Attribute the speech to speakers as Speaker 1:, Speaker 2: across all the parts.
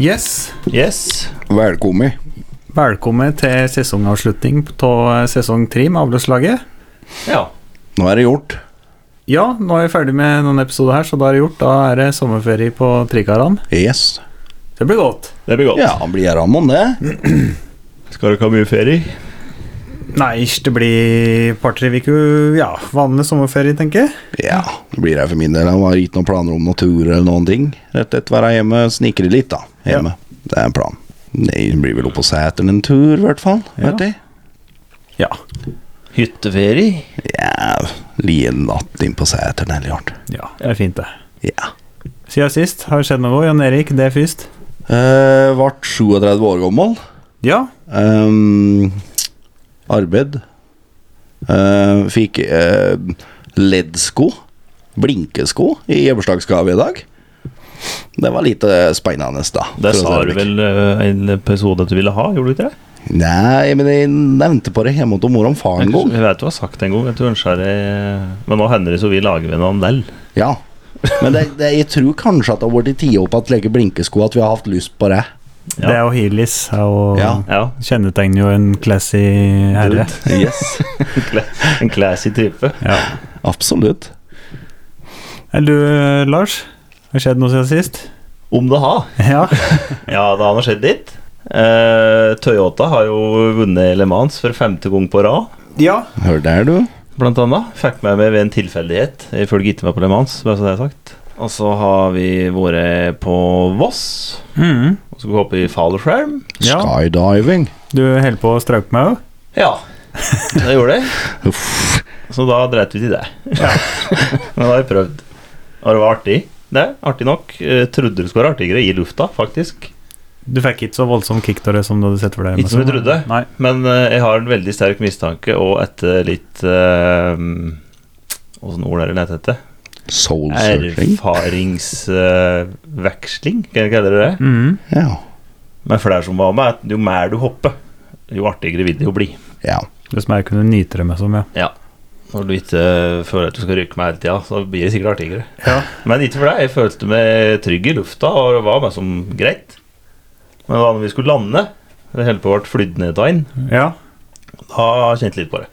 Speaker 1: Yes,
Speaker 2: Yes.
Speaker 3: Velkommen.
Speaker 1: velkommen til sesongavslutning av sesong tre med Avløslaget.
Speaker 2: Ja.
Speaker 3: Nå er det gjort.
Speaker 1: Ja, nå er vi ferdig med noen episoder her, så da er det gjort. Da er det sommerferie på Trikarene.
Speaker 3: Yes.
Speaker 1: Det blir godt.
Speaker 2: Det blir godt.
Speaker 3: Ja, blir det rammen, det?
Speaker 2: Skal dere ha mye ferie?
Speaker 1: Nei, ish, det blir et par-tre uker Ja, vanlig sommerferie, tenker jeg.
Speaker 3: Ja, det blir det for min del. Jeg har ikke noen planer om noen tur eller noen ting. Rett etter å være hjemme, snikre litt, da. Hjemme. Det er en plan. Nei, det blir vel opp på Sæteren en tur, i hvert fall.
Speaker 1: Ja.
Speaker 3: Vet jeg.
Speaker 1: Ja.
Speaker 2: Hytteferie?
Speaker 3: Ja, li en natt inn på Sæteren eller hardt.
Speaker 1: ja det er fint, det.
Speaker 3: Ja.
Speaker 1: Siden sist har det skjedd noe. Jan Erik, det er først.
Speaker 3: Eh, vart 37 år gammel.
Speaker 1: Ja.
Speaker 3: Ehm, arbeid. Eh, fikk eh, leddsko. Blinkesko i bursdagsgave i dag. Det var litt eh, spennende, da. for
Speaker 2: Det
Speaker 3: å si
Speaker 2: sa du
Speaker 3: mildt.
Speaker 2: vel eh, en episode at du ville ha, gjorde du ikke det?
Speaker 3: Nei, men jeg nevnte på det hjemme hos mor og far
Speaker 2: Jeg,
Speaker 3: en gang.
Speaker 2: vet du har sagt det en gang, at du ønsker deg eh, Men nå hender det så vi lager en andel.
Speaker 3: Ja. Men det, det, jeg tror kanskje at det har vært tida opp at legge blinkesko, at vi har hatt lyst på det.
Speaker 2: Ja.
Speaker 1: Det er jo Heelys. er jo-
Speaker 3: Ja.
Speaker 2: Ja.
Speaker 1: Kjennetegner jo en classy herre.
Speaker 3: Yes.
Speaker 2: En classy type.
Speaker 1: Ja.
Speaker 3: Absolutt.
Speaker 1: Eller du, Lars? Har det skjedd noe siden sist?
Speaker 2: Om det har.
Speaker 1: Ja.
Speaker 2: Ja, det har nå skjedd litt. Eh, Toyota har jo vunnet Le Mans for femte gang på rad.
Speaker 1: ja.
Speaker 3: Hør der, du.
Speaker 2: Blant annet. Fikk meg med ved en tilfeldighet. Jeg følger ikke med på Le Mans, bare så det er sagt. Og så har vi vært på Voss.
Speaker 1: Mhm.
Speaker 2: Og så går vi opp i fallskjerm.
Speaker 1: Ja.
Speaker 3: Skydiving.
Speaker 1: Du holder på å strauke meg òg?
Speaker 2: Ja, det gjorde jeg.
Speaker 3: Uff.
Speaker 2: Så da dreit vi til det. Men da har jeg prøvd. Og det var artig. Det, artig nok. Jeg trodde det skulle være artigere i lufta, faktisk.
Speaker 1: Du fikk ikke så voldsom kick av det som du hadde sett for deg?
Speaker 2: Ikke som
Speaker 1: Amazon.
Speaker 2: du trodde.
Speaker 1: Nei.
Speaker 2: Men eh, jeg har en veldig sterk mistanke, og etter litt eh, Åssen ord er det lett etter?
Speaker 3: Soul searching.
Speaker 2: Erfaringsveksling, kan jeg kalle det det?
Speaker 1: Mhm.
Speaker 3: Ja.
Speaker 2: Men for det er som var med, at jo mer du hopper, jo artigere vil det jo bli.
Speaker 3: ja.
Speaker 1: Det som jeg kunne nyte det med som, ja.
Speaker 2: Ja. Når du ikke føler at du skal ryke meg hele tida, så blir det sikkert artigere.
Speaker 1: Ja.
Speaker 2: Men ikke for deg. Jeg følte meg trygg i lufta, og det var meg som greit. Men da vi skulle lande, det hele på vårt flydde ned av inn,
Speaker 1: ja.
Speaker 2: da kjente jeg litt på det.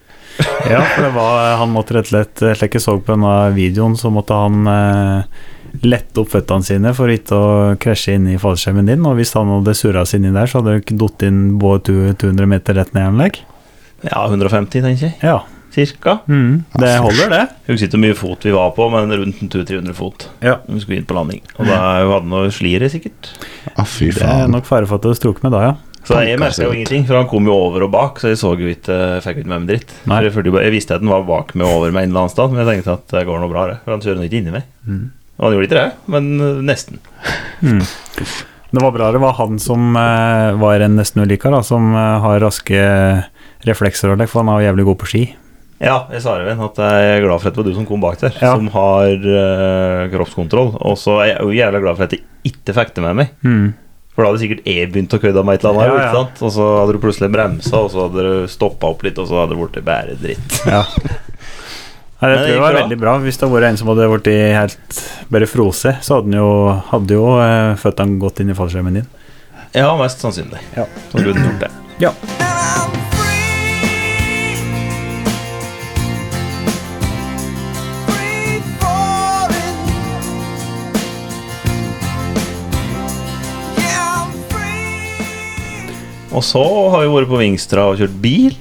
Speaker 1: Ja, for det var, eh, han måtte rett og slett Slik jeg så på denne videoen, så måtte han eh, lette opp føttene sine for ikke å krasje inn i fallskjermen din. Og hvis han hadde surra seg inni der, så hadde du ikke datt inn både tu- 200 meter rett ned i anlegg.
Speaker 2: Ja, 150, tenker jeg.
Speaker 1: Ja.
Speaker 2: Cirka.
Speaker 1: Mm, det holder, det.
Speaker 2: Jeg husker ikke hvor mye fot vi var på, men rundt en 200-300 fot.
Speaker 1: Ja.
Speaker 2: Når Vi skulle inn på landing. Og da hadde han noe slire, sikkert.
Speaker 3: Ah, fy
Speaker 1: Det er
Speaker 3: faen.
Speaker 1: nok fare for at du strukker med da, ja.
Speaker 2: Så jeg
Speaker 3: Tanker
Speaker 2: merka
Speaker 3: seg ut.
Speaker 2: jo ingenting, for han kom jo over og bak, så jeg så jo ikke jeg fikk jo ikke med meg en dritt.
Speaker 1: Nei.
Speaker 2: For jeg, følte jo bare, jeg visste at den var bak meg og over meg en eller annen sted, men jeg tenkte at det går nå bra, det. For han kjører nå ikke inni meg.
Speaker 1: Mm-hmm.
Speaker 2: Og han gjorde ikke det, men eh, nesten. Mm.
Speaker 1: Det var bra det var han som eh, var en nesten ulykke, da, som eh, har raske eh, reflekser og det, for han er jo jævlig god på ski.
Speaker 2: Ja, jeg sa Even at jeg er glad for at det var du som kom bak der,
Speaker 1: Ja.
Speaker 2: som har eh, kroppskontroll. Og så er jeg jo jævla glad for at jeg ikke fikk det med meg.
Speaker 1: Mm.
Speaker 2: For da hadde sikkert jeg begynt å kødde med et eller annet.
Speaker 1: Ja,
Speaker 2: her,
Speaker 1: ja.
Speaker 2: ikke sant? Og så hadde du plutselig bremsa, og så hadde du stoppa opp litt, og så hadde det blitt bare dritt.
Speaker 1: Ja. Nei, det
Speaker 2: Men det
Speaker 1: tror jeg
Speaker 2: gikk
Speaker 1: var
Speaker 2: bra.
Speaker 1: veldig bra. Hvis det hadde vært en som hadde vært i helt bare frose, så hadde han jo, hadde jo eh, føttene gått inn i fallskjermen din.
Speaker 2: Ja, mest sannsynlig.
Speaker 1: Ja.
Speaker 2: Så kunne du gjort det.
Speaker 1: Ja.
Speaker 2: Og så har vi vært på Vingstra og kjørt bil.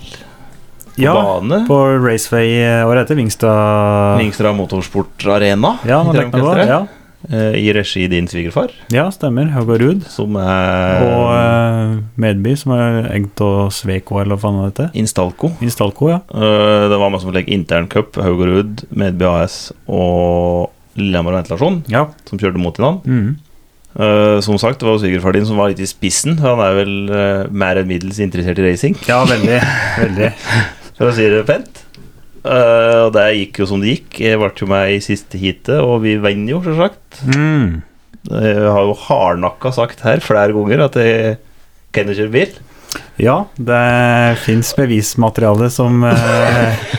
Speaker 2: På
Speaker 1: ja
Speaker 2: bane.
Speaker 1: på Raceway eh, Hva heter det? Vingstad
Speaker 2: Vingstra Motorsport Arena.
Speaker 1: Ja, nå
Speaker 2: heter
Speaker 1: tenkte jeg på
Speaker 2: orkestret,
Speaker 1: det. Ja.
Speaker 2: eh, I regi din svigerfar,
Speaker 1: ja, stemmer. Haga Ruud.
Speaker 2: som er
Speaker 1: Og eh, Medby, som er egg av Sveko, eller hva faen det heter.
Speaker 2: Instalco.
Speaker 1: Instalco, ja.
Speaker 2: Eh, det var meg som legger interncup, Haugerud, Medby AS og Lillehammer Ventilasjon,
Speaker 1: ja.
Speaker 2: som kjørte mot hverandre.
Speaker 1: Mm.
Speaker 2: Eh, som sagt, det var jo svigerfar din som var litt i spissen. for Han er vel eh, mer enn middels interessert i racing,
Speaker 1: Ja, veldig. veldig.
Speaker 2: for å si det pent. Eh, og det gikk jo som det gikk. Jeg ble jo med i siste heatet, og vi vinner jo, selvsagt.
Speaker 1: Mm.
Speaker 2: Jeg har jo hardnakka sagt her flere ganger at jeg kan jo kjøre bil.
Speaker 1: Ja, det fins bevismateriale som eh,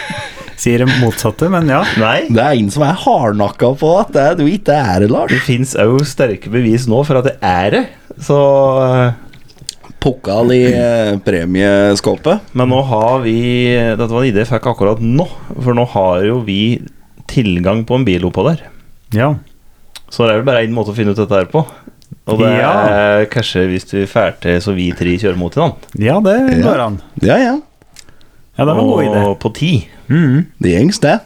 Speaker 1: sier det motsatte, men ja.
Speaker 2: Nei.
Speaker 3: Det er en som er hardnakka på at det er du ikke er det, Lars.
Speaker 2: Det fins òg sterke bevis nå for at det er det. Så eh,
Speaker 3: Pokal i eh, premieskåpet.
Speaker 2: Men nå har vi Dette var en idé jeg fikk akkurat nå, for nå har jo vi tilgang på en bil oppå der.
Speaker 1: Ja.
Speaker 2: Så det er vel bare én måte å finne ut dette her på. Og det er kanskje hvis du drar til så vi tre kjører mot hverandre.
Speaker 1: ja, det
Speaker 3: Ja.
Speaker 1: går an.
Speaker 3: Ja, ja.
Speaker 1: Ja, det var en god idé.
Speaker 2: Og på ti,
Speaker 1: Mhm.
Speaker 3: Det gjengs, det.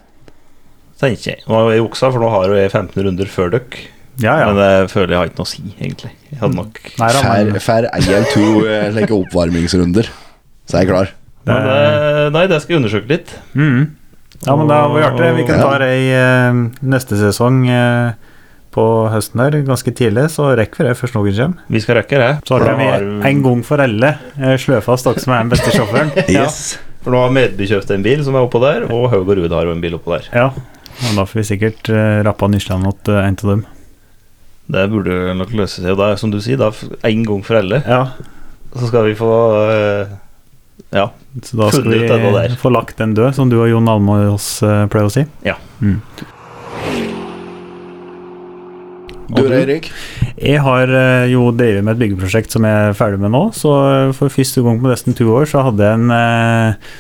Speaker 2: tenker jeg. Nå har jeg juksa, for nå har jo jeg 15 runder før dere.
Speaker 1: Ja, ja. Mm.
Speaker 2: Men eh, det føler jeg har ikke noe å si, egentlig. Jeg hadde nok
Speaker 1: Nei, da,
Speaker 3: Fær,
Speaker 1: men,
Speaker 3: fær eier to eh, like oppvarmingsrunder, så er jeg klar.
Speaker 2: Men det, Nei, det skal jeg undersøke litt.
Speaker 1: Mhm. ja, men det var jo artig. Vi kan ta det i eh, neste sesong eh, på høsten her, ganske tidlig, så rekker vi det før snogen kommer.
Speaker 2: Vi skal rekke det.
Speaker 1: Så
Speaker 2: For
Speaker 1: har
Speaker 2: nå
Speaker 1: vi en gang for alle eh, slå fast dere som er den beste sjåføren.
Speaker 3: Yes.
Speaker 2: For nå har Medby kjøpt en bil som er oppå der, og Haug og Ruud har jo en bil oppå der.
Speaker 1: Ja, og da får vi sikkert eh, rappa Nysland åt eh, en av dem.
Speaker 2: Det burde nok løse seg. Og det er som du sier, da, en gang for alle,
Speaker 1: Ja,
Speaker 2: så skal vi få eh, Ja.
Speaker 1: Så da skal
Speaker 2: Funnet ut dette der.
Speaker 1: vi få lagt den død, som du og Jon Almaas eh, pleier å si.
Speaker 3: Du, Eirik?
Speaker 1: Jeg har eh, jo drevet med et byggeprosjekt som jeg er ferdig med nå, så eh, for første gang på nesten to år så hadde jeg en eh,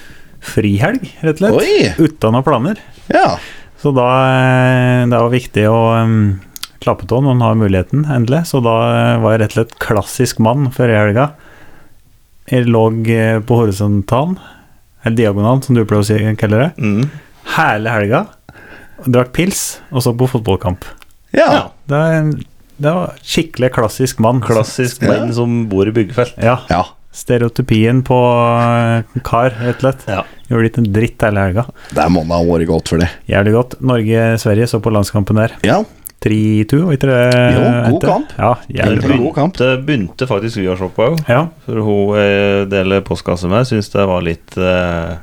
Speaker 1: frihelg, rett og slett.
Speaker 3: Oi!
Speaker 1: Uten noen planer.
Speaker 3: Ja.
Speaker 1: Så da eh, Det var viktig å em, klappe tå når en har muligheten, endelig. Så da eh, var jeg rett og slett klassisk mann før i helga. Jeg lå eh, på horisontalen, eller diagonalen, som du pleier å si, kaller det.
Speaker 2: Mm.
Speaker 1: Hele helga. Drakk pils, og så på fotballkamp.
Speaker 3: ja.
Speaker 2: Ja.
Speaker 1: Det, er- det var skikkelig klassisk mann.
Speaker 2: Klassisk
Speaker 3: Ja.
Speaker 2: menn som bor i byggefelt.
Speaker 1: Ja.
Speaker 3: Ja.
Speaker 1: Stereotypien på eh, kar, rett og slett.
Speaker 2: Ja.
Speaker 1: Gjorde ikke en dritt hele helga.
Speaker 3: Det er måned av året godt for det.
Speaker 1: Jævlig godt. Norge-Sverige så på landskampen der.
Speaker 3: Ja.
Speaker 1: 3-2, var ikke det?
Speaker 3: Jo, god
Speaker 1: etter?
Speaker 3: kamp.
Speaker 1: Ja,
Speaker 3: Det
Speaker 1: jævlig
Speaker 3: var
Speaker 1: bra.
Speaker 3: en god kamp.
Speaker 2: Det begynte faktisk vi å se på òg,
Speaker 1: Ja,
Speaker 2: for hun jeg deler postkasse med, syns det var litt eh,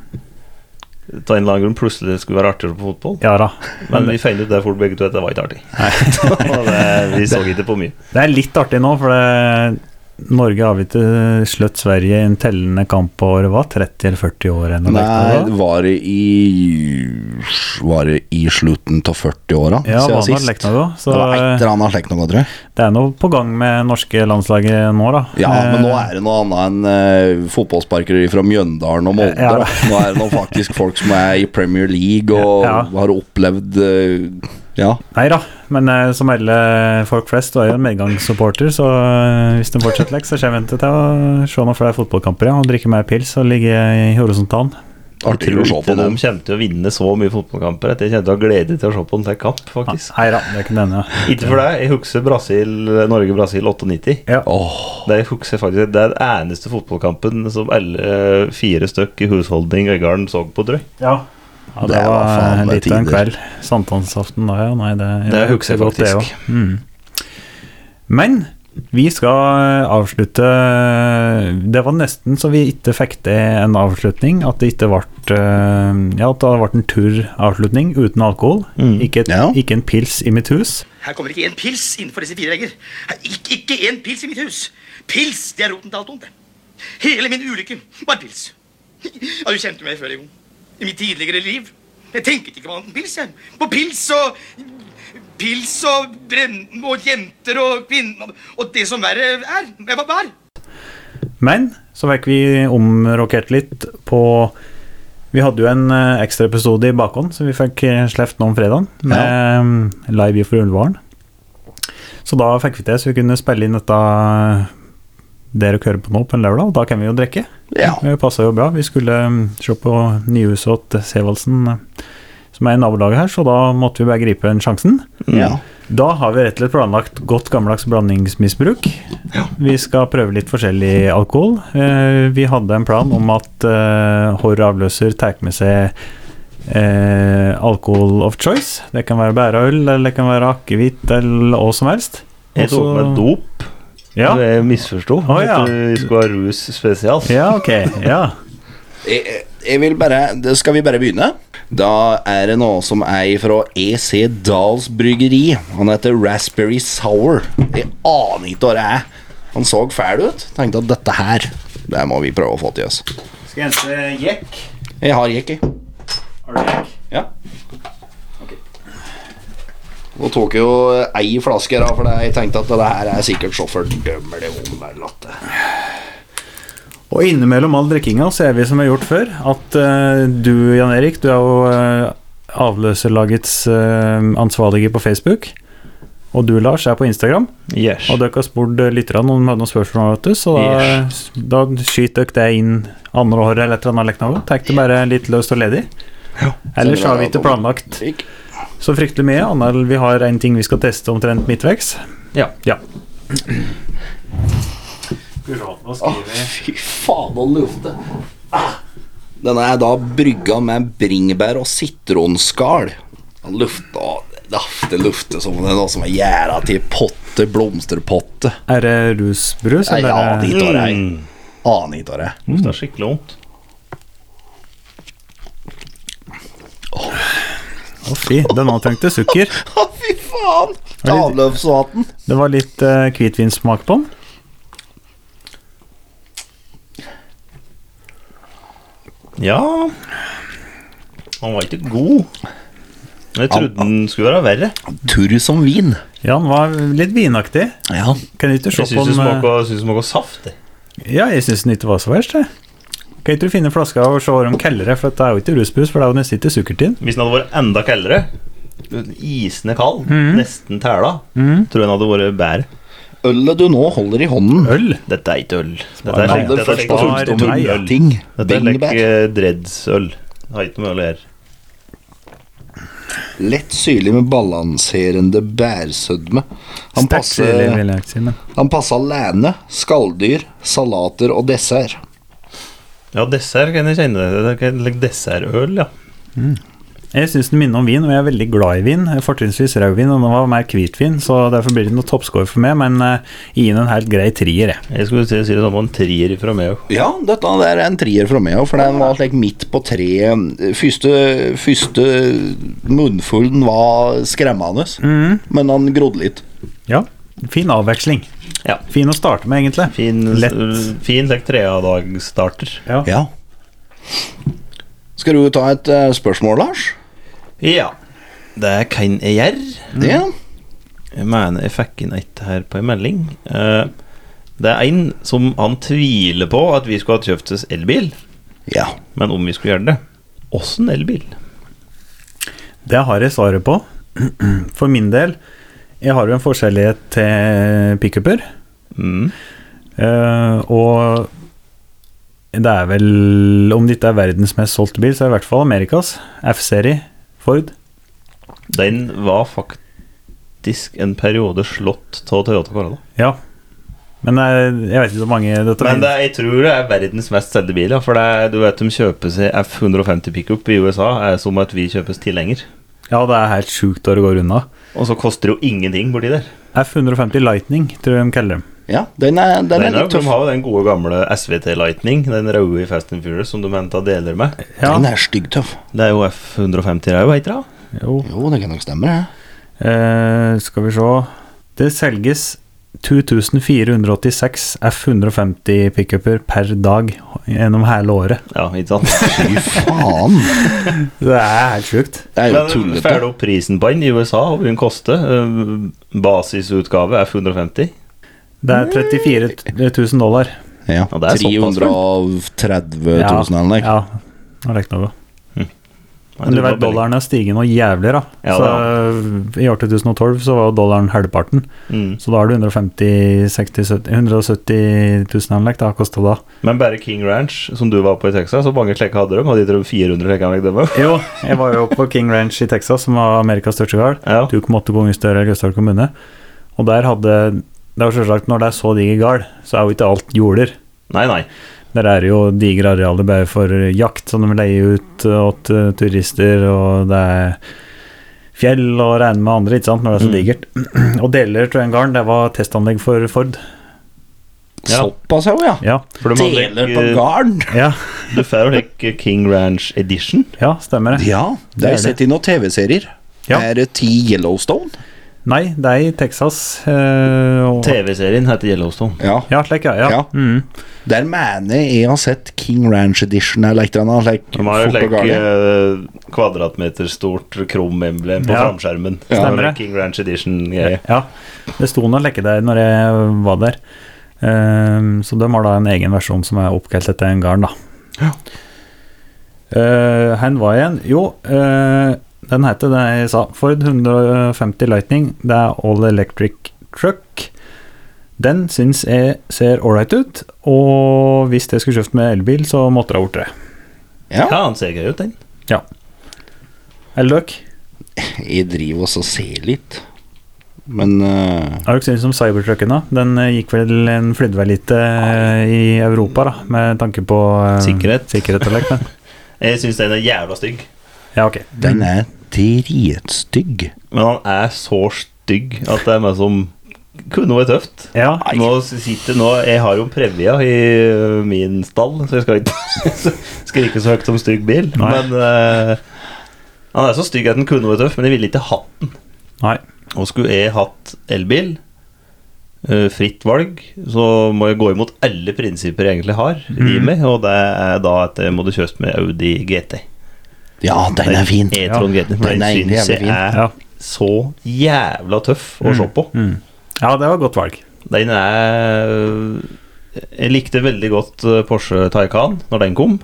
Speaker 2: av en eller annen grunn plutselig skulle være artigere på fotball.
Speaker 1: ja da.
Speaker 2: Men vi fant ut det fort begge to at det var ikke artig. Og det, vi så ikke på mye.
Speaker 1: Det er litt artig nå, for det Norge avgjorde sløtt Sverige i en tellende kamp på året var 30 eller 40 år. eller noe
Speaker 3: Nei,
Speaker 1: lignende, da.
Speaker 3: var det i Var det i slutten av 40-åra?
Speaker 1: Ja,
Speaker 3: siden
Speaker 1: var det
Speaker 3: sist?
Speaker 1: lekna da, så
Speaker 3: Det var et eller annet slikt noe, tror jeg.
Speaker 1: det er noe på gang med norske landslaget nå, da.
Speaker 3: Ja, men nå
Speaker 1: Eh,
Speaker 3: er det noe annet enn eh, fotballsparkere fra Mjøndalen og Molde.
Speaker 1: Ja.
Speaker 3: da. Nå er det nå faktisk folk som er i Premier League og
Speaker 1: Ja.
Speaker 3: har opplevd eh, Ja.
Speaker 1: Nei da, men eh, som alle folk flest, du er jo en medgangssupporter, så eh, hvis den fortsetter lekk, så kommer en til å se noen flere fotballkamper ja, og drikke mer pils og ligge i horisontalen.
Speaker 3: Artig å se på
Speaker 2: De
Speaker 3: dem.
Speaker 2: kommer til å vinne så mye fotballkamper at jeg kommer til å ha glede til å se på den til kamp,
Speaker 1: Ja,
Speaker 2: faktisk.
Speaker 1: Nei da, det kan hende. ja.
Speaker 2: Ikke for deg. Jeg husker Brasil, Norge-Brasil 98.
Speaker 3: Åh,
Speaker 2: Det jeg husker faktisk Det er den eneste fotballkampen som alle eh, fire stykk i husholdning Øygarden så på, tror jeg.
Speaker 1: Ja. det,
Speaker 3: Det var
Speaker 1: var,
Speaker 3: faen meg
Speaker 1: litt av en
Speaker 3: tider.
Speaker 1: kveld. Sankthansaften da, ja. Nei, det,
Speaker 2: Det husker jeg
Speaker 1: godt, det
Speaker 2: faktisk.
Speaker 1: også. Mm. Men vi skal eh, avslutte eh, Det var nesten så vi ikke fikk til en avslutning. At det ikke ble eh, Ja, at det ble en turavslutning uten alkohol. Ikke, et,
Speaker 3: Ja.
Speaker 1: ikke en pils i mitt hus.
Speaker 4: Her kommer ikke én pils innenfor disse fire vegger. Her- Ikke, ikke én pils i mitt hus. Pils, det er roten til alt ondt. Hele min ulykke var pils. Ja, Du kjente meg før, jo. I mitt tidligere liv. Jeg tenket ikke på annet enn pils. jeg. På pils og Pils og brenn og jenter og kvinner og det som verre er. Jeg var bar.
Speaker 1: Men så fikk vi omrokert litt på Vi hadde jo en eh, ekstra episode i bakhånd, så vi fikk eh, sleft nå om fredagen med eh, Live i for Ullevålen. Så da fikk vi til så vi kunne spille inn dette eh, dere hører på nå, på en lørdag, og da kan vi jo drikke.
Speaker 3: ja.
Speaker 1: Det passa jo bra. Vi skulle mm, se på nyhuset til Sevaldsen, eh, som er i nabolaget her, så da måtte vi bare gripe den sjansen.
Speaker 3: ja.
Speaker 1: Da har vi rett og slett planlagt godt gammeldags blandingsmisbruk. Vi skal prøve litt forskjellig alkohol. Eh, Vi hadde en plan om at eh, Horr avløser tar med seg eh, alkohol of choice. Det kan være bæreøl, eller det kan være akevitt, eller hva som helst.
Speaker 2: Jeg tok
Speaker 1: Også-
Speaker 2: med dop.
Speaker 1: Altså- Ja.
Speaker 2: for Jeg misforsto.
Speaker 1: Å, ja.
Speaker 2: At vi skulle ha rus spesial.
Speaker 1: ja, ok. Ja.
Speaker 3: Jeg, jeg vil bare det- Skal vi bare begynne? Da er det noe som er fra EC Dahls bryggeri. Han heter Raspberry Sour. Jeg aner ikke hva det er. Han så fæl ut. Tenkte at dette her, det må vi prøve å få til oss.
Speaker 1: Skal jeg hente jekk?
Speaker 3: Jeg har jekk i.
Speaker 1: Har du jekk?
Speaker 3: Ja. Nå tok jeg jo eh, ei flaske, da, for jeg tenkte at det her er sikkert så fordømmer det om der latte.
Speaker 1: Og innimellom all drikkinga så er vi som vi har gjort før, at eh, du Jan Erik, du er jo eh, avløserlagets eh, ansvarlige på Facebook. Og du, Lars, er på Instagram.
Speaker 2: Yes.
Speaker 1: Og dere har spurt eh, lytterne om de hadde noen spørsmål, vet du, så da, da skyter dere det inn andre året eller et eller annet. lekna. Tek det bare litt løst og ledig. Ellers har vi ikke planlagt
Speaker 3: Drikk.
Speaker 1: så fryktelig mye, annet enn vi har en ting vi skal teste omtrent midtveks.
Speaker 2: Ja.
Speaker 1: Ja.
Speaker 3: Å, Ah, fy faen, og lukte. Ah. Denne er da brygga med bringebær og sitronskall. Han lufta Det det lukter som om det er noe som er gjæra til potte, blomsterpotte.
Speaker 1: Er det rusbrus,
Speaker 3: Nei,
Speaker 1: eller?
Speaker 3: ja, dit var jeg.
Speaker 2: Mm.
Speaker 3: Aner ikke hva det er.
Speaker 2: Det er skikkelig vondt.
Speaker 1: Å, fy, den antrengte sukker.
Speaker 3: Å, fy faen! Avløpsvann.
Speaker 1: Det var litt eh, hvitvinssmak på den.
Speaker 2: Ja Han var ikke god. Jeg trodde den skulle være verre.
Speaker 3: Turr som vin.
Speaker 1: Ja, den var litt vinaktig.
Speaker 3: Ja.
Speaker 1: Kan ikke du se
Speaker 2: Jeg
Speaker 1: på den
Speaker 2: syns det
Speaker 1: eh,
Speaker 2: smaker, synes det smaker saft. jeg.
Speaker 1: Ja, jeg syns den ikke var så verst, jeg. Kan ikke du finne flaska og se hva de kaller det, for det er jo ikke rusbrus, for det er jo nesten ikke sukkertinn.
Speaker 2: Hvis den hadde vært enda kaldere, isende kald,
Speaker 1: Mm.
Speaker 2: nesten tæla, tror jeg den hadde vært bedre.
Speaker 3: Ølet du nå holder i hånden,
Speaker 1: Øl?
Speaker 2: Dette er ikke øl. Dette
Speaker 1: Nei,
Speaker 2: er slik-
Speaker 1: det
Speaker 3: handler
Speaker 2: dette er
Speaker 3: først
Speaker 2: slik-
Speaker 3: og
Speaker 1: var
Speaker 3: fremst om
Speaker 1: meg, ja.
Speaker 3: ting.
Speaker 2: dette er
Speaker 3: Bringebær.
Speaker 2: like Dreads-øl. Det Har ikke noe med øl å gjøre.
Speaker 3: Lett syrlig med balanserende bærsødme. Han
Speaker 1: Sterkt syrlig,
Speaker 3: passer,
Speaker 1: vil jeg ikke si, men
Speaker 3: han passer alene, skalldyr, salater og dessert.
Speaker 2: Ja, dessert kan jeg kjenne. Det er like Dessertøl, ja.
Speaker 1: Jeg syns den minner om vin, og jeg er veldig glad i vin. Fortrinnsvis rødvin, og den var mer hvitvin, så derfor blir det noe toppscore for meg, men eh, gi den en helt grei trier, jeg.
Speaker 2: Jeg skulle si si det samme om en trier fra meg òg.
Speaker 3: Ja, dette der er en trier fra meg òg, for den var slik midt på treet. Første, første munnfull den var skremmende,
Speaker 2: Mm.
Speaker 3: men han grodde litt.
Speaker 1: Ja. Fin avveksling.
Speaker 2: Ja.
Speaker 1: Fin å starte med, egentlig.
Speaker 2: Fin, eh,
Speaker 1: Lett.
Speaker 2: fin like treadagstarter.
Speaker 1: eh, Ja.
Speaker 3: Ja. Skal du ta et eh, spørsmål, Lars?
Speaker 2: Ja. Det kan jeg gjøre.
Speaker 3: Ja.
Speaker 2: Jeg mener jeg fikk inn et her på en melding. Eh, Det er en som han tviler på at vi skulle ha kjøpt oss elbil,
Speaker 3: ja.
Speaker 2: men om vi skulle gjøre det Åssen elbil?
Speaker 1: Det har jeg svaret på. For min del, jeg har jo en forskjellighet til pickuper,
Speaker 2: Mm.
Speaker 1: eh, og det er vel Om det ikke er verdens mest solgte bil, så er det i hvert fall Amerikas. F-serie, Ford.
Speaker 2: Den var faktisk en periode slått av Toyota Corolla.
Speaker 1: Ja. Men eh, jeg vet ikke hvor mange dette
Speaker 2: Men det, er- jeg tror det er verdens mest selgte bil. Ja, for det er, du vet de kjøper seg F150 pickup i USA, er som at vi kjøpes tilhenger.
Speaker 1: Ja, det er helt sjukt når det går unna.
Speaker 2: Og så koster det jo ingenting borti der.
Speaker 1: F150 Lightning, tror jeg de kaller dem.
Speaker 3: ja. Den er, den
Speaker 2: Den
Speaker 3: er
Speaker 2: er,
Speaker 3: litt
Speaker 2: de
Speaker 3: tøff.
Speaker 2: har jo den gode gamle SVT Lightning, den røde i Fast and Furious, som de henta deler med.
Speaker 1: Ja,
Speaker 3: Den er styggtøff.
Speaker 2: Det er jo F150 det er jo, heter det?
Speaker 1: jo.
Speaker 3: Jo, det kan nok stemme, det.
Speaker 1: Eh, skal vi se Det selges 2486 F150 pickuper per dag gjennom hele året.
Speaker 2: Ja, ikke sant?
Speaker 3: Fy faen!
Speaker 1: Det er helt sjukt.
Speaker 3: Det er jo
Speaker 2: Men
Speaker 3: tullete.
Speaker 2: Får du opp prisen på den i USA, og den koster? eh, Basisutgave er 150.
Speaker 1: Det er 34 000 dollar.
Speaker 3: Ja,
Speaker 2: Ja, det er såpass, vel?
Speaker 3: 330 000
Speaker 1: Ja,
Speaker 3: eller noe.
Speaker 1: Ja, nå rekna vi. Men du vet, dollaren er stigende og jævlig, da.
Speaker 2: Ja,
Speaker 1: så I år 2012 så var jo dollaren halvparten.
Speaker 2: Mm.
Speaker 1: Så da har du 150 60, 70, 170 000 anlegg, da, kosta da.
Speaker 2: Men bare King Ranch, som du var på i Texas, hvor mange slekker hadde de? Hadde de tror jeg, 400 slekker anlegg dem også?
Speaker 1: Jo, jeg var jo på King Ranch i Texas, som var Amerikas største gård.
Speaker 2: Ja.
Speaker 1: 2,8 ganger større enn Gausdal kommune. Og der hadde Det er jo selvsagt, når det er så diger gard, så er jo ikke alt jorder.
Speaker 2: Nei, nei.
Speaker 1: Der er jo digre arealer bare for jakt, som de leier ut eh, til turister, og det er fjell og regner med andre, ikke sant, når det er så
Speaker 2: Mm.
Speaker 1: digert. Og deler til den garden, det var testanlegg for Ford.
Speaker 2: Ja. Eh,
Speaker 3: Såpass, jo, ja.
Speaker 1: Ja,
Speaker 2: For de hadde
Speaker 3: Deler på
Speaker 2: ikke-
Speaker 3: garn!
Speaker 1: ja,
Speaker 2: Du får jo like King Ranch Edition.
Speaker 1: ja stemmer det.
Speaker 3: Ja,
Speaker 1: er
Speaker 3: det har
Speaker 1: det.
Speaker 3: jeg sett i noen TV-serier.
Speaker 1: Ja.
Speaker 3: Er det ti Yellowstone?
Speaker 1: Nei, det er i Texas. eh, og,
Speaker 2: TV-serien heter Yellowstone.
Speaker 3: Ja.
Speaker 1: ja, slik, ja. ja.
Speaker 3: Ja.
Speaker 1: Mm.
Speaker 3: Der mener jeg jeg har sett King Ranch Edition eller et eller annet. Like,
Speaker 2: De har et
Speaker 3: fort og
Speaker 2: like,
Speaker 3: gale.
Speaker 2: eh, kvadratmeter stort krom-emblem på
Speaker 1: Ja.
Speaker 2: framskjermen.
Speaker 3: Ja.
Speaker 2: Sånn
Speaker 1: Stemmer det.
Speaker 2: King Ranch Edition-greie.
Speaker 1: Ja, det sto noe lekke der når jeg var der. Ehm, så de har da en egen versjon som er oppkalt etter en garn, da. Eh, Hen var jeg igjen? Jo, eh, den heter det jeg sa. Ford 150 Lightning. Det er all electric truck. Den syns jeg ser ålreit ut, og hvis jeg skulle kjøpt med elbil, så måtte det ha vært det.
Speaker 3: Ja.
Speaker 2: Ja, han ser gøy ut, den.
Speaker 1: Eller dere?
Speaker 3: Jeg driver også og ser litt. Men eh,
Speaker 1: Hva syns dere om cybertrucken, da? Den eh, gikk vel en flydde vel litt eh, i Europa, da, med tanke på eh,
Speaker 2: Sikkerhet.
Speaker 1: sikkerhet og lekt, men
Speaker 2: Jeg syns den er jævla stygg.
Speaker 1: Ja, ok.
Speaker 3: den er dritstygg.
Speaker 2: Men han er så stygg at det er meg som kunne vært tøft.
Speaker 1: Ja,
Speaker 2: Nå sitter nå Jeg har jo en Previa i ø, min stall, så jeg skal ikke skrike så høyt som stygg bil.
Speaker 1: Nei.
Speaker 2: Men ø, han er så stygg at den kunne vært tøff, men jeg ville ikke hatt den.
Speaker 1: nei.
Speaker 2: Og skulle jeg hatt elbil, ø, fritt valg, så må jeg gå imot alle prinsipper jeg egentlig har i
Speaker 3: Mm.
Speaker 1: Mhm.
Speaker 2: meg, og det er da at jeg må du kjøpe med Audi GT.
Speaker 3: Ja, den er fin.
Speaker 2: E-tron GT. For
Speaker 3: Den
Speaker 2: den
Speaker 3: er egentlig
Speaker 2: syns
Speaker 3: jævlig
Speaker 2: jeg
Speaker 3: fin.
Speaker 2: er
Speaker 1: Ja.
Speaker 2: så jævla tøff å se på.
Speaker 1: Mm. ja, det var et godt valg.
Speaker 2: Den er Jeg likte veldig godt eh, Porsche Taycan når den kom.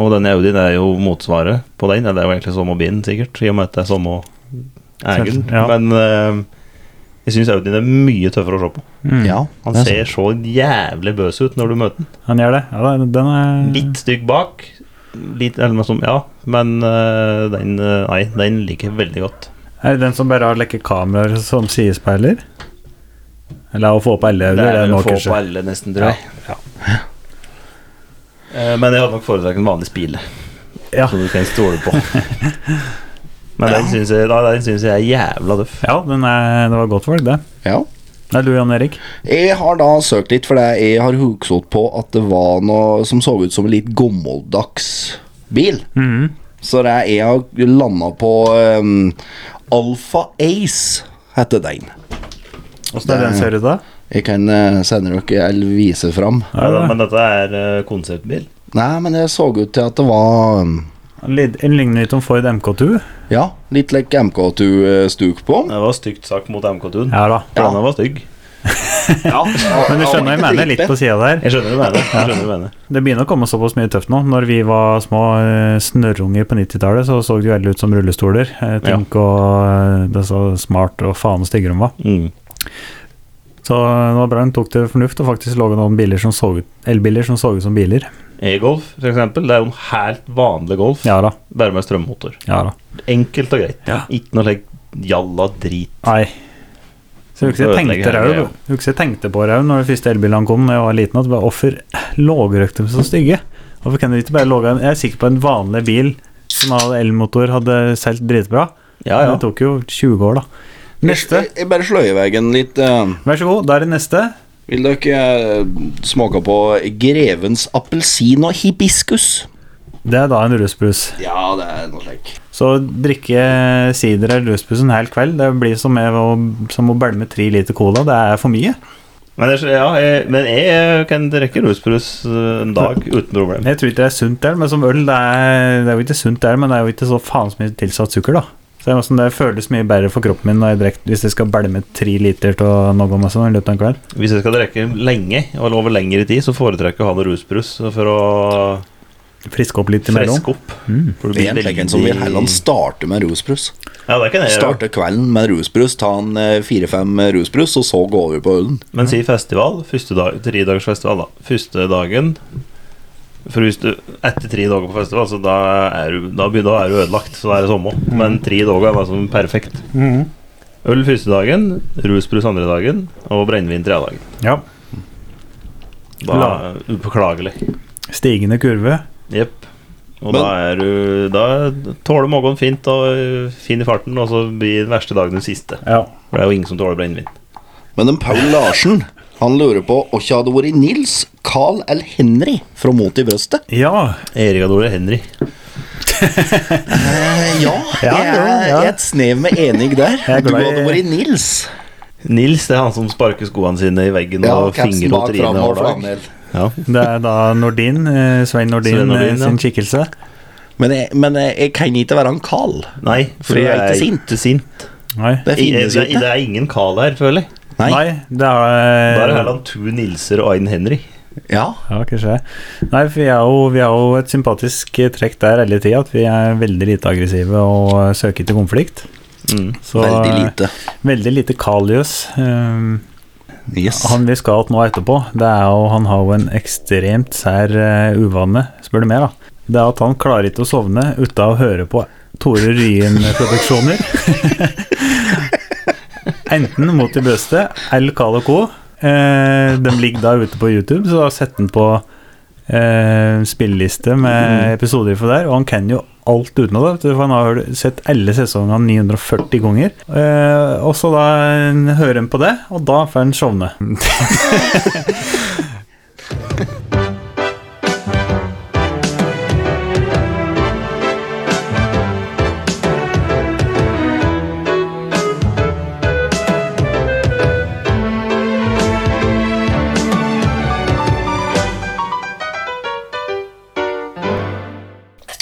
Speaker 2: Og den Audien er jo motsvaret på den. eller Det er jo egentlig samme bilen, sikkert, i og med at det er samme egen.
Speaker 1: Selv- ja.
Speaker 2: Men eh, jeg syns Audien er mye tøffere å se på.
Speaker 1: Mm.
Speaker 3: Ja,
Speaker 2: Han
Speaker 3: det er
Speaker 2: ser så jævlig bøs ut når du møter den.
Speaker 1: Han gjør det. Ja, den- den er
Speaker 2: Litt stygg bak. Litt, eller noe som, ja, men eh, den, eh, nei, den liker jeg veldig godt.
Speaker 1: Er det den som bare har lekke kameraer som sidespeiler? Eller å få på alle øyne? Det er nå,
Speaker 2: vel få på E
Speaker 1: kanskje.
Speaker 2: alle, nesten, tror jeg. Eh, Men jeg hadde nok foretrukket en vanlig spile,
Speaker 1: Ja.
Speaker 2: som du kan stole på. Men den syns jeg, nei, den synes jeg er jævla tøff.
Speaker 1: ja, den er, det var et godt valg, det.
Speaker 3: sånn. Ja.
Speaker 1: Det er du, Jan Erik.
Speaker 3: Jeg har da søkt litt, for det- jeg har huggsått på at det var noe som så ut som en litt gammeldags bil.
Speaker 1: Mhm.
Speaker 3: Så det er, jeg har landa på um, Alfa Ace, heter den.
Speaker 1: Åssen er den ser ut, da?
Speaker 3: Jeg kan eh, sende dere eller vise fram.
Speaker 1: Ja,
Speaker 2: Ja,
Speaker 1: det-
Speaker 2: Men dette er eh, konseptbil.
Speaker 3: Nei, men det så ut til at det var um,
Speaker 1: Litt- Den ligner litt om Ford MK2.
Speaker 3: Ja, litt like MK2-stuk eh, på.
Speaker 2: Det var stygt sagt mot MK2-en.
Speaker 1: Ja da.
Speaker 3: Ja.
Speaker 2: Denne var stygg.
Speaker 1: Men du skjønner jeg mener litt på sida der.
Speaker 2: Jeg skjønner hva du mener. Jeg skjønner hva du mener.
Speaker 1: Det begynner å komme såpass mye tøft nå. Når vi var små eh, snørrunger på 90-tallet, så så de veldig ut som rullestoler. Eh, Tenk og eh, det er så smart og faen så stygge de var.
Speaker 2: Mm.
Speaker 1: Så eh, det var bra hun tok til fornuft og faktisk laga noen biler som så ut, elbiler som så ut som biler.
Speaker 2: E-Golf, for eksempel, det er jo en helt vanlig Golf,
Speaker 1: Ja da.
Speaker 2: bare med strømmotor.
Speaker 1: Ja da.
Speaker 2: Enkelt og greit.
Speaker 1: Ja.
Speaker 2: Ikke noe slik jalla drit.
Speaker 1: Nei. Så jeg husker jeg
Speaker 2: Ødelegger
Speaker 1: tenkte, det
Speaker 2: hele
Speaker 1: jo- jeg husker jeg tenkte på det òg når de første elbilene kom da jeg var liten, at bare hvorfor lågrøkte de så stygge? Hvorfor kan de ikke bare låge en Jeg er sikker på en vanlig bil som hadde elmotor, hadde solgt dritbra.
Speaker 2: Ja, ja.
Speaker 1: Det tok jo 20 år, da. Neste.
Speaker 3: Jeg, jeg bare slår i veien litt. eh,
Speaker 1: Vær så god, da er det neste.
Speaker 3: vil dere eh, smake på Grevens appelsin og hibiskus?
Speaker 1: Det er da en rusbrus.
Speaker 3: Ja, det er noe slik.
Speaker 1: Så å drikke sider eller rusbrus en hel kveld, det blir som, jeg, å- som å bælme tre liter cola. Det er for mye.
Speaker 2: Men jeg, ja, jeg, men jeg kan drikke rusbrus eh, en dag uten problem.
Speaker 1: Jeg tror ikke det er sunt der, men som øl det er, det er jo ikke sunt der, men det er jo ikke så faen så mye tilsatt sukker, da. Så det, er noe som- det føles mye bedre for kroppen min når jeg drikker, hvis jeg skal bælme tre liter av noe med sånn i løpet av en kveld.
Speaker 2: Hvis jeg skal drikke lenge, eller over lengre tid, så foretrekker jeg å ha noe rusbrus for å
Speaker 1: Friske opp litt imellom.
Speaker 2: freske opp.
Speaker 1: Mm.
Speaker 2: For det
Speaker 3: Det
Speaker 2: blir
Speaker 3: er en slik en
Speaker 2: veldig-
Speaker 3: som vil heller starte med rusbrus.
Speaker 2: Ja, det kan jeg gjøre.
Speaker 3: Starte kvelden med rusbrus, ta en eh, fire-fem rusbrus, og så gå over på ølen.
Speaker 2: Men si festival, første dag, tredagersfestival, da. Første dagen For hvis du etter tre dager på festival, så da er du, da, begynner- da er du ødelagt. Så da er det samme. Men tre dager er liksom perfekt. Øl første dagen, rusbrus andre dagen og brennevin tredje dagen.
Speaker 1: Ja.
Speaker 2: Da er det upåklagelig.
Speaker 1: Stigende kurve.
Speaker 2: Jepp. Og
Speaker 3: Men-
Speaker 2: da er du Da tåler magen fint og ø, fin i farten, og så blir den verste dagen den siste.
Speaker 1: Ja.
Speaker 2: For det er jo ingen som tåler brennevin.
Speaker 3: Men en Paul Larsen han lurer på om ikke hadde vært Nils, Carl eller Henry fra Mot i brøstet.
Speaker 1: ja.
Speaker 2: Erik Adore Henry.
Speaker 3: Eh, ja,
Speaker 1: Ja,
Speaker 3: jeg
Speaker 1: ja, ja.
Speaker 3: er et snev med enig der.
Speaker 1: er
Speaker 3: Du
Speaker 1: glad i-
Speaker 3: hadde vært Nils.
Speaker 2: Nils det er han som sparker skoene sine i veggen
Speaker 3: Ja,
Speaker 2: og
Speaker 3: capsen
Speaker 2: fingrer og
Speaker 3: bak fram
Speaker 2: trynet
Speaker 3: og
Speaker 2: hver dag.
Speaker 3: flanell.
Speaker 2: Ja.
Speaker 1: Det er da Nordin, eh, Svein Nordin,
Speaker 2: Svein Nordin,
Speaker 1: eh,
Speaker 2: ja.
Speaker 1: sin kikkelse.
Speaker 3: Men, jeg, men jeg, jeg kan ikke være han Carl.
Speaker 2: Nei, for
Speaker 3: Fordi
Speaker 2: jeg
Speaker 3: jeg
Speaker 2: er
Speaker 3: er
Speaker 2: ikke sint.
Speaker 1: Nei.
Speaker 3: Det
Speaker 2: I- Det
Speaker 3: finnes jo
Speaker 2: det- det
Speaker 3: ikke.
Speaker 2: er ingen Carl her, føler jeg.
Speaker 1: Nei.
Speaker 3: Nei.
Speaker 1: det er eh,
Speaker 2: Da er det heller to Nilser og en Henry.
Speaker 3: Ja.
Speaker 1: Ja, kanskje. Nei, for vi er, jo, vi er jo et sympatisk eh, trekk der hele tida, at vi er veldig lite aggressive og eh, søker ikke konflikt.
Speaker 2: Mm.
Speaker 1: Så,
Speaker 3: Veldig lite.
Speaker 1: eh, Veldig lite Kalius. Um,
Speaker 3: Yes.
Speaker 1: han vi skal til nå etterpå, det er jo han har jo en ekstremt sær eh, uvane, spør du meg, da. Det er at han klarer ikke å sovne uten å høre på Tore Ryen-produksjoner. Enten Mot i brøstet eller Carl Co. Eh, de ligger da ute på YouTube, så da setter han på eh, spilleliste med episoder for der, og han kan jo alt utenat, vet du, for han har jo sett alle sesongene 940 ganger. Eh, og så da eh, hører han på det, og da får han sovne.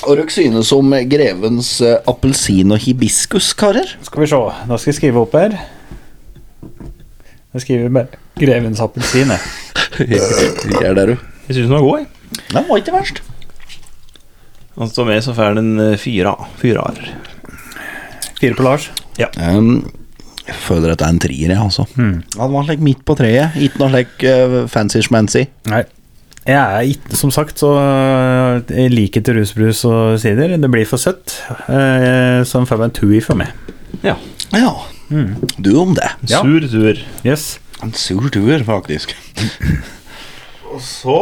Speaker 3: Og dere synes om grevens eh, appelsin og hibiskus, karer?
Speaker 1: Skal vi se, da skal jeg skrive opp her. Jeg skriver bare 'Grevens appelsin'. jeg.
Speaker 3: Gjør det, du.
Speaker 2: Jeg syns den var god, jeg.
Speaker 3: Den var ikke verst.
Speaker 2: Altså, som jeg så får den en fyra. Fyrar.
Speaker 1: Fire på Lars.
Speaker 3: Um, jeg føler at det er en trier, jeg, altså. Ja, den var like midt på treet. Ikke noe eh, like fancy-schmancy.
Speaker 1: Nei. Jeg er ikke, som sagt, så eh, jeg liker ikke rusbrus og sider. Det blir for søtt. Eh, Så den får meg en tui for meg.
Speaker 2: Ja.
Speaker 3: Ja. Du om det.
Speaker 1: Ja.
Speaker 2: Sur tur.
Speaker 1: Yes.
Speaker 3: En sur duer, faktisk.
Speaker 2: Og så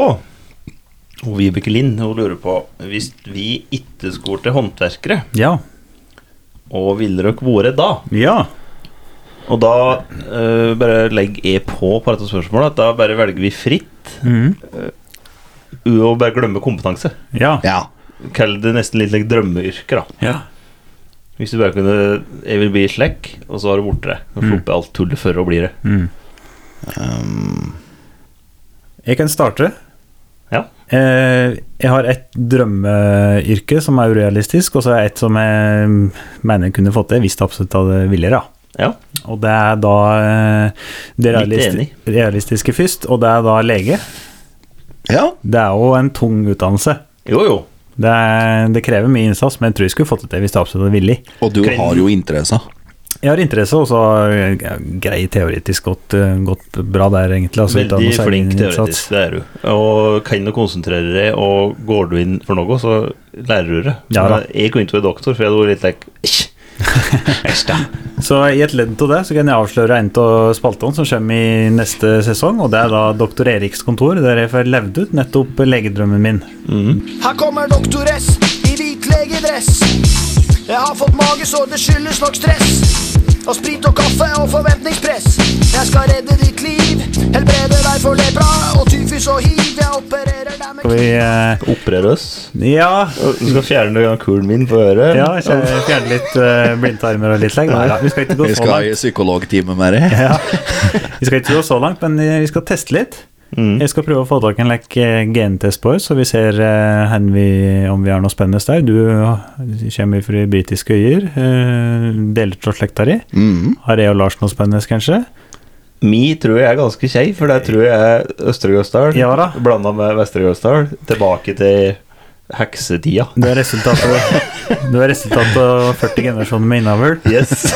Speaker 2: og Vibeke Lind hun lurer på Hvis vi ikke skulle til håndverkere,
Speaker 1: Ja.
Speaker 2: og ville dere vært da?
Speaker 1: Ja.
Speaker 2: Og da eh, bare legger jeg på på dette spørsmålet at da bare velger vi fritt eh,
Speaker 1: Mhm.
Speaker 2: u- og bare glemmer kompetanse.
Speaker 1: Ja.
Speaker 3: Ja.
Speaker 2: Kall det nesten litt like drømmeyrker, da.
Speaker 1: Ja.
Speaker 2: Hvis du bare kunne Jeg vil bli slekk, og så har du borte det. Og sluppet alt tullet for å bli det.
Speaker 1: Mm. Jeg kan starte.
Speaker 2: Ja.
Speaker 1: Eh, Jeg har et drømmeyrke som er urealistisk, og så er jeg et som jeg mener jeg kunne fått til hvis jeg absolutt hadde villet. da.
Speaker 2: Ja.
Speaker 1: Og det er da eh, det
Speaker 2: Litt
Speaker 1: realisti
Speaker 2: enig.
Speaker 1: realistiske først, og det er da lege.
Speaker 3: ja.
Speaker 1: Det er jo en tung utdannelse.
Speaker 2: Jo, jo.
Speaker 1: Det, er, det krever mye innsats, men jeg tror jeg skulle fått det til hvis det absolutt var villig.
Speaker 3: Og du
Speaker 2: Kan-
Speaker 3: har jo interesse.
Speaker 1: Jeg har interesse, og så er jeg grei teoretisk godt, eh, godt bra der, egentlig. Altså, uten
Speaker 2: Veldig
Speaker 1: noe særlig
Speaker 2: flink
Speaker 1: innsats.
Speaker 2: teoretisk, det er du. Og kan du konsentrere deg, og går du inn for noe, så lærer du det.
Speaker 1: Ja da.
Speaker 2: Men Jeg kunne ikke vært doktor, for jeg hadde vært litt like «Æsj, æsj da».
Speaker 1: Så i et ledd av det så kan jeg avsløre en av spaltene som kommer i neste sesong, og det er da Doktor Eriks kontor, der jeg får levd ut nettopp legedrømmen min.
Speaker 5: Her kommer doktor S i hvit legedress. Jeg har fått magesår, det skyldes nok stress. Og sprit og kaffe og forventningspress. Jeg skal redde ditt liv, helbrede deg for lepra og tyfus og hiv. Jeg opererer deg med
Speaker 1: Skal vi eh,
Speaker 2: Operere oss.
Speaker 1: Ja.
Speaker 2: Og Du skal fjerne den kulen min på øret.
Speaker 1: Mm. Ja, jeg skal fjerne litt eh, blindtarmer og litt legg. Nei, da, vi skal ikke gå
Speaker 3: Vi
Speaker 1: så langt.
Speaker 3: skal i psykologtime med deg.
Speaker 1: Ja. Vi skal ikke gå så langt, men eh, vi skal teste litt.
Speaker 3: Mm.
Speaker 1: Jeg skal prøve å få tak i en lek eh, gentest på oss, så vi ser eh, hen vi, om vi har noe spennende der. Du eh, kommer fra britiske øyer, eh, deler av slekta di.
Speaker 3: Mm.
Speaker 1: Har jeg og Lars noe spennende, kanskje?
Speaker 2: Mi tror jeg er ganske kjei, for der tror jeg er Østre Gausdal
Speaker 1: Ja da.
Speaker 2: blanda med Vestre Gausdal. Tilbake til heksetida.
Speaker 1: Du er resultatet, du er resultatet av 40 generasjoner med innavl.
Speaker 2: Yes.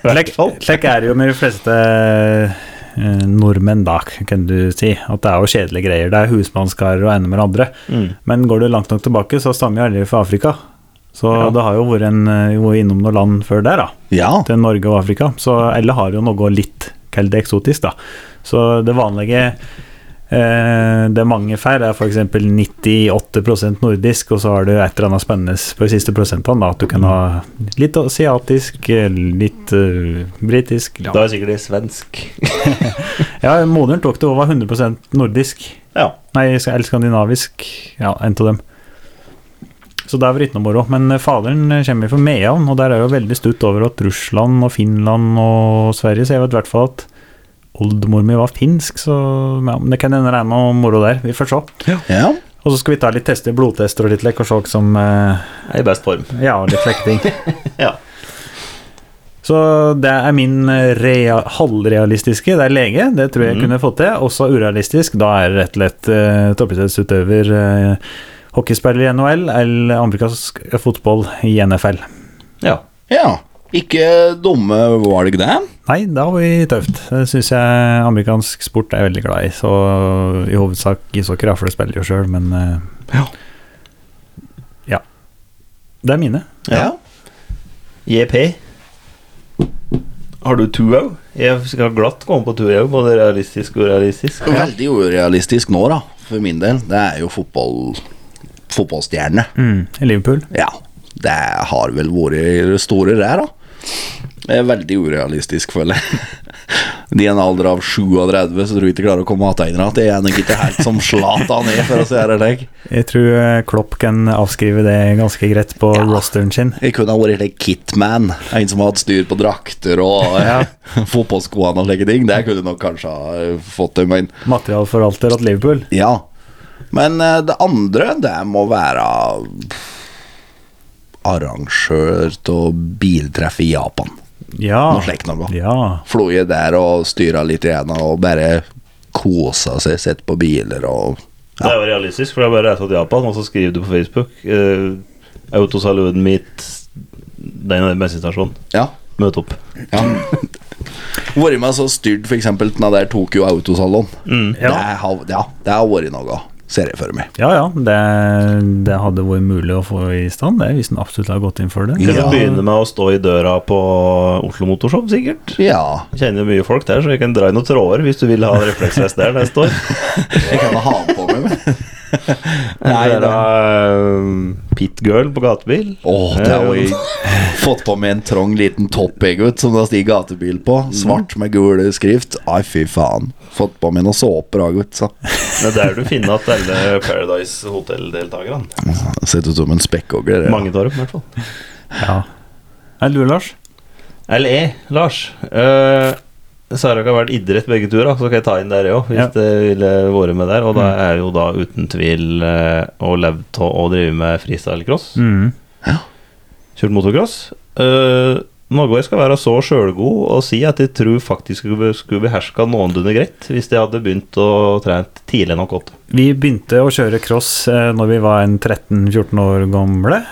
Speaker 1: Slik slik er det jo med de fleste eh, nordmenn, da, kan du si. At det er jo kjedelige greier. Det er husmannskarer og ene med det andre. Men går du langt nok tilbake, så stammer jo alle fra Afrika. Så det har jo vært en, eh, jo innom noen land før der, da.
Speaker 3: Ja.
Speaker 1: Til Norge og Afrika. Så alle har jo noe litt kall det eksotisk, da. Så det vanlige eh, det mange får, er f.eks. 98 nordisk, og så har du et eller annet spennende på de siste prosentene. da, At du kan ha litt asiatisk, eh, litt eh, britisk
Speaker 2: Da
Speaker 1: ja.
Speaker 2: er sikkert det svensk.
Speaker 1: ja, moderen tok det over 100 nordisk.
Speaker 2: Ja.
Speaker 1: Nei, sk- eller skandinavisk. Ja, en av dem. Så det er vritne moro. Men eh, faderen kommer fra Mehamn, og der er jo veldig stutt over at Russland og Finland og Sverige Så jeg vet i hvert fall at oldemor mi var finsk, så ja, men det kan hende det er noe moro der. Vi får se.
Speaker 3: Ja.
Speaker 1: Og så skal vi ta litt tester, blodtester og litt lekk og se hva som eh,
Speaker 2: Jeg er i best form.
Speaker 1: Ja, litt slekting.
Speaker 2: Ja.
Speaker 1: Så det er min rea halvrealistiske. Det er lege, det tror jeg kunne fått til. Også urealistisk. Da er det rett og slett uh, toppidrettsutøver, uh, hockeyspiller i NHL eller amerikansk fotball i NFL.
Speaker 2: ja.
Speaker 3: ja. Ikke dumme valg, det.
Speaker 1: Nei, da har vi tøft. Det syns jeg amerikansk sport er veldig glad i. Så i hovedsak ishockey, da, for det spiller jo sjøl, men eh,
Speaker 3: Ja.
Speaker 1: ja. Det er mine.
Speaker 3: Ja.
Speaker 2: JP. Har du to òg? Jeg skal glatt komme på to òg, både realistisk og urealistisk.
Speaker 3: Veldig urealistisk nå, da, for min del. Det er jo fotball fotballstjerne.
Speaker 1: Mm. Liverpool.
Speaker 3: Ja. Det har vel vært det store der, da. Det er veldig urealistisk, føler jeg. De er en alder av 37, så tror jeg ikke klarer å komme tilbake igjen. Det er nok ikke helt som Zlatan er, for å si det slik.
Speaker 1: Jeg tror eh, Klopp kan avskrive det ganske greit på rosteren sin.
Speaker 3: Jeg kunne ha vært litt Kitman, en som har hatt styr på drakter og ja. fotballskoene og slike ting. Det kunne jeg nok kanskje ha fått til, men
Speaker 1: Materialforvalter at Liverpool.
Speaker 3: ja. Men eh, det andre, det må være arrangør av biltreff i Japan.
Speaker 1: Ja.
Speaker 3: Noe slikt noe.
Speaker 1: Ja.
Speaker 3: Floje der og styre litt igjen og bare kose seg, sitte på biler og
Speaker 2: Det er jo realistisk, for det er bare å reise til Japan, og så skriver du på Facebook uh, Autosaluden mitt Den og den bensinstasjonen.
Speaker 3: Ja.
Speaker 2: Møt opp.
Speaker 3: ja. Vært med så styrt f.eks. den der Tokyo Autosalon. Det,
Speaker 1: Ja.
Speaker 3: har, ja, det har vært noe, ser jeg for meg.
Speaker 1: ja, ja. Det, det hadde vært mulig å få i stand, det, hvis en absolutt har gått inn for det.
Speaker 2: Kan
Speaker 3: Ja.
Speaker 2: du begynne med å stå i døra på Oslo Motorshow, sikkert?
Speaker 3: Ja.
Speaker 2: Jeg Kjenner mye folk der, så jeg kan dra i noen tråder hvis du vil ha en refleksvest der neste år.
Speaker 3: Jeg kan ha den på meg, men Nei,
Speaker 2: Eller
Speaker 3: da.
Speaker 2: uh, Pitgirl på gatebil. Eh,
Speaker 3: Åh, det har
Speaker 1: Eh.
Speaker 3: jeg fått på meg en trang liten topp jeg, gutt, som det står gatebil på. Svart
Speaker 1: Mm.
Speaker 3: med gul skrift. Ai, fy faen. Fått på meg noe såper òg, gutt. Så.
Speaker 2: Det er der du finner at alle Paradise Hotel-deltakerne.
Speaker 3: Sett ut som en spekkhogger. ja.
Speaker 2: Mange tar opp, i hvert fall.
Speaker 1: Ja. Er det du, Lars?
Speaker 2: LE, E, Lars. Uh, Sara har vært idrett begge to, da, så kan jeg ta inn der òg, hvis
Speaker 1: Ja. Mm.
Speaker 2: det ville vært med der. Og da er jo da uten tvil eh, å leve av å drive med freestyle-cross.
Speaker 1: Mm.
Speaker 2: Kjørt motocross. Uh, Norge skal være så sjølgod og si at jeg tror faktisk jeg skulle- skulle beherska noenlunde greit hvis jeg hadde begynt å trent tidlig nok opp.
Speaker 1: Vi begynte å kjøre cross eh, når vi var en 13-14 år gamle,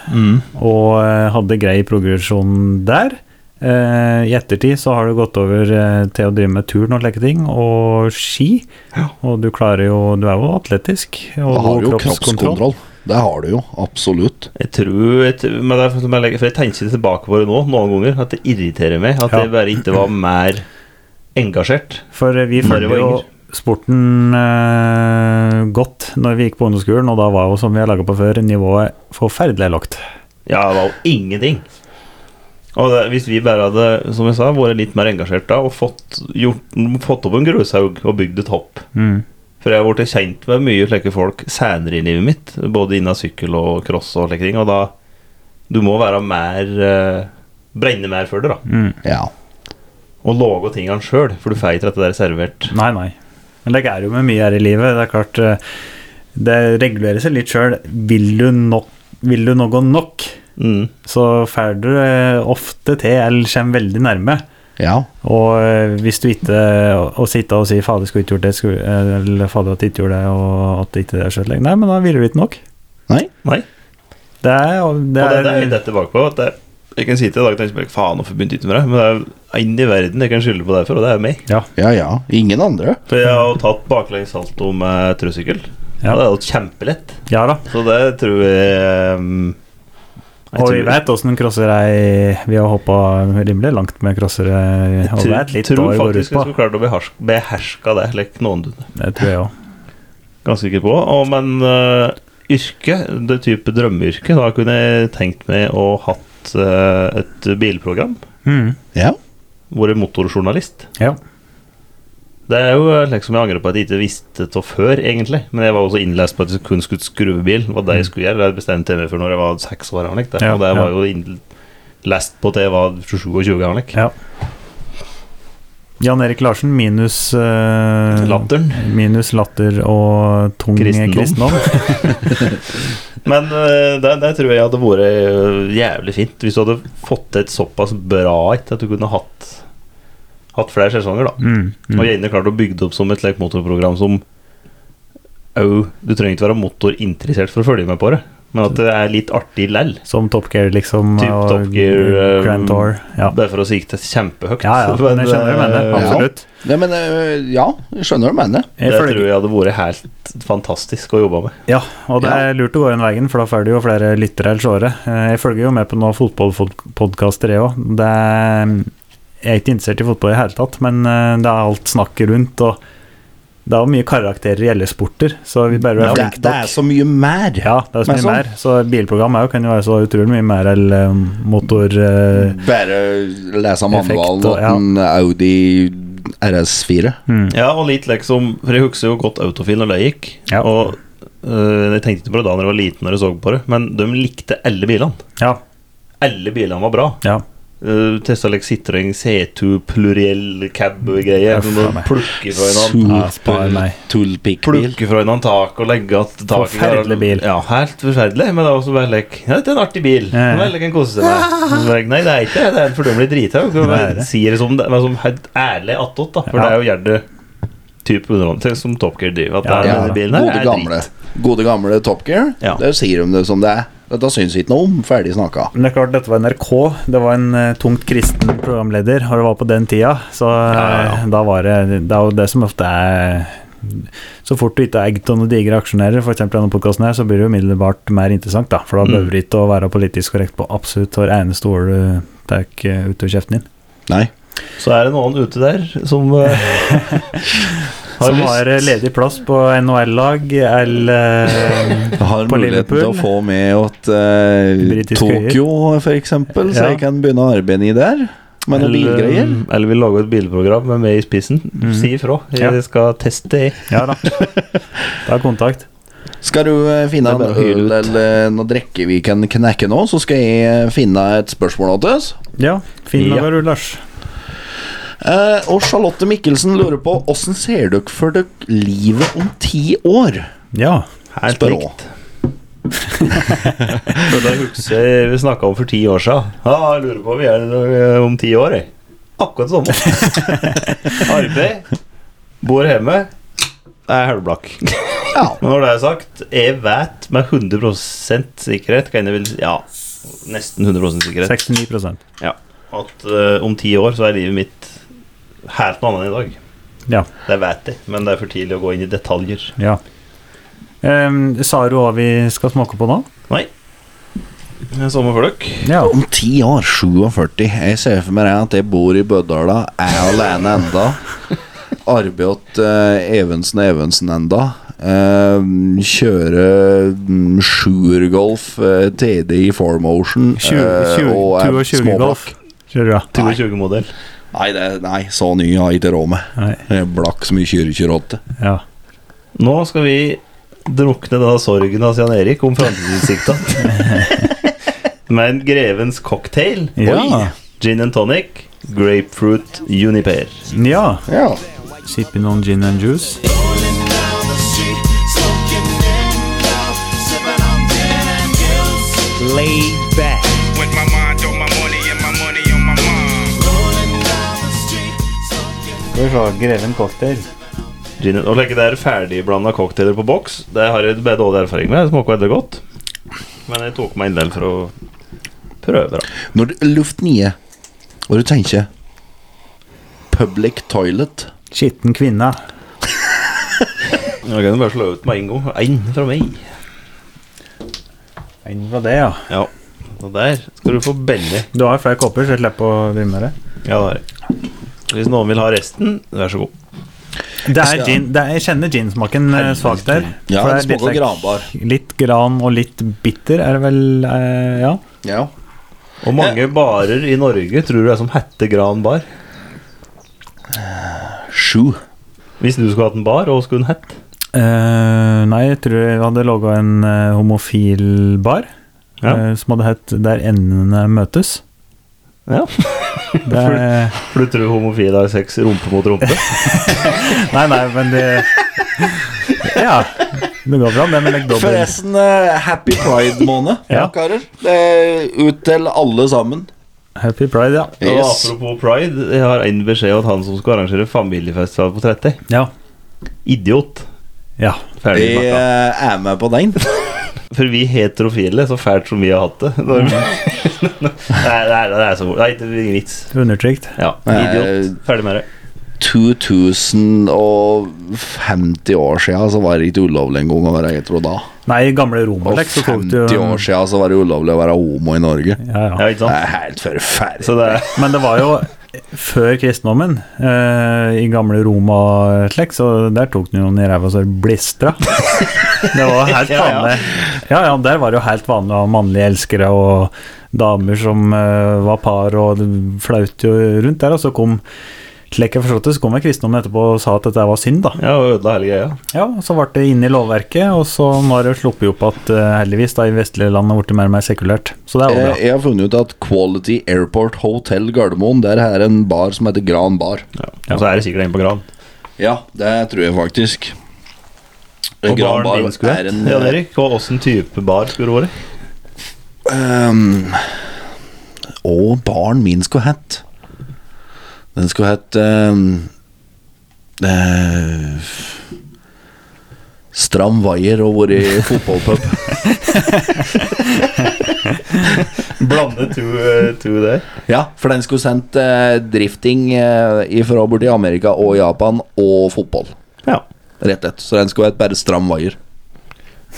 Speaker 1: og eh, hadde grei progresjon der. Eh, I ettertid så har det gått over eh, til å drive med turn og slike ting, og ski. Og du klarer jo Du er jo atletisk. Og
Speaker 3: Da har
Speaker 1: god
Speaker 3: du jo kroppskontroll. Det har du jo, absolutt.
Speaker 2: Jeg tror, jeg, tror- men det er for, som jeg legger, for jeg tenker ikke tilbake på det nå noen ganger, at det irriterer meg at
Speaker 1: Ja.
Speaker 2: jeg bare ikke var mer engasjert.
Speaker 1: For eh, vi
Speaker 2: Når jeg
Speaker 1: følger
Speaker 2: var
Speaker 1: jo
Speaker 2: yngre.
Speaker 1: sporten eh, godt når vi gikk på ungdomsskolen, og da var jo, som vi har laga på før, nivået forferdelig lågt.
Speaker 2: Ja, det var jo ingenting. Og det, hvis vi bare hadde som jeg sa, vært litt mer engasjert da og fått, gjort, fått opp en grushaug og bygd et hopp For jeg har blitt kjent med mye slike folk senere i livet mitt, både innen sykkel og cross og slike ting, og da Du må være mer eh, Brenne mer for det, da.
Speaker 3: Ja.
Speaker 2: Og lage tingene sjøl, for du får ikke dette der servert.
Speaker 1: Nei, nei. Men det er jo med mye her i livet. Det er klart eh, Det regulerer seg litt sjøl. Vil, du nok- vil du noe nok,
Speaker 2: Mm.
Speaker 1: så får du eh, ofte til, eller kommer veldig nærme.
Speaker 3: Ja.
Speaker 1: Og eh, hvis du ikke Å sitte og si 'fader, skulle ikke gjort det', skulle, eh, eller 'fader, at jeg ikke gjorde det', og at det ikke er skjøtt lenger Nei, men da ville du ikke nok.
Speaker 3: Nei.
Speaker 2: Nei.
Speaker 1: Det er, og det
Speaker 2: Og det, det er
Speaker 1: er
Speaker 2: litt dette bakpå. At det, jeg kan si til i dag tenker jeg bare, faen, hvorfor begynte jeg ikke med det? Men det er en i verden jeg kan skylde på derfor, og det er meg.
Speaker 1: Ja.
Speaker 3: Ja ja. Ingen andre.
Speaker 2: For jeg har jo tatt baklengs salto med trøsykkel.
Speaker 1: Ja.
Speaker 2: Og det er jo kjempelett.
Speaker 1: Ja da.
Speaker 2: Så det tror jeg ehm, jeg
Speaker 1: Og
Speaker 2: tror-
Speaker 1: vi vet åssen crosser er Vi har hoppa rimelig langt med crossere. Og
Speaker 2: tror-
Speaker 1: vet litt hva
Speaker 2: tror
Speaker 1: det går
Speaker 2: faktisk
Speaker 1: ut
Speaker 2: jeg
Speaker 1: på.
Speaker 2: skulle klart å beherske, beherske det. Like noen du
Speaker 1: Det tror jeg òg.
Speaker 2: ganske sikker på. Og, men eh, yrke, det type drømmeyrke, da kunne jeg tenkt meg å hatt eh, et bilprogram.
Speaker 1: Mm.
Speaker 3: Ja.
Speaker 2: Vært motorjournalist.
Speaker 1: Ja.
Speaker 2: Det er jo eh, liksom jeg angrer på at jeg ikke visste det før, egentlig. Men jeg var også innlest på at jeg kun skulle skruve bil. Hva det jeg skulle gjøre, det bestemte jeg meg for når jeg var seks år. Arnek, det.
Speaker 1: Mm. Ja,
Speaker 2: og det var
Speaker 1: ja.
Speaker 2: jo innlest på at jeg var 27 år. Arnek.
Speaker 1: Ja. Jan Erik Larsen minus eh,
Speaker 2: Latteren.
Speaker 1: Minus latter og tung
Speaker 2: Kristendom.
Speaker 1: kristendom.
Speaker 2: Men eh, det, det tror jeg hadde vært eh, jævlig fint hvis du hadde fått til et såpass bra et at du kunne hatt, hatt flere sesonger, da.
Speaker 1: Mm, mm.
Speaker 2: Og gjerne klart å bygge det opp som et like, motorprogram som au, Du trenger ikke være motorinteressert for å følge med på det, men
Speaker 1: Mm.
Speaker 2: at det er litt artig lell.
Speaker 1: Som Top Gear, liksom.
Speaker 2: Typ
Speaker 1: og
Speaker 2: Top Gear, eh,
Speaker 1: Grand Tour. Ja.
Speaker 2: Bare for å sikte kjempehøyt.
Speaker 1: ja, ja. Men jeg skjønner hva du mener.
Speaker 2: eh,
Speaker 3: Ja.
Speaker 1: Absolutt.
Speaker 3: Nei, men øh, ja, jeg skjønner hva du mener.
Speaker 2: Det
Speaker 1: Jeg følger-
Speaker 2: tror jeg hadde vært helt fantastisk å jobbe med.
Speaker 1: Ja, og det er lurt å gå den veien, for da får du jo flere lyttere eller seere. Eh, Jeg følger jo med på noen fotballpodkaster, jeg òg. Det er- Jeg er ikke interessert i fotball i det hele tatt, men eh, det er alt snakket rundt, og det er jo mye karakterer i alle sporter, så vi bare
Speaker 3: Det,
Speaker 1: er
Speaker 3: det,
Speaker 1: flinke nok.
Speaker 3: er så mye mer.
Speaker 1: Ja, det er så
Speaker 3: Men
Speaker 1: mye
Speaker 3: sånn.
Speaker 1: mer. Så bilprogram er jo, kan jo være så utrolig mye mer enn motor... eh,
Speaker 3: Bare lese manualen
Speaker 1: Effekt og-
Speaker 3: og en Audi RS4.
Speaker 1: Mm.
Speaker 2: Ja, og litt liksom For jeg husker jo godt Autofil når det gikk.
Speaker 1: Ja.
Speaker 2: Og øh, jeg tenkte ikke på det da når jeg var liten, når jeg så på det, men de likte alle bilene.
Speaker 1: ja,
Speaker 2: Alle bilene var bra.
Speaker 1: ja.
Speaker 2: Uh, Testa like Citroën C2 pluriell cab-greier.
Speaker 1: Uff,
Speaker 2: Som du
Speaker 1: faen meg.
Speaker 2: plukker fra en an-
Speaker 1: Ja, spar meg.
Speaker 3: Toolpick-bil.
Speaker 2: Plukker fra en annen tak og legger at taket
Speaker 1: Forferdelig bil.
Speaker 2: Ja, helt forferdelig. Men det er også bare like Ja, dette er en artig bil.
Speaker 1: Ja, ja.
Speaker 2: Nå er det like en kose seg med. Så like, Nei, det er ikke det. Det er en fordømmelig drithøy.
Speaker 1: Det er det.
Speaker 2: Sier det som det men som helt ærlig attåt, da. For
Speaker 1: Ja.
Speaker 2: det er jo gjerne type undervann som Top Gear driver.
Speaker 1: Ja,
Speaker 2: At det er
Speaker 1: ja.
Speaker 2: denne bilen her
Speaker 3: Gode,
Speaker 2: er
Speaker 3: gamle,
Speaker 2: dritt.
Speaker 3: gode gamle Top Gear.
Speaker 2: Ja.
Speaker 3: Der sier de det som det er. Dette syns ikke noe om. Ferdig snakka.
Speaker 1: Men det er klart, dette var NRK. Det var en eh, tungt kristen programleder, og det var på den tida. Så eh,
Speaker 2: Ja, ja,
Speaker 1: da var det Det er jo det som ofte er Så fort du ikke er egg til noen digre aksjonærer, f.eks. denne podkasten her, så blir det jo umiddelbart mer interessant, da. For da
Speaker 2: Mm.
Speaker 1: behøver du ikke å være politisk korrekt på absolutt hver eneste ord du tar eh, ut av kjeften din.
Speaker 3: Nei.
Speaker 2: Så er det noen ute der som eh, har
Speaker 1: Som har eh,
Speaker 2: lyst.
Speaker 1: ledig plass på NHL-lag eller eh,
Speaker 3: Jeg har
Speaker 1: På
Speaker 3: muligheten til å
Speaker 1: Liverpool.
Speaker 3: få med at eh,
Speaker 1: Britiske
Speaker 3: Tokyo, for eksempel, så
Speaker 1: Ja. um,
Speaker 3: jeg kan begynne å arbeide i der. Med noen
Speaker 2: Eller,
Speaker 3: bilgreier.
Speaker 2: mm, Eller vil lage et bilprogram med meg i spissen. Si ifra. Jeg
Speaker 1: Mm. Ja.
Speaker 2: skal teste det.
Speaker 1: Ja da. Ta kontakt.
Speaker 3: Skal du eh, finne
Speaker 2: Det er
Speaker 3: en
Speaker 2: bare å hyle
Speaker 3: øl
Speaker 2: ut.
Speaker 3: eller noe drikke vi kan knekke nå, så skal jeg eh, finne et spørsmål til oss.
Speaker 1: Ja, fin
Speaker 2: Ja.
Speaker 1: dag, du, Lars.
Speaker 3: Eh, og Charlotte Mikkelsen lurer på åssen ser dere for dere livet om ti år?
Speaker 1: Ja.
Speaker 2: Helt
Speaker 3: Spør
Speaker 2: likt. For da husker jeg vi snakka om for ti år siden. Ja, jeg lurer på om vi er der om ti år, jeg. Akkurat det samme. Arbeid. Bor hjemme. Er halvblakk.
Speaker 3: Ja.
Speaker 2: Men når det er sagt, jeg vet med 100 sikkerhet kan jeg vel, si- Ja, nesten 100 sikkerhet
Speaker 1: 69
Speaker 2: ja, at eh, om ti år så er livet mitt helt noe annet enn i dag.
Speaker 1: Ja.
Speaker 2: Det vet jeg, men det er for tidlig å gå inn i detaljer.
Speaker 1: Ja. Ehm, sa du hva vi skal smake på nå?
Speaker 2: Nei. Det er Samme for dere.
Speaker 1: Ja.
Speaker 3: Om ti år, 47 Jeg ser for meg det at jeg bor i Bøddala, er alene enda. Arbeid åt eh, Evensen og Evensen enda. Eh, kjøre mm, sjuergolf, eh, TD i four motion eh,
Speaker 1: 22 golf.
Speaker 3: småblakk.
Speaker 1: Kjører du, ja.
Speaker 2: 22-modell.
Speaker 3: Nei, det, nei, så ny har jeg ikke råd med.
Speaker 1: Nei.
Speaker 3: Jeg er blakk som i 2028.
Speaker 1: Ja.
Speaker 2: Nå skal vi drukne denne sorgen av Jan Erik om framtidsutsikta. Med en Grevens cocktail.
Speaker 1: Ja.
Speaker 2: Gin and tonic. Grapefruit uniper.
Speaker 1: ja.
Speaker 3: Ja.
Speaker 1: Sipping on gin and juice.
Speaker 6: With my mind on my money and my money on my mind.
Speaker 1: Skal vi se. Greven cocktail.
Speaker 2: Gin and, å legge der ferdigblanda cocktailer på boks, det har jeg bare dårlig erfaring med. Det smaker veldig godt. Men jeg tok meg en del for å prøve, da.
Speaker 3: Når du luft nye, og du tenker Public toilet.
Speaker 1: Skitten kvinne.
Speaker 2: Nå kan du bare slå ut med en gang. Én fra meg.
Speaker 1: En fra det, ja.
Speaker 2: Ja. Og der skal du få Benny.
Speaker 1: Du har flere kopper, så jeg slipper å drive med det.
Speaker 2: Ja, det har jeg. Hvis noen vil ha resten, vær så god.
Speaker 1: Det er gin, det er, jeg kjenner ginsmaken eh, svakt der.
Speaker 3: Ja,
Speaker 1: For
Speaker 3: det
Speaker 1: er litt
Speaker 3: smaker
Speaker 1: like-
Speaker 3: granbar.
Speaker 1: Litt gran og litt bitter, er det vel eh, Ja.
Speaker 3: Ja.
Speaker 2: Og mange barer i Norge tror du er som Hette Gran bar.
Speaker 3: Sju.
Speaker 2: Hvis du skulle hatt en bar, hva skulle den hett?
Speaker 1: Eh, nei, jeg tror jeg hadde laga en eh, homofil bar
Speaker 2: Ja.
Speaker 1: eh, som hadde hett 'Der endene møtes'.
Speaker 2: Ja.
Speaker 1: Det er,
Speaker 2: For du tror homofile har sex rumpe mot rumpe?
Speaker 1: nei, nei, men det Ja. Det går bra, det med legg dobbel.
Speaker 3: Forresten, eh, happy pride-måned,
Speaker 1: Ja.
Speaker 3: karer. Det er ut til alle sammen.
Speaker 1: Happy pride, ja.
Speaker 2: Og
Speaker 3: Yes.
Speaker 2: apropos pride, jeg har en beskjed at han som skal arrangere familiefestival på 30
Speaker 1: Ja.
Speaker 2: Idiot.
Speaker 1: ja.
Speaker 2: Ferdig
Speaker 3: Jeg
Speaker 2: snakka.
Speaker 3: eh, er med på den.
Speaker 2: For vi heterofile, så fælt som vi har hatt det når vi... Nei, nei, det er så moro. Nei, det er ingen vits.
Speaker 1: Undertrykt.
Speaker 2: Ja,
Speaker 3: Nei.
Speaker 2: idiot. Ferdig med det.
Speaker 3: 2050 år siden så var det ikke ulovlig engang å være hetero da.
Speaker 1: Nei, i gamle
Speaker 3: Og
Speaker 1: Romerlek så tok du
Speaker 3: 50 år siden så var det ulovlig å være homo i Norge.
Speaker 1: ja, ja.
Speaker 2: Ja, ikke
Speaker 3: Det
Speaker 2: sant?
Speaker 3: er helt forferdelig.
Speaker 2: Så det er
Speaker 1: Men det var jo før kristendommen. eh, I gamle Roma-slekt, så der tok den jo noen i ræva så det blistra. Det var helt
Speaker 2: Ja, ja.
Speaker 1: vanlig. Ja, ja, der var det jo helt vanlig å ha mannlige elskere og damer som eh, var par, og det flaut jo rundt der. Og så kom slik jeg forstod det, så kom jeg kristendommen etterpå og sa at dette var synd, da.
Speaker 2: Ja, og ødela hele greia.
Speaker 1: Ja, og Så ble det inn i lovverket, og så nå har det sluppet opp at eh, heldigvis da i vestlige land har blitt mer og mer sekulært. Så det er jo
Speaker 3: Eh, Jeg,
Speaker 1: bra.
Speaker 3: jeg har funnet ut at Quality Airport Hotel Gardermoen, der er en bar som heter Gran Bar.
Speaker 2: Og så er det sikkert en på Gran.
Speaker 3: Ja, det tror jeg faktisk.
Speaker 2: Og
Speaker 3: Gran
Speaker 2: baren
Speaker 3: Bar
Speaker 2: din skulle
Speaker 3: er
Speaker 2: hett
Speaker 3: en eh,
Speaker 2: Jan Erik, og åssen type bar skulle det vært?
Speaker 3: Ehm, og baren min skulle hett Den skulle hett ehm, eh, Stram vaier og vært fotballpub.
Speaker 2: Blande to, eh, to der.
Speaker 3: ja, for den skulle sendt eh, drifting uh, ifra borti Amerika og Japan og fotball.
Speaker 2: Ja.
Speaker 3: Rett etter. Så den skulle hett bare Stram vaier.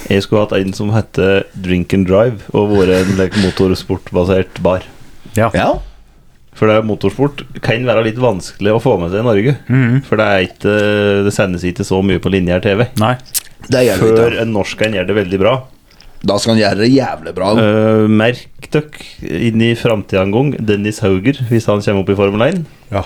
Speaker 2: Jeg skulle hatt en som hette Drink and Drive, og vært en like, motorsportbasert bar.
Speaker 1: Ja.
Speaker 3: Ja.
Speaker 2: For det er motorsport kan være litt vanskelig å få med seg i Norge. For det, er ikke, det sendes ikke så mye på linjær TV.
Speaker 1: Nei.
Speaker 3: Det gjør vi
Speaker 2: Før
Speaker 3: ikke.
Speaker 2: en norsk en gjør det veldig bra.
Speaker 3: Da skal han gjøre det jævlig bra.
Speaker 2: Eh, merk dere inn i framtida en gang Dennis Hauger, hvis han kommer opp i Formel 1.
Speaker 3: Ja.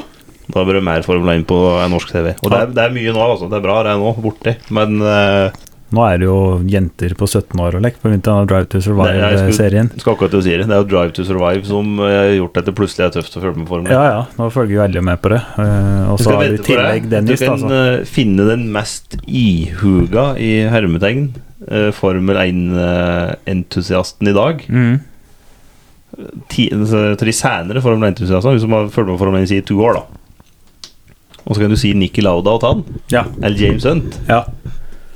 Speaker 2: Da blir det mer Formel 1 på norsk TV. Og det er, det er mye nå, altså. Det er bra det er nå, borti. Men eh,
Speaker 1: Nå er det jo jenter på 17 år og lek på grunn av Drive to
Speaker 2: det, jeg
Speaker 1: Survive-serien.
Speaker 2: skulle, skal akkurat til å si det. Det er jo Drive to Survive som eh, har gjort dette plutselig er tøft å følge med på Formel 1.
Speaker 1: Ja, ja, nå følger jo alle med på det. Eh, og
Speaker 2: Du
Speaker 1: så
Speaker 2: skal
Speaker 1: har vi i
Speaker 2: vente på
Speaker 1: tillegg
Speaker 2: det.
Speaker 1: Dennis, altså.
Speaker 2: Du
Speaker 1: da.
Speaker 2: kan
Speaker 1: Så.
Speaker 2: eh, finne den mest ihuga i hermetegn eh, Formel 1-entusiasten i dag.
Speaker 1: Mm.
Speaker 2: Ti, så til de senere Formel 1-entusiastene, hvis man følger med på Formel 1 i to år, da. Og så kan du si Nikki Lauda og ta han,
Speaker 1: Ja.
Speaker 2: eller James Hunt.
Speaker 1: ja.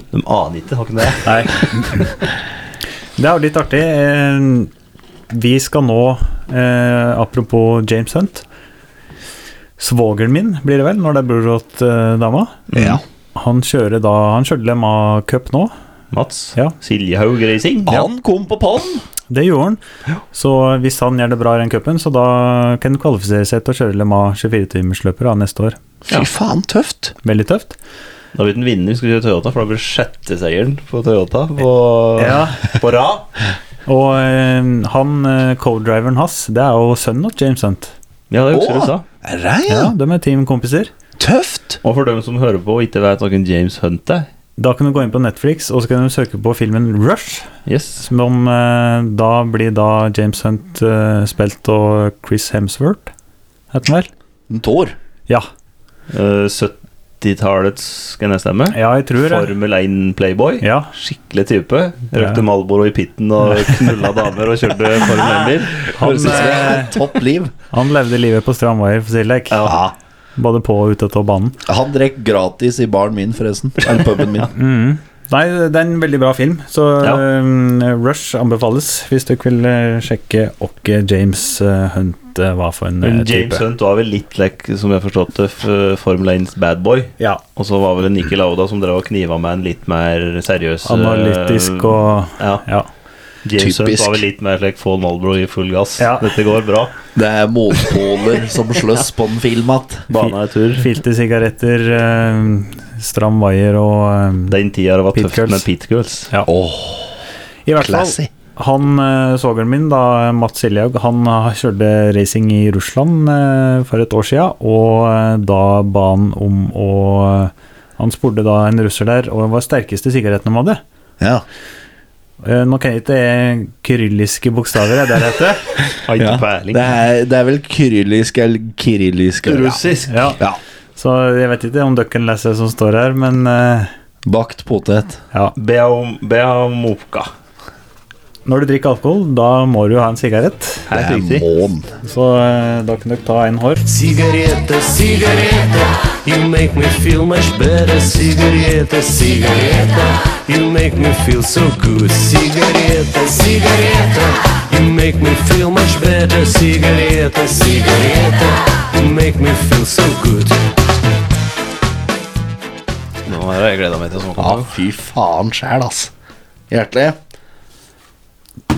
Speaker 2: De aner ikke, har ikke det?
Speaker 1: Nei. Det er jo litt artig. Eh, Vi skal nå, eh, apropos James Hunt Svogeren min, blir det vel, når det er Burrot-dama.
Speaker 3: Ja.
Speaker 1: Han kjører da Han kjørte Lema Cup nå.
Speaker 2: Mats.
Speaker 1: Ja.
Speaker 2: Siljehaug Racing.
Speaker 3: Han kom på pallen!
Speaker 1: Det gjorde han. Så hvis han gjør det bra i den cupen, så da kan han kvalifisere seg til å kjøre Le Mans 24-timersløpere neste år.
Speaker 3: Fy faen, tøft.
Speaker 1: Veldig tøft.
Speaker 2: Da blir den vinner, skal kjøre Toyota, for da blir det sjette seieren på Toyota på,
Speaker 1: Ja.
Speaker 2: på rad.
Speaker 1: Og eh, han, eh, co-driveren hans, det er jo sønnen til James Hunt.
Speaker 2: Ja, det husker du sa.
Speaker 3: Rein!
Speaker 1: Ja, de er teamkompiser.
Speaker 3: Tøft!
Speaker 2: Og for dem som hører på og ikke vet hvem James Hunt er
Speaker 1: Da kan du gå inn på Netflix og så kan du søke på filmen Rush.
Speaker 2: Yes
Speaker 1: Som eh, da blir da James Hunt eh, spilt av Chris Hemsworth, heter han vel?
Speaker 3: En tår.
Speaker 1: Ja,
Speaker 2: Eh, 70-tallets, kan jeg stemme?
Speaker 1: ja jeg tror det.
Speaker 2: Formel 1-playboy.
Speaker 1: Ja,
Speaker 2: Skikkelig type.
Speaker 1: Ja.
Speaker 2: Røkte Malboro i pitten og knulla damer og kjørte Formel 1-bil.
Speaker 1: han, eh,
Speaker 3: Topp liv.
Speaker 1: han levde livet på stram vei, for å si det lek.
Speaker 3: Ja.
Speaker 1: Både på og ute av banen.
Speaker 3: Han drekk gratis i baren min, forresten. Eller puben min.
Speaker 1: Nei, det er en veldig bra film, så
Speaker 2: Ja.
Speaker 1: eh, Rush anbefales hvis dere vil eh, sjekke åkke James eh, Hunt eh, var for en eh,
Speaker 2: Men
Speaker 1: type.
Speaker 2: James Hunt var vel litt like, som jeg har forstått det, f- eh, Formel 1s bad boy.
Speaker 1: Ja,
Speaker 2: Og så var vel det Niki Lauda som drev og kniva med en litt mer seriøs eh,
Speaker 1: analytisk og
Speaker 2: ja.
Speaker 1: Ja.
Speaker 2: James Hunt
Speaker 3: Typisk.
Speaker 2: var vel litt mer slik Fall Malboro i full gass.
Speaker 1: Ja.
Speaker 2: Dette går bra.
Speaker 3: Det er motpoler som slåss på en film igjen.
Speaker 2: Bana er tur.
Speaker 1: Filte sigaretter, eh, stram vaier og eh,
Speaker 2: Den tida det var
Speaker 1: Pit
Speaker 2: tøft
Speaker 1: Girls.
Speaker 2: med Pit Girls.
Speaker 3: Åh,
Speaker 1: I hvert
Speaker 3: classy.
Speaker 1: fall, han eh, svogeren min, da, Mats Siljaug, han har- kjørte racing i Russland eh, for et år siden, og eh, da ba han om å Han spurte da en russer der, og hva er sterkeste sigaretten de hadde?
Speaker 3: Ja.
Speaker 1: Eh, Nå kan jeg ikke eh, kyrilliske bokstaver jeg, der heter.
Speaker 2: Har ikke
Speaker 3: Ja.
Speaker 2: peiling.
Speaker 3: Det, er, det er vel kyrillisk eller kirillisk eller-
Speaker 2: Russisk.
Speaker 1: Ja.
Speaker 3: Ja.
Speaker 1: Så jeg vet ikke om dere leser som står her, men eh,
Speaker 3: Bakt potet.
Speaker 1: ja.
Speaker 2: Beam- Beamovka.
Speaker 1: Når du drikker alkohol, da må du ha en sigarett.
Speaker 2: Helt
Speaker 3: Det er
Speaker 2: riktig.
Speaker 3: mån.
Speaker 1: Så eh, da kan dere ta en hår.
Speaker 7: Cigarette, cigarette, you make me feel much better. Cigarette, cigarette, you make me feel so good. Cigarette, cigarette, you make me feel much better. Cigarette, cigarette, you make me feel so good.
Speaker 2: Nå har jeg gleda meg til sånn
Speaker 3: Ja,
Speaker 2: kamp.
Speaker 3: fy faen sjæl, ass. Hjertelig.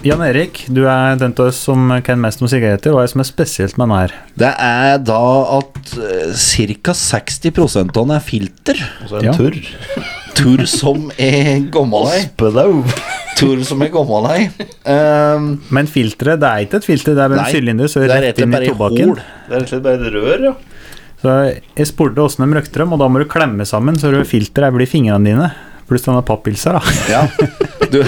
Speaker 1: Jan Erik, du er den av oss som kan mest om sigaretter. Hva er det som er spesielt med den her?
Speaker 3: Det er da at eh, ca. 60 av den er filter.
Speaker 2: Og så er det
Speaker 1: Ja.
Speaker 2: en tørr.
Speaker 3: Tur som er gammel ei.
Speaker 2: Spedau.
Speaker 3: Tur som er gammel ei. Ehm,
Speaker 1: Men filteret, det er ikke et filter, det er bare
Speaker 3: nei,
Speaker 1: en sylinder, så
Speaker 3: det er
Speaker 1: rett inn i
Speaker 3: bare
Speaker 1: tobakken.
Speaker 3: hol.
Speaker 2: Det er rett og slett bare et rør, ja.
Speaker 1: Så jeg spurte åssen de røkte dem, og da må du klemme sammen, så det filteret blir fingrene dine. Pluss denne pappilsa, da.
Speaker 3: Ja. Du,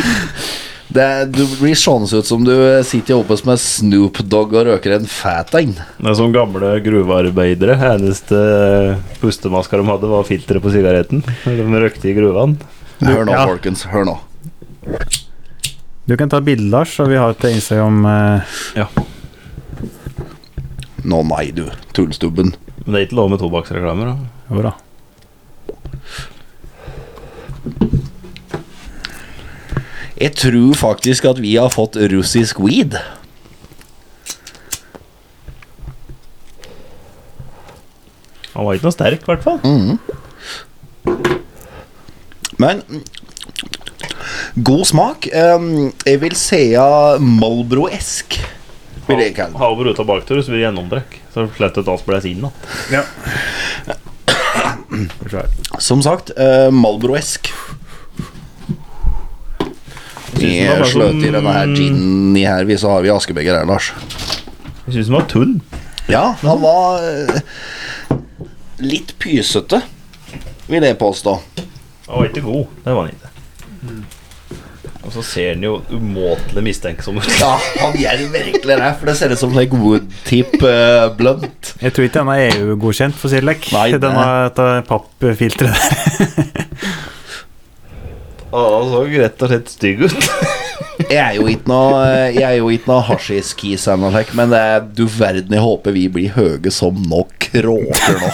Speaker 3: det, er- du blir sånn ut som du sitter i hoppes med Snoop Dogg og røker en fat en.
Speaker 2: Det er som gamle gruvearbeidere. Eneste pustemaska de hadde, var filteret på sigaretten. De røkte i gruvene.
Speaker 3: Hør nå,
Speaker 1: Ja.
Speaker 3: folkens. Hør nå.
Speaker 1: Du kan ta bilde, Lars, og vi har til Instagram eh,
Speaker 3: Nå, nei, du. Tullstubben.
Speaker 2: Men det er ikke lov med tobakksreklamer. da.
Speaker 1: hvor da?
Speaker 3: Jeg tror faktisk at vi har fått russisk weed.
Speaker 2: Han var ikke noe sterk, i hvert fall.
Speaker 3: Men mm, god smak. Ehm, jeg vil sia Malbro-esk. Vil jeg kalle det.
Speaker 2: Ha over uten baktur, så blir det gjennomtrekk. Så slett et alt blæs inn. Da.
Speaker 3: Som sagt, eh, Malbro-esk.
Speaker 2: det var
Speaker 3: Jeg
Speaker 2: bare
Speaker 3: sløter i
Speaker 2: som-
Speaker 3: denne her ginen i her, vi, så har vi askebeger her, Lars.
Speaker 2: Jeg syns den var tunn.
Speaker 3: Ja, han var eh, litt pysete, vil jeg påstå.
Speaker 2: Den var ikke god. Det var den ikke. Mm. Og så ser den jo umåtelig mistenksom ut.
Speaker 3: Ja, han gjør virkelig det, for det ser ut som like woodtip uh, blunt.
Speaker 1: Jeg tror ikke den er EU-godkjent, for å si det lekk.
Speaker 3: Nei, det-
Speaker 1: Den har eh, dette pappfilteret.
Speaker 2: Og den så rett og slett stygg ut.
Speaker 3: Jeg er jo ikke noe Jeg er jo ikke noe hashiskis eller noe slikt, men det er, du verden, jeg håper vi blir høye som nå kråker nå.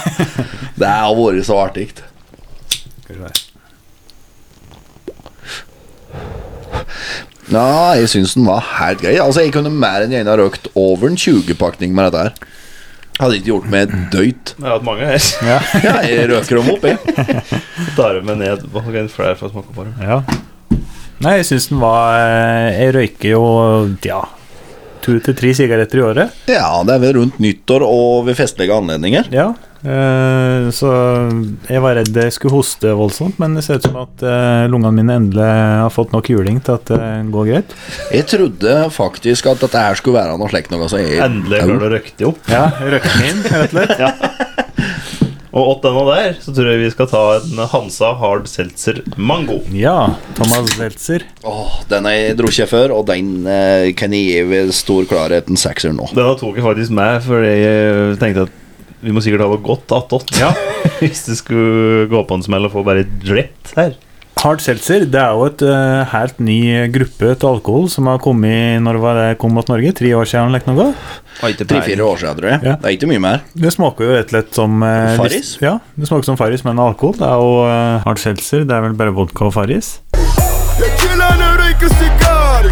Speaker 3: Det har vært så artig. Ja, jeg syns den var helt grei. Altså, jeg kunne mer enn gjerne ha røkt over en 20-pakning med dette her. Hadde ikke gjort meg døyt.
Speaker 2: Jeg har hatt mange her.
Speaker 3: Ja, jeg røker dem opp, jeg.
Speaker 2: Tar med ned Hva kan jeg flere for å smake på dem?
Speaker 1: Ja. Nei, jeg syns den var eh, Jeg røyker jo, ja, to til tre sigaretter i året.
Speaker 3: Ja, det er vel rundt nyttår og ved festlige anledninger.
Speaker 1: Ja. Eh, så jeg var redd jeg skulle hoste voldsomt, men det ser ut som at eh, lungene mine endelig har fått nok juling til at det går greit.
Speaker 3: Jeg trodde faktisk at dette her skulle være noe slikt noe. Så jeg,
Speaker 2: Endelig klarer du å røkke de opp.
Speaker 1: Ja, røkken inn, rett og slett.
Speaker 2: Og åt denne der, så tror jeg vi skal ta en Hansa Hard Seltzer Mango.
Speaker 1: Ja, Thomas Seltzer.
Speaker 3: Åh, den har jeg drukket før, og den eh, kan jeg gi ved stor klarhet en sekser nå.
Speaker 2: Denne tok jeg faktisk med, for jeg tenkte at vi må sikkert ha noe godt attåt.
Speaker 1: Ja.
Speaker 2: Hvis det skulle gå på en smell og få bare et dritt her.
Speaker 1: Hard Seltzer det er jo et eh, helt ny gruppe til alkohol som har kommet når var det kom mot Norge? Tre år siden? eller noe?
Speaker 3: Tre-fire år siden, tror jeg.
Speaker 1: Ja.
Speaker 3: Det er ikke mye mer.
Speaker 1: Det smaker jo rett og slett som eh,
Speaker 3: Farris?
Speaker 1: hvis- Ja, det smaker som Farris, men alkohol. Det er jo eh, Hard Seltzer. Det er vel bare vodka og Farris.
Speaker 8: Jeg chiller'n og røyker sigarer.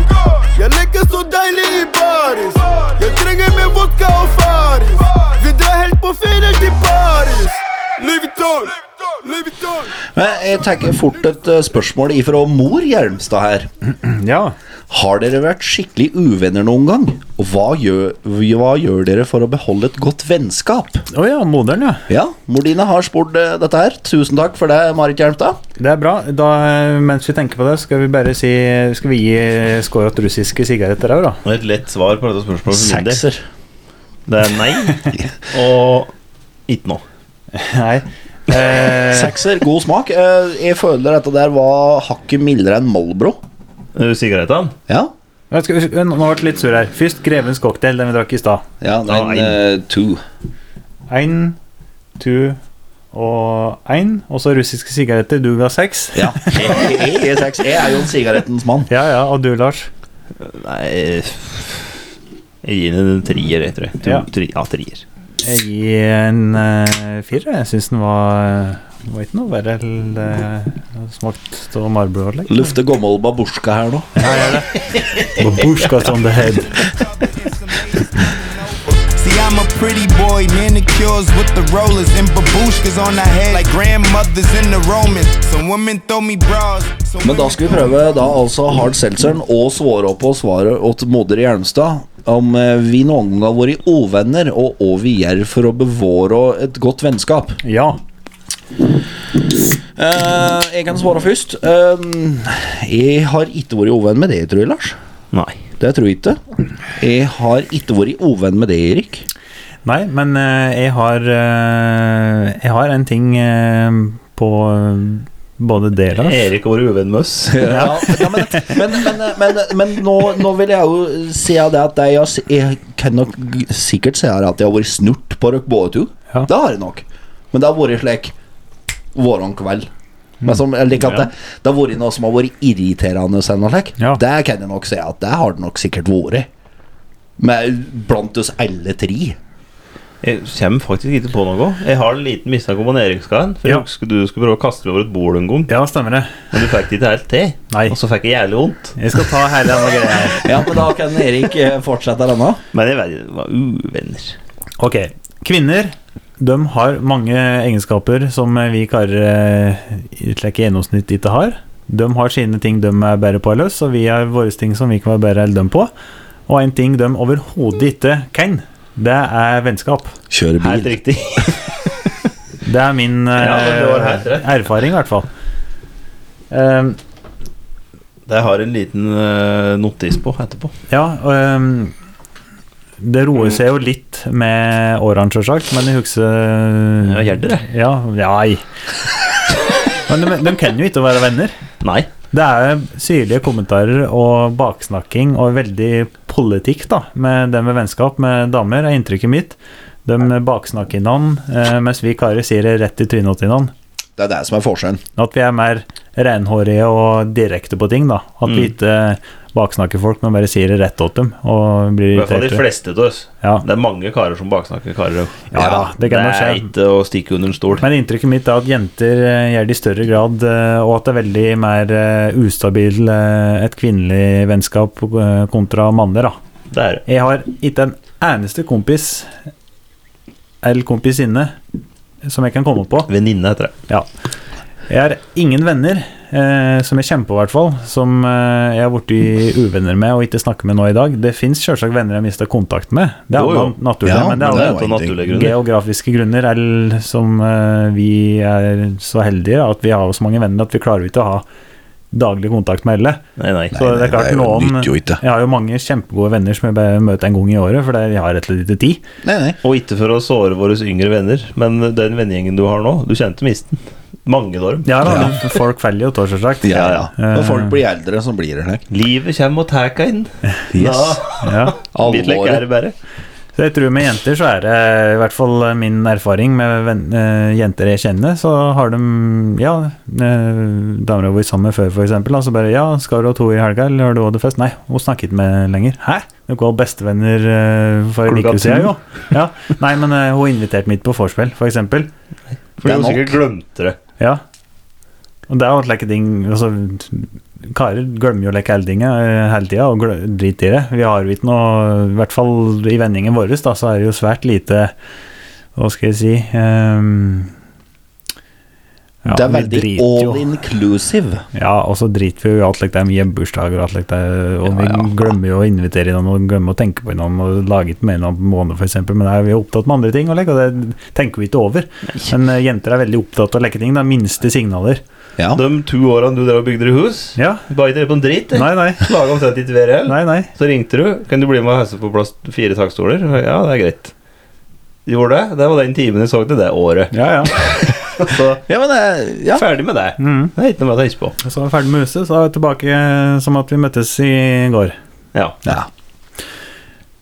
Speaker 8: Jeg leker så deilig i baris. Jeg trenger mer vodka og faris. Vi drar helt på ferie til Paris. Louis Vuitton, Louis Vuitton.
Speaker 3: Men jeg tenker fort et eh, spørsmål ifra mor Hjelmstad her.
Speaker 1: Ja.
Speaker 3: Har dere vært skikkelig uvenner noen gang? Og hva gjør, hva gjør dere for å beholde et godt vennskap?
Speaker 1: Å ja, moderen, ja.
Speaker 3: Ja, mor Dine har spurt eh, dette her. Tusen takk for det, Marit Hjelmstad.
Speaker 1: Det er bra. Da, eh, mens vi tenker på det, skal vi bare si Skal vi gi eh, score til russiske sigaretter òg, da?
Speaker 2: Og Et lett svar på dette spørsmålet for min del.
Speaker 3: Sekser.
Speaker 2: Det er nei og ikke noe.
Speaker 1: Nei. Eh.
Speaker 3: Sekser, god smak. Eh, Jeg føler dette der var hakket mildere enn Malbro.
Speaker 2: Eh, Sigarettene?
Speaker 3: Ja,
Speaker 1: Jeg skal, nå ble jeg litt sur her. Først Grevens cocktail, den vi drakk i stad.
Speaker 3: ja det
Speaker 2: Ja,
Speaker 3: er en eh, two.
Speaker 1: Én, to og én. Og så russiske sigaretter. Du ga seks.
Speaker 3: Ja. Jeg, jeg, jeg, er seks. jeg er jo en sigarettens mann.
Speaker 1: Ja, ja. Og du, Lars?
Speaker 2: Nei Jeg gir den en trier, jeg tror jeg. To,
Speaker 1: Ja.
Speaker 2: Tri, ja, trier.
Speaker 1: Jeg gir en uh, firer. Jeg syns den var var ikke noe verre enn uh, smakt av Marlboro-anlegg.
Speaker 3: Lufter gammel babusjka her nå.
Speaker 1: Babushka on the head.
Speaker 9: See, I'm a pretty boy, manicures with the rollers and babushkas on her head like grandmothers in the Romans. Some women throw me bras. some
Speaker 3: Men da
Speaker 9: women-
Speaker 3: skal vi prøve da altså Hard Seltzeren og svare opp på svaret åt moder Hjelmstad om eh, vi noen gang har vært uvenner, og hva vi gjør for å bevare et godt vennskap.
Speaker 1: Ja.
Speaker 3: Eh, jeg kan svare først. Eh, jeg har ikke vært uvenn med deg, tror jeg, Lars.
Speaker 2: Nei.
Speaker 3: Det tror jeg ikke. Jeg har ikke vært uvenn med deg, Erik.
Speaker 1: Nei, men eh, jeg har eh, Jeg har en ting eh, på eh, både det, Lars
Speaker 2: Erik har vært uvenn med oss.
Speaker 3: Ja, ja, men, men, men, men, men nå, nå vil jeg jo si av det at jeg, har s- jeg kan nok g- sikkert si her at jeg har vært snurt på dere begge to.
Speaker 1: Ja.
Speaker 3: Det har jeg nok. Men det har vært slik våren kveld.
Speaker 1: Mm.
Speaker 3: Men som, eller ikke at det, det har vært noe som har vært irriterende. eller noe slik.
Speaker 1: Ja.
Speaker 3: Det kan jeg nok si at det har det nok sikkert vært. Med, blant oss alle tre.
Speaker 2: Jeg kommer faktisk ikke på noe. Jeg har en liten mistanke om han Erik skal hen. For
Speaker 1: Ja.
Speaker 2: jeg husker du skulle prøve å kaste meg over et bord en gang,
Speaker 1: Ja, stemmer det.
Speaker 2: men du fikk det ikke helt til.
Speaker 1: Nei.
Speaker 2: Og så fikk jeg jævlig vondt.
Speaker 1: Jeg skal ta hele denne greia her.
Speaker 3: Ja, men da kan Erik eh, fortsette denne.
Speaker 2: Men jeg vet- var uvenner.
Speaker 1: Ok, kvinner de har mange egenskaper som vi karer eh, i slik gjennomsnitt ikke har. De har sine ting de er bedre på enn oss, og vi har våre ting som vi kan være bedre enn dem på. Og en ting de overhodet ikke kan, det er vennskap.
Speaker 3: Kjøre
Speaker 2: Helt riktig.
Speaker 1: Det er min eh,
Speaker 2: Ja, men det var helt rett.
Speaker 1: erfaring, i hvert fall. Um,
Speaker 2: Det har jeg en liten eh, notis på etterpå.
Speaker 1: Ja, øhm, det
Speaker 2: Mm.
Speaker 1: roer seg jo litt med årene, sjølsagt, men jeg husker
Speaker 2: Ja, gjør det det?
Speaker 1: Ja, nei. Men de, de kan jo ikke være venner.
Speaker 2: Nei.
Speaker 1: Det er syrlige kommentarer og baksnakking og veldig politikk, da, med det med vennskap med damer, er inntrykket mitt. De baksnakker hverandre, eh, mens vi karer sier det rett i trynet til hverandre.
Speaker 3: Det er det som er forskjellen.
Speaker 1: At vi er mer renhårige og direkte på ting, da. At
Speaker 2: Mm.
Speaker 1: vi ikke baksnakker folk, men bare sier det rett til dem. Og blir
Speaker 2: I hvert fall de
Speaker 1: irriterte.
Speaker 2: fleste av oss.
Speaker 1: Ja.
Speaker 2: Det er mange karer som baksnakker karer.
Speaker 1: Ja da, det kan nok
Speaker 2: er
Speaker 1: skje.
Speaker 2: ikke å stikke under en stol.
Speaker 1: Men inntrykket mitt er at jenter eh, gjør det i større grad, eh, og at det er veldig mer eh, ustabil eh, et kvinnelig vennskap eh, kontra manner, da.
Speaker 2: Det er det.
Speaker 1: Jeg har ikke en eneste kompis eller kompisinne som jeg kan komme på.
Speaker 2: Venninne heter det.
Speaker 1: Ja. Jeg har ingen venner, eh, som jeg kjenner på i hvert fall, som eh, jeg har blitt uvenner med og ikke snakker med nå i dag. Det fins sjølsagt venner jeg har mista kontakt med. Det er
Speaker 2: Jo, jo.
Speaker 1: jo, naturlig,
Speaker 3: Ja,
Speaker 1: men det
Speaker 3: men
Speaker 1: er alle
Speaker 3: det er
Speaker 2: Av naturlige grunner.
Speaker 1: geografiske grunner eller som eh, vi er så heldige at vi har så mange venner at vi klarer jo ikke å ha daglig kontakt med alle.
Speaker 2: Nei, nei.
Speaker 1: Så det er klart
Speaker 3: det er jo
Speaker 1: noen
Speaker 3: nytt jo ikke.
Speaker 1: Jeg har jo mange kjempegode venner som jeg bare møter en gang i året, for det- jeg har rett og slett ikke tid.
Speaker 3: Nei, nei.
Speaker 2: Og ikke for å såre våre yngre venner, men den vennegjengen du har nå, du kjente misten. Mange av dem.
Speaker 1: Ja, da, men Folk faller jo, da, selvsagt.
Speaker 3: Ja, ja.
Speaker 1: Eh,
Speaker 3: Når folk blir eldre, så blir det slik.
Speaker 2: Livet kommer og tar deg inn. Da
Speaker 1: ja.
Speaker 2: blir det ikke
Speaker 3: Alvoret.
Speaker 2: er det bare.
Speaker 1: Så jeg tror med jenter så er det i hvert fall eh, min erfaring med ven, eh, jenter jeg kjenner, så har de ja, eh, damer jeg har vært sammen med før for eksempel, da, så bare ja, skal du ha to i helga, eller har du hatt fest? Nei, hun snakker ikke med lenger. Hæ? Dere var bestevenner eh, for en
Speaker 2: Klokka
Speaker 1: uke siden,
Speaker 2: to.
Speaker 1: jo. Ja. Nei, men eh, hun inviterte meg ikke på vorspiel, for eksempel.
Speaker 2: For
Speaker 3: Det er
Speaker 2: du
Speaker 3: nok.
Speaker 2: sikkert glemte det.
Speaker 1: Ja. Og det er jo like ting altså, Karer glemmer jo like hele tinga eh, hele tida og glø- driter i det. Vi har jo ikke noe I hvert fall i vendingen vår, da, så er det jo svært lite Hva skal jeg si ehm, ja,
Speaker 3: det er
Speaker 1: vi
Speaker 3: veldig
Speaker 1: driter jo-
Speaker 3: all inclusive.
Speaker 1: Ja, og så driter vi jo i alt like det er mye bursdager og alt like det er- Og vi glemmer jo å invitere noen og glemmer å tenke på noen og lage et med noen måned, f.eks. Men da er vi jo opptatt med andre ting, og, like, og det tenker vi ikke over. Men eh, jenter er veldig opptatt av leketing. Det er minste signaler.
Speaker 3: Ja.
Speaker 2: De to årene du drev og bygde deg hus,
Speaker 1: Ja.
Speaker 2: ba ikke dere på en drit.
Speaker 1: Nei, nei.
Speaker 2: Laga omtrent ikke været heller.
Speaker 1: Nei, nei.
Speaker 2: Så ringte du. Kan du bli med og hesse på plass fire takstoler? Ja, det er greit. Gjorde det. Det var den timen jeg så til det året.
Speaker 1: Ja, ja.
Speaker 2: Så
Speaker 3: Ja, men det ja. Mm.
Speaker 2: ferdig med det. Det er ikke noe mer å tenke på.
Speaker 1: Så er vi ferdig med huset, så er vi tilbake eh, som at vi møttes i går.
Speaker 2: Ja.
Speaker 3: Ja.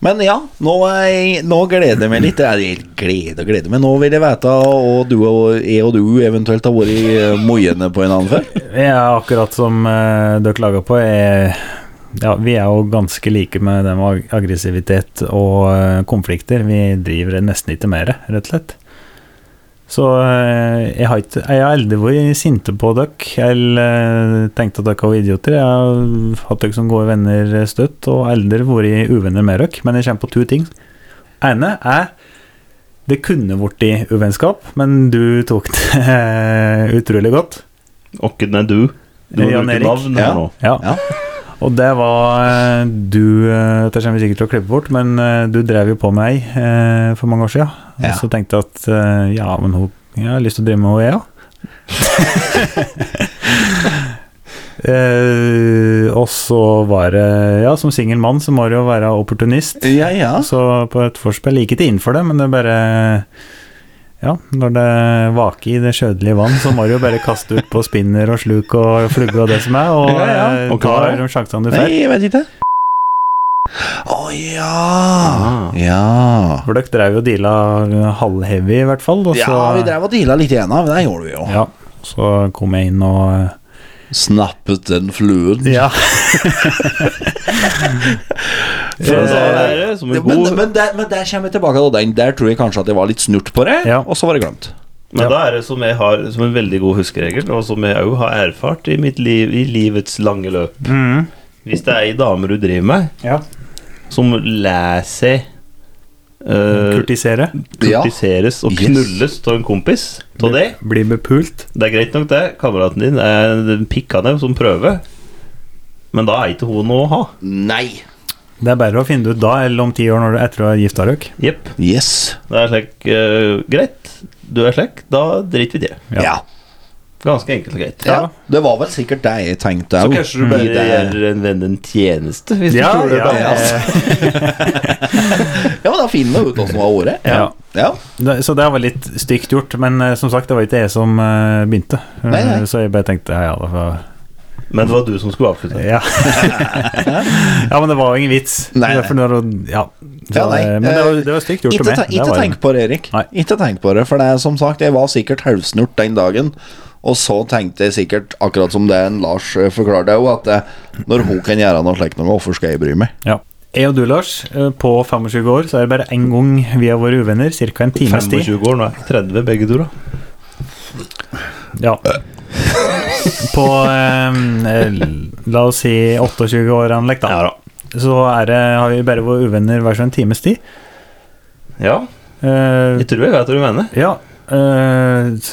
Speaker 3: Men ja, nå, er, nå gleder jeg meg litt. Jeg gleder og gleder meg. Nå vil jeg vite og du og jeg og du eventuelt har vært i eh, moiene på en annen før.
Speaker 1: Jeg er akkurat som eh, dere klaga på. Jeg, ja, vi er jo ganske like med det med ag- aggressivitet og eh, konflikter. Vi driver nesten ikke mer, rett og slett. Så eh, jeg har, ikke, jeg har aldri vært sinte på dere eller eh, tenkt at dere var idioter. Jeg har hatt dere som gode venner eh, støtt, og aldri vært uvenner med dere. Men jeg kommer på to ting. ene er det kunne blitt uvennskap, men du tok det eh, utrolig godt.
Speaker 2: Åkken er du. Du må
Speaker 1: Jan
Speaker 2: bruke
Speaker 1: Erik.
Speaker 2: navn her
Speaker 3: Ja.
Speaker 2: nå.
Speaker 1: Ja.
Speaker 3: Ja.
Speaker 1: Og det var eh, du eh, Dette kommer vi sikkert til å klippe bort, men eh, du drev jo på med ei eh, for mange år siden. Og
Speaker 3: Ja.
Speaker 1: så tenkte jeg at eh, ja, men hun Jeg har lyst til å drive med henne, jeg òg. Eh, og så var det Ja, som singel mann så må du jo være opportunist.
Speaker 3: Ja, ja.
Speaker 1: Så på et forspill gikk ikke inn for det, men det er bare Ja, når det vaker i det sjødelige vann, så må du jo bare kaste ut på spinner og sluk og flugge og det som er, og,
Speaker 3: Ja, ja.
Speaker 1: eh,
Speaker 2: Og hva
Speaker 1: ta
Speaker 2: er det?
Speaker 1: de sjansene du
Speaker 3: Nei,
Speaker 1: får.
Speaker 3: jeg vet ikke. Å ja. Ja.
Speaker 1: For dere drev jo og deala halvheavy, i hvert fall. Og så,
Speaker 3: Ja, vi drev og deala litt igjen, men det gjorde vi jo.
Speaker 1: Ja, så kom jeg inn og eh,
Speaker 3: Snappet den fluen.
Speaker 1: Ja.
Speaker 2: Så da er det som en
Speaker 3: Eh, Det, men,
Speaker 2: god
Speaker 3: men, der, men der kommer vi tilbake til den. Der tror jeg kanskje at jeg var litt snurt på det,
Speaker 1: Ja.
Speaker 3: og så var det glemt.
Speaker 2: Men da er det som jeg har som en veldig god huskeregel, og som jeg òg har erfart i mitt liv, i livets lange løp.
Speaker 1: Mm.
Speaker 2: Hvis det er ei dame du driver med,
Speaker 1: ja.
Speaker 2: som lar seg eh,
Speaker 1: Kurtisere.
Speaker 3: Ja.
Speaker 2: kurtiseres og
Speaker 3: Yes.
Speaker 2: knulles av en kompis av deg
Speaker 1: Bli bepult.
Speaker 2: Det er greit nok, det. Kameraten din er en pikkanev som prøver. Men da er ikke hun noe å ha.
Speaker 3: Nei.
Speaker 1: Det er bare å finne det ut da, eller om ti år når du, etter å ha gifta dere.
Speaker 2: Jepp.
Speaker 3: Yes.
Speaker 2: Det er slik eh, Greit, du er slik, da driter vi i det.
Speaker 1: Ja.
Speaker 3: ja.
Speaker 2: Ganske enkelt og greit.
Speaker 3: Ja, det var vel sikkert det jeg tenkte
Speaker 2: Så
Speaker 3: òg.
Speaker 2: kanskje du bare gjør en venn en tjeneste, hvis
Speaker 1: Ja,
Speaker 2: du tror det
Speaker 1: ja,
Speaker 2: er bra.
Speaker 1: ja.
Speaker 3: Ja, men da finner vi ut åssen det var ordet.
Speaker 1: Ja.
Speaker 3: Ja.
Speaker 1: Det, så det var litt stygt gjort, men eh, som sagt, det var ikke jeg som eh, begynte.
Speaker 3: Nei, nei.
Speaker 1: Så jeg bare tenkte ja, ja, det var,
Speaker 2: Men det var du som skulle avslutte.
Speaker 1: ja. ja men det var jo ingen vits.
Speaker 3: Nei, nei.
Speaker 1: Derfor når hun- ja. Så,
Speaker 3: Ja, nei,
Speaker 1: eh, Men det var, det var stygt gjort
Speaker 3: Ikke,
Speaker 1: av meg.
Speaker 3: te
Speaker 1: Det
Speaker 3: ikke
Speaker 1: var det.
Speaker 3: tenk på det, Erik.
Speaker 1: Nei.
Speaker 3: Ikke tenk på det, for det er som sagt, jeg var sikkert halvsnurt den dagen. Og så tenkte jeg sikkert, akkurat som det en Lars eh, forklarte òg, at eh, når hun kan gjøre noe slikt, noe, hvorfor skal jeg bry meg?
Speaker 1: Ja. Jeg og du, Lars, eh, på 25 år, så er det bare én gang vi har vært uvenner. Ca. en times tid.
Speaker 2: 25 år, nå er jeg 30 begge to, da.
Speaker 1: Ja. På eh, eh, la oss si 28 år, Anlek, da. Så er det, har vi bare vært uvenner hver sånn times tid.
Speaker 2: Ja,
Speaker 1: Eh,
Speaker 2: jeg tror jeg vet hva du mener.
Speaker 1: Ja, eh,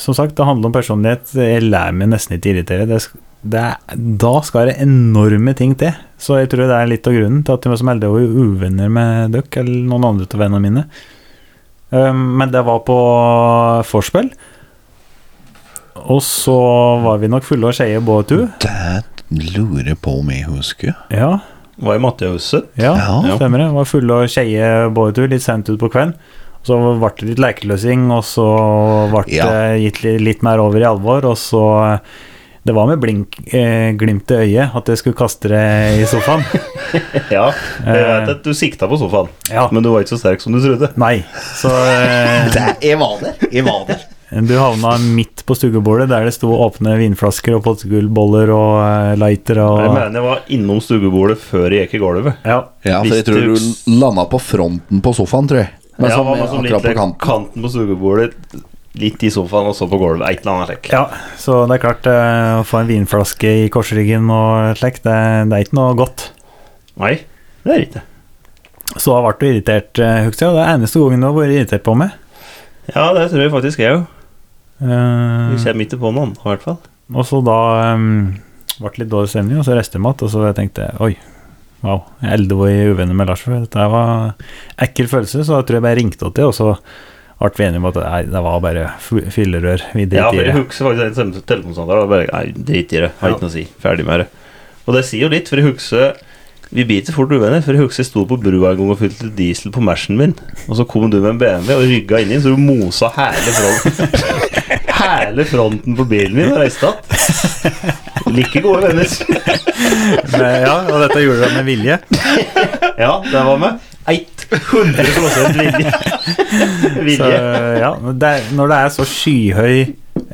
Speaker 1: som sagt, det handler om personlighet. Jeg lærer meg nesten ikke å irritere. Det, sk- det, er- da skal det enorme ting til. Så jeg tror det er litt av grunnen til at jeg var som heldig å være uvenner med dere eller noen andre av vennene mine. Eh, men det var på vorspiel. Og så var vi nok fulle av skeier, både to.
Speaker 3: Det lurer på om jeg husker.
Speaker 1: Ja,
Speaker 2: Var i Mattehuset.
Speaker 1: ja,
Speaker 3: Ja.
Speaker 1: stemmer det. Var fulle av skeier, både to, litt sent ut på kvelden. Så ble det litt lekeløsing, og så ble det
Speaker 3: Ja.
Speaker 1: gitt li- litt mer over i alvor, og så eh, Det var med blink, eh, glimt i øyet at jeg skulle kaste det i sofaen.
Speaker 2: Ja, jeg vet at du sikta på sofaen,
Speaker 1: Ja.
Speaker 2: men du var ikke så sterk som du trodde.
Speaker 1: Nei. Så eh,
Speaker 3: Det, jeg var der. Jeg var der.
Speaker 1: du havna midt på stuebordet, der det sto åpne vinflasker og potetgullboller og eh, lighter
Speaker 2: Jeg
Speaker 1: og
Speaker 2: mener jeg var innom stuebordet før jeg gikk i gulvet.
Speaker 1: ja.
Speaker 3: Ja, for jeg tror du landa på fronten på sofaen, tror jeg. Men
Speaker 2: Ja,
Speaker 3: sånn,
Speaker 2: var sånn
Speaker 3: akkurat
Speaker 2: litt
Speaker 3: på kanten.
Speaker 2: kanten på stuebordet, litt i sofaen og så på gulvet. Et eller annet slik.
Speaker 1: ja. Så det er klart, eh, å få en vinflaske i korsryggen og slikt, det, det er ikke noe godt.
Speaker 2: Nei, det er ikke.
Speaker 1: Så har jeg vært irritert, eh, husker jeg. Det er eneste gangen du har vært irritert på meg.
Speaker 2: Ja, det tror jeg faktisk jeg òg.
Speaker 1: Eh,
Speaker 2: Vi kommer ikke på noen, i hvert fall.
Speaker 1: og så da um, ble det litt dårlig stemning, og så reiste jeg mat, og så tenkte jeg oi, wow, jeg er eldre uvenner med Lars før. Dette var ekkel følelse, så da tror jeg bare ringte henne til, og så ble vi enige om at nei, det var bare f- fyllerør. Vi
Speaker 2: Ja, for
Speaker 1: driter
Speaker 2: jeg
Speaker 1: i det.
Speaker 2: husker faktisk en sem- telefonsamtale. og Bare, nei, drit i det. Har ikke noe å si. Ferdig med det. Og det sier jo litt, for jeg husker Vi biter fort uvenner, for jeg husker jeg sto på brua en gang og fylte diesel på Mersen min, og så kom du med en BMW og rygga inni, så du mosa hele front. hele fronten på bilen min og reiste att. Like gode venner.
Speaker 1: Men, ja, og dette gjorde du med vilje.
Speaker 2: Ja, det var med. 100 vilje.
Speaker 1: Så,
Speaker 2: vilje.
Speaker 1: ja, men det er, når det er så skyhøy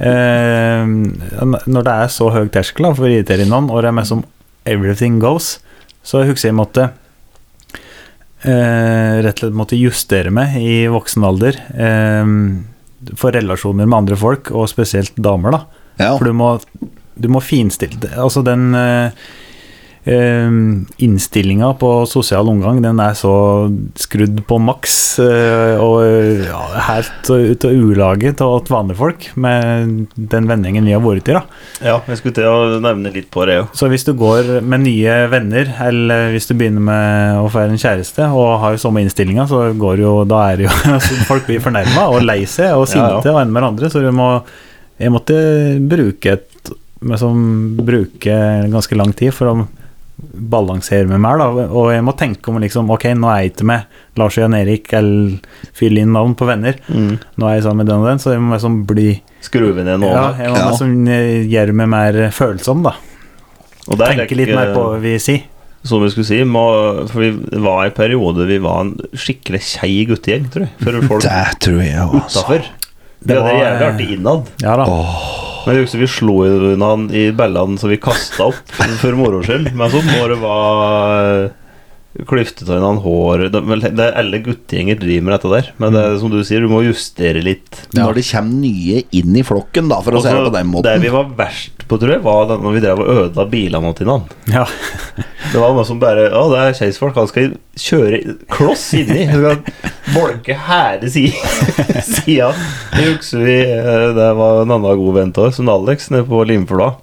Speaker 1: eh, Når det er så høy terskel da, for å irritere noen, og det er mest som everything goes, så husker jeg måtte eh, rett og slett måtte justere meg i voksen alder eh, for relasjoner med andre folk, og spesielt damer, da.
Speaker 3: Ja.
Speaker 1: For du må, du må finstille det. Altså den uh, innstillinga på sosial omgang, den er så skrudd på maks eh, og ja, helt ut av ulaget til at vanlige folk, med den vendingen vi har vært i, da.
Speaker 2: Ja, jeg skulle til å nevne litt på det òg.
Speaker 1: Så hvis du går med nye venner, eller hvis du begynner med å få en kjæreste og har jo samme innstillinga, så går jo, da er det jo altså, Folk blir fornærma og lei seg og sinte
Speaker 2: Ja, ja.
Speaker 1: og en med hverandre, så du må Jeg måtte bruke et men som bruke ganske lang tid for å balansere med meg, da. Og jeg må tenke om liksom Ok, nå er jeg ikke med Lars og Jan Erik eller fylle inn navn på venner. Nå er jeg sammen med den og den, så jeg må liksom bli
Speaker 2: Skru vi ned nå.
Speaker 1: Ja, jeg må
Speaker 3: Ja.
Speaker 1: liksom eh, gjøre meg mer følsom, da.
Speaker 2: Og der
Speaker 1: Tenke litt
Speaker 2: legger-
Speaker 1: mer på hva vi sier.
Speaker 2: Som vi skulle si, må, for vi var i en periode vi var en skikkelig kjei guttegjeng, tror jeg. For folk
Speaker 3: Det tror jeg òg, altså.
Speaker 2: utafor. Vi
Speaker 1: Det
Speaker 2: hadde det
Speaker 1: var,
Speaker 2: jævlig
Speaker 1: eh,
Speaker 2: artig innad.
Speaker 1: Ja da.
Speaker 2: Men jeg husker vi slo jo unna han i bellene så vi kasta opp for moro skyld. Men så må det være klyftet av hverandre håret det, vel, det er Alle guttegjenger driver med dette der. Men det er som du sier, du må justere litt.
Speaker 3: Når det kommer nye inn i flokken, da, for å si det
Speaker 2: Også,
Speaker 3: på den
Speaker 2: Det
Speaker 3: måten.
Speaker 2: vi var verst på, tror jeg, var den når vi drev og ødela bilene til hverandre.
Speaker 1: Ja.
Speaker 2: Det var noe som bare Å, det er skeisfolk. Han skal kjøre kloss inni. Han skal bolke hele sida. sida. Det husker vi eh, Det var en annen god venn av oss, en Alex, nede på Limfla.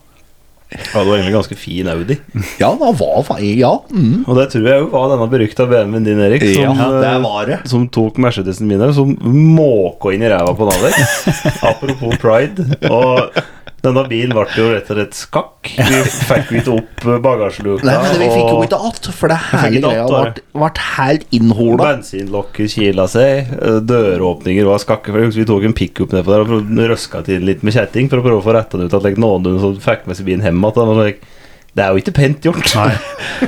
Speaker 2: Hadde jo egentlig ganske fin Audi.
Speaker 3: Ja, da var fa- Ja. Mm.
Speaker 2: Og det tror jeg jo var denne berykta BMW-en din, Erik, som,
Speaker 3: Ja,
Speaker 2: eh,
Speaker 3: det var det.
Speaker 2: som tok Mercedesen min, her, som måka inn i ræva på en Alex. Apropos pride. Og denne bilen ble jo rett og slett skakk. Vi fikk ikke opp eh, bagasjeluka.
Speaker 3: Nei, men vi fikk jo
Speaker 2: og-
Speaker 3: ikke att, for det
Speaker 2: fikk
Speaker 3: hele
Speaker 2: ikke
Speaker 3: greia
Speaker 2: att, da,
Speaker 3: ble, ble helt innhola.
Speaker 2: Bensinlokket kila seg, eh, døråpninger var skakke. for jeg husker Vi tok en pickup nedpå der og prøvde- røska til litt med kjetting for å prøve å få retta det ut. At like, noen som fikk med seg bilen hjem igjen. og like, Det er jo ikke pent gjort.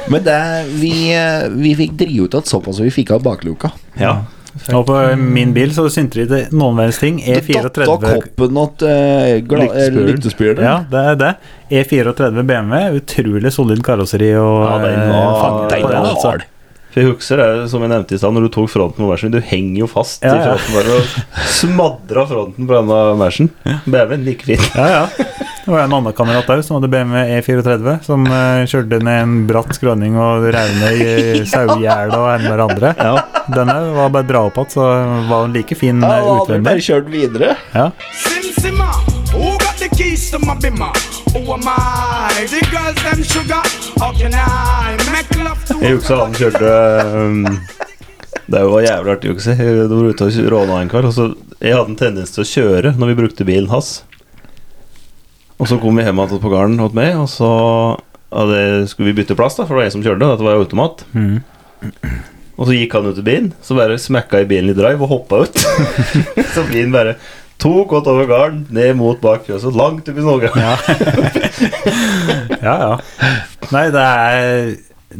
Speaker 3: Men det, vi, eh, vi fikk drive ut at såpass vi fikk av bakluka.
Speaker 2: Ja.
Speaker 1: Og på min bil så syntes det ikke noen verdens ting.
Speaker 2: E
Speaker 1: E
Speaker 3: Da
Speaker 1: E34
Speaker 3: koppen åt eh, gla- eh,
Speaker 2: Lyktespyren.
Speaker 3: lyktespyren.
Speaker 1: Ja, det er det. E E34 BMW, utrolig solid karosseri og
Speaker 2: Ja, den
Speaker 1: eh,
Speaker 2: var-
Speaker 1: fangene
Speaker 2: den
Speaker 1: på
Speaker 2: var
Speaker 1: den, altså.
Speaker 3: hard.
Speaker 2: For jeg husker det, som jeg nevnte i stad, når du tok fronten på Mersen. Du henger jo fast
Speaker 1: Ja,
Speaker 2: i
Speaker 1: ja.
Speaker 2: fronten bare og smadra fronten på denne Mersen. BMW-en like fin.
Speaker 1: Ja, ja. Det var en annen kamerat òg som hadde BMW E34, E som eh, kjørte ned en bratt skråning og rev ned i sauegjerdet og en hverandre. Ja. Den òg var bare dra opp igjen, så var hun like fin eh,
Speaker 3: Ja, vi bare
Speaker 1: utvendig.
Speaker 3: kjørt videre.
Speaker 1: Ja.
Speaker 6: Sim Simma, who got the keys to my bimmer? Who am I? The girls them sugar. How can I make love to
Speaker 2: Jeg husker han kjørte um, Det var jævlig artig å se. Jeg var ute og råna en kar. Og så jeg hadde en tendens til å kjøre når vi brukte bilen hans. Og så kom vi hjem igjen på gården hos meg, og så hadde, skulle vi bytte plass, da, for det var jeg som kjørte. Dette var jo automat. Og så gikk han ut i bilen, så bare smekka jeg bilen i drive og hoppa ut. så bilen bare tok godt over gården, ned mot bak fjøset, langt opp i Norge.
Speaker 1: Ja, ja. Nei, det er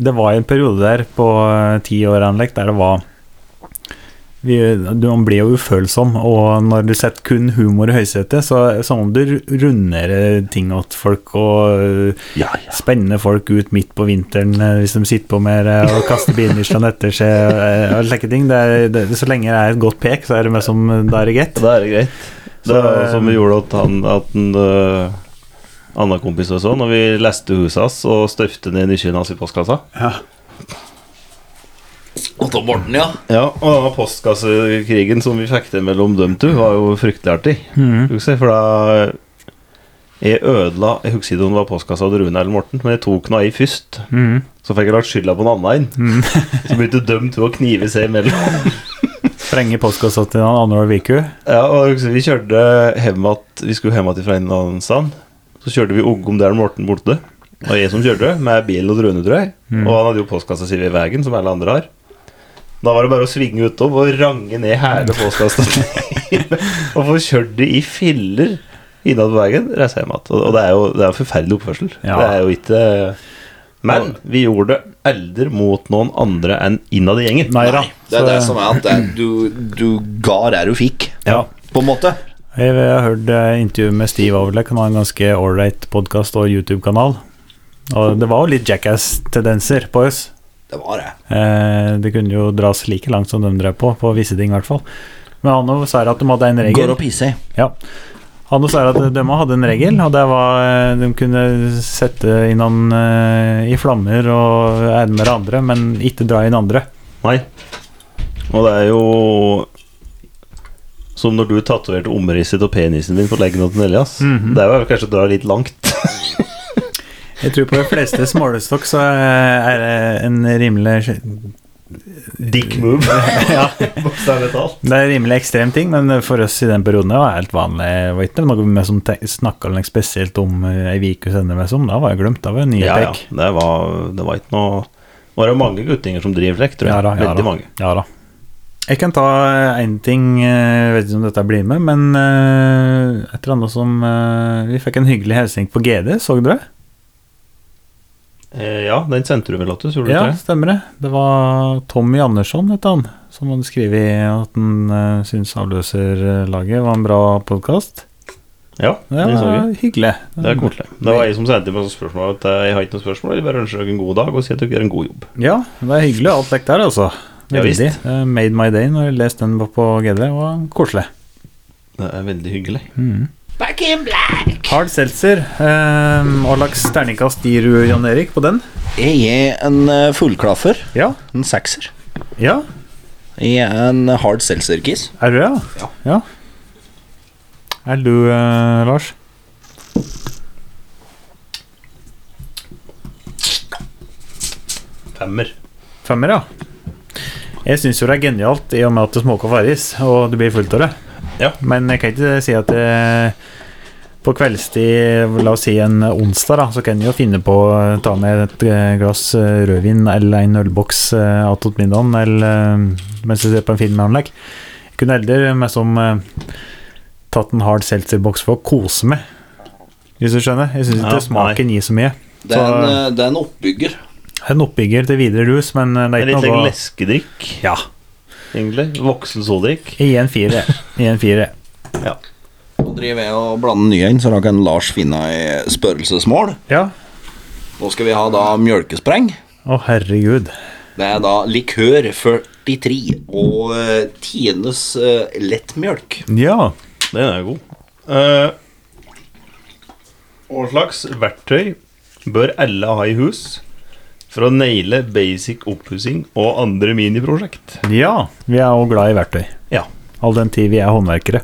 Speaker 1: Det var en periode der på eh, ti år anlegg der det var vi, du man blir jo ufølsom, og når du setter kun humor i høysetet, så som om du runder ting åt folk og eh,
Speaker 3: Ja,
Speaker 1: spenner folk ut midt på vinteren eh, hvis de sitter på mer eh, og kaster bilnyslene etter seg og, eh, og slike ting. Det er, det, så lenge det er et godt pek, så er det mer som eh, da er det greit.
Speaker 2: Da er det greit. Det
Speaker 1: Så,
Speaker 2: var som vi gjorde at han At en øh, annen kompis og sånn, og vi leste huset hans og støfte ned nøkkelen hans i postkassa.
Speaker 3: Otto Morten, ja.
Speaker 2: Ja, Og denne postkassekrigen som vi fikk til mellom dem to, var jo fryktelig artig. Husker, jeg, for da eh, jeg ødela Jeg husker ikke om det var postkassa til Rune eller Morten, men jeg tok den av i først.
Speaker 1: Mhm.
Speaker 3: Mm.
Speaker 2: Så fikk jeg lagt skylda på en annen. en. Så begynte dem to å knive seg imellom.
Speaker 1: Sprenge postkassa til han andre år Viku.
Speaker 2: Ja, og jeg husker vi kjørte hjem at, Vi skulle hjem at fra en eller annen stand Så kjørte vi Oggom der Morten borte Og jeg som kjørte med bil og drønne tror jeg
Speaker 1: Mm.
Speaker 2: Og han hadde jo postkassa si ved vegen Som alle andre har Da var det bare å svinge utom og range ned hele postkassa Og få kjørt det i filler innad på veien, reiser hjem igjen. Og- Og det er jo det er en forferdelig oppførsel.
Speaker 1: Ja.
Speaker 2: Det er jo ikke Men vi gjorde det aldri mot noen andre enn innad i gjengen.
Speaker 1: Nei da.
Speaker 3: Det er
Speaker 1: Så-
Speaker 3: det som er at det er, du, du ga der du fikk,
Speaker 1: Ja.
Speaker 3: på en måte.
Speaker 1: Jeg har hørt eh, intervju med Steve Overleck. Han har en ganske ålreit podkast og YouTube-kanal. Og det var jo litt jackass-tendenser på oss.
Speaker 3: Det var det.
Speaker 1: Eh, det kunne jo dras like langt som de drev på, på visse ting i hvert fall. Men han jo sa at de hadde en regel.
Speaker 3: Går og pisser.
Speaker 1: Ja. Han også er at de hadde en regel, og det var eh, de kunne sette inn han eh, i flammer og ermer andre, men ikke dra inn andre.
Speaker 2: Nei. Og det er jo som når du tatoverte omrisset og penisen din på leggen til Elias.
Speaker 1: Mhm.
Speaker 2: Det er jo kanskje å dra litt langt.
Speaker 1: Jeg tror på de fleste smålestokk så eh, er det en rimelig
Speaker 2: Dick move. ja. Bokstavelig talt.
Speaker 1: Det er rimelig ekstrem ting, men for oss i den perioden det var helt vanlig. Det var ikke noe vi som te- snakket noe spesielt om eh, ei uke senere, men som da var jeg glemt. Da var det nye
Speaker 2: Ja, ja.
Speaker 1: pek.
Speaker 2: Det var, det var ikke noe Det var jo mange guttinger som driver flekk, tror jeg.
Speaker 1: Ja da, ja
Speaker 2: Veldig
Speaker 1: da.
Speaker 2: mange.
Speaker 1: Ja da. Jeg kan ta én ting, eh, jeg vet ikke om dette blir med, men eh, et eller annet som eh, Vi fikk en hyggelig hilsen på GD, så dere?
Speaker 2: Eh, ja, den sendte du vel, Lottus? Gjorde du
Speaker 1: Ja,
Speaker 2: ikke det?
Speaker 1: stemmer det. Det var Tommy Andersson, het han, som hadde skrevet at han eh, syntes Avløserlaget var en bra podkast.
Speaker 2: Ja,
Speaker 1: Det
Speaker 2: den så vi.
Speaker 1: var hyggelig.
Speaker 2: Det er koselig. Det var jeg som sendte meg sånn spørsmål at eh, jeg har ikke noe spørsmål, jeg bare ønsker dere en god dag og sier at dere gjør en god jobb.
Speaker 1: Ja, det er hyggelig alt det der, altså.
Speaker 2: Ja, visst.
Speaker 1: Veldig. Eh, Made my day når jeg leste den på GD. Det var koselig.
Speaker 2: Det er veldig hyggelig.
Speaker 1: Mhm. Hard Seltzer. Eh, Hva slags terningkast gir du Jan Erik på den?
Speaker 3: Jeg er en eh, fullklaffer.
Speaker 1: Ja.
Speaker 3: En sekser.
Speaker 1: Ja,
Speaker 3: Jeg er en hard seltzer-kiss.
Speaker 1: er du det? Ja. ja. Er du, eh, Lars?
Speaker 2: Femmer.
Speaker 1: Femmer, ja. Jeg syns jo det er genialt i og med at det smaker farris, og du blir fullt av det.
Speaker 2: Ja.
Speaker 1: Men jeg kan ikke si at jeg, på kveldstid, la oss si en onsdag, da, så kan jeg jo finne på å ta med et eh, glass eh, rødvin eller en ølboks eh, attåt middagen eller eh, mens jeg ser på en film med anlegg. Jeg kunne heller meg som eh, tatt en hard seltzer-boks for å kose med, hvis du skjønner. Jeg syns
Speaker 2: Ja,
Speaker 1: ikke smaken gir så mye.
Speaker 3: Det er, en, eh, det er en oppbygger.
Speaker 1: Det er en oppbygger til videre rus, men eh, det
Speaker 2: En
Speaker 1: er
Speaker 2: litt
Speaker 1: ikke noe
Speaker 2: leskedrikk,
Speaker 1: Ja.
Speaker 2: egentlig. Voksen soldrikk.
Speaker 1: I en fire. I en fire.
Speaker 3: Nå driver jeg og blander nye inn, så da kan Lars finne ei spørrelsesmål.
Speaker 1: Ja.
Speaker 3: Nå skal vi ha da mjølkespreng.
Speaker 1: Å, herregud.
Speaker 3: Det er da likør 43 og eh, Tienes eh, lettmjølk.
Speaker 1: Ja.
Speaker 2: Den er god. Eh, Hva slags verktøy bør alle ha i hus for å naile basic oppussing og andre miniprosjekt?
Speaker 1: ja. Vi er jo glad i verktøy.
Speaker 2: Ja.
Speaker 1: All den tid vi er håndverkere.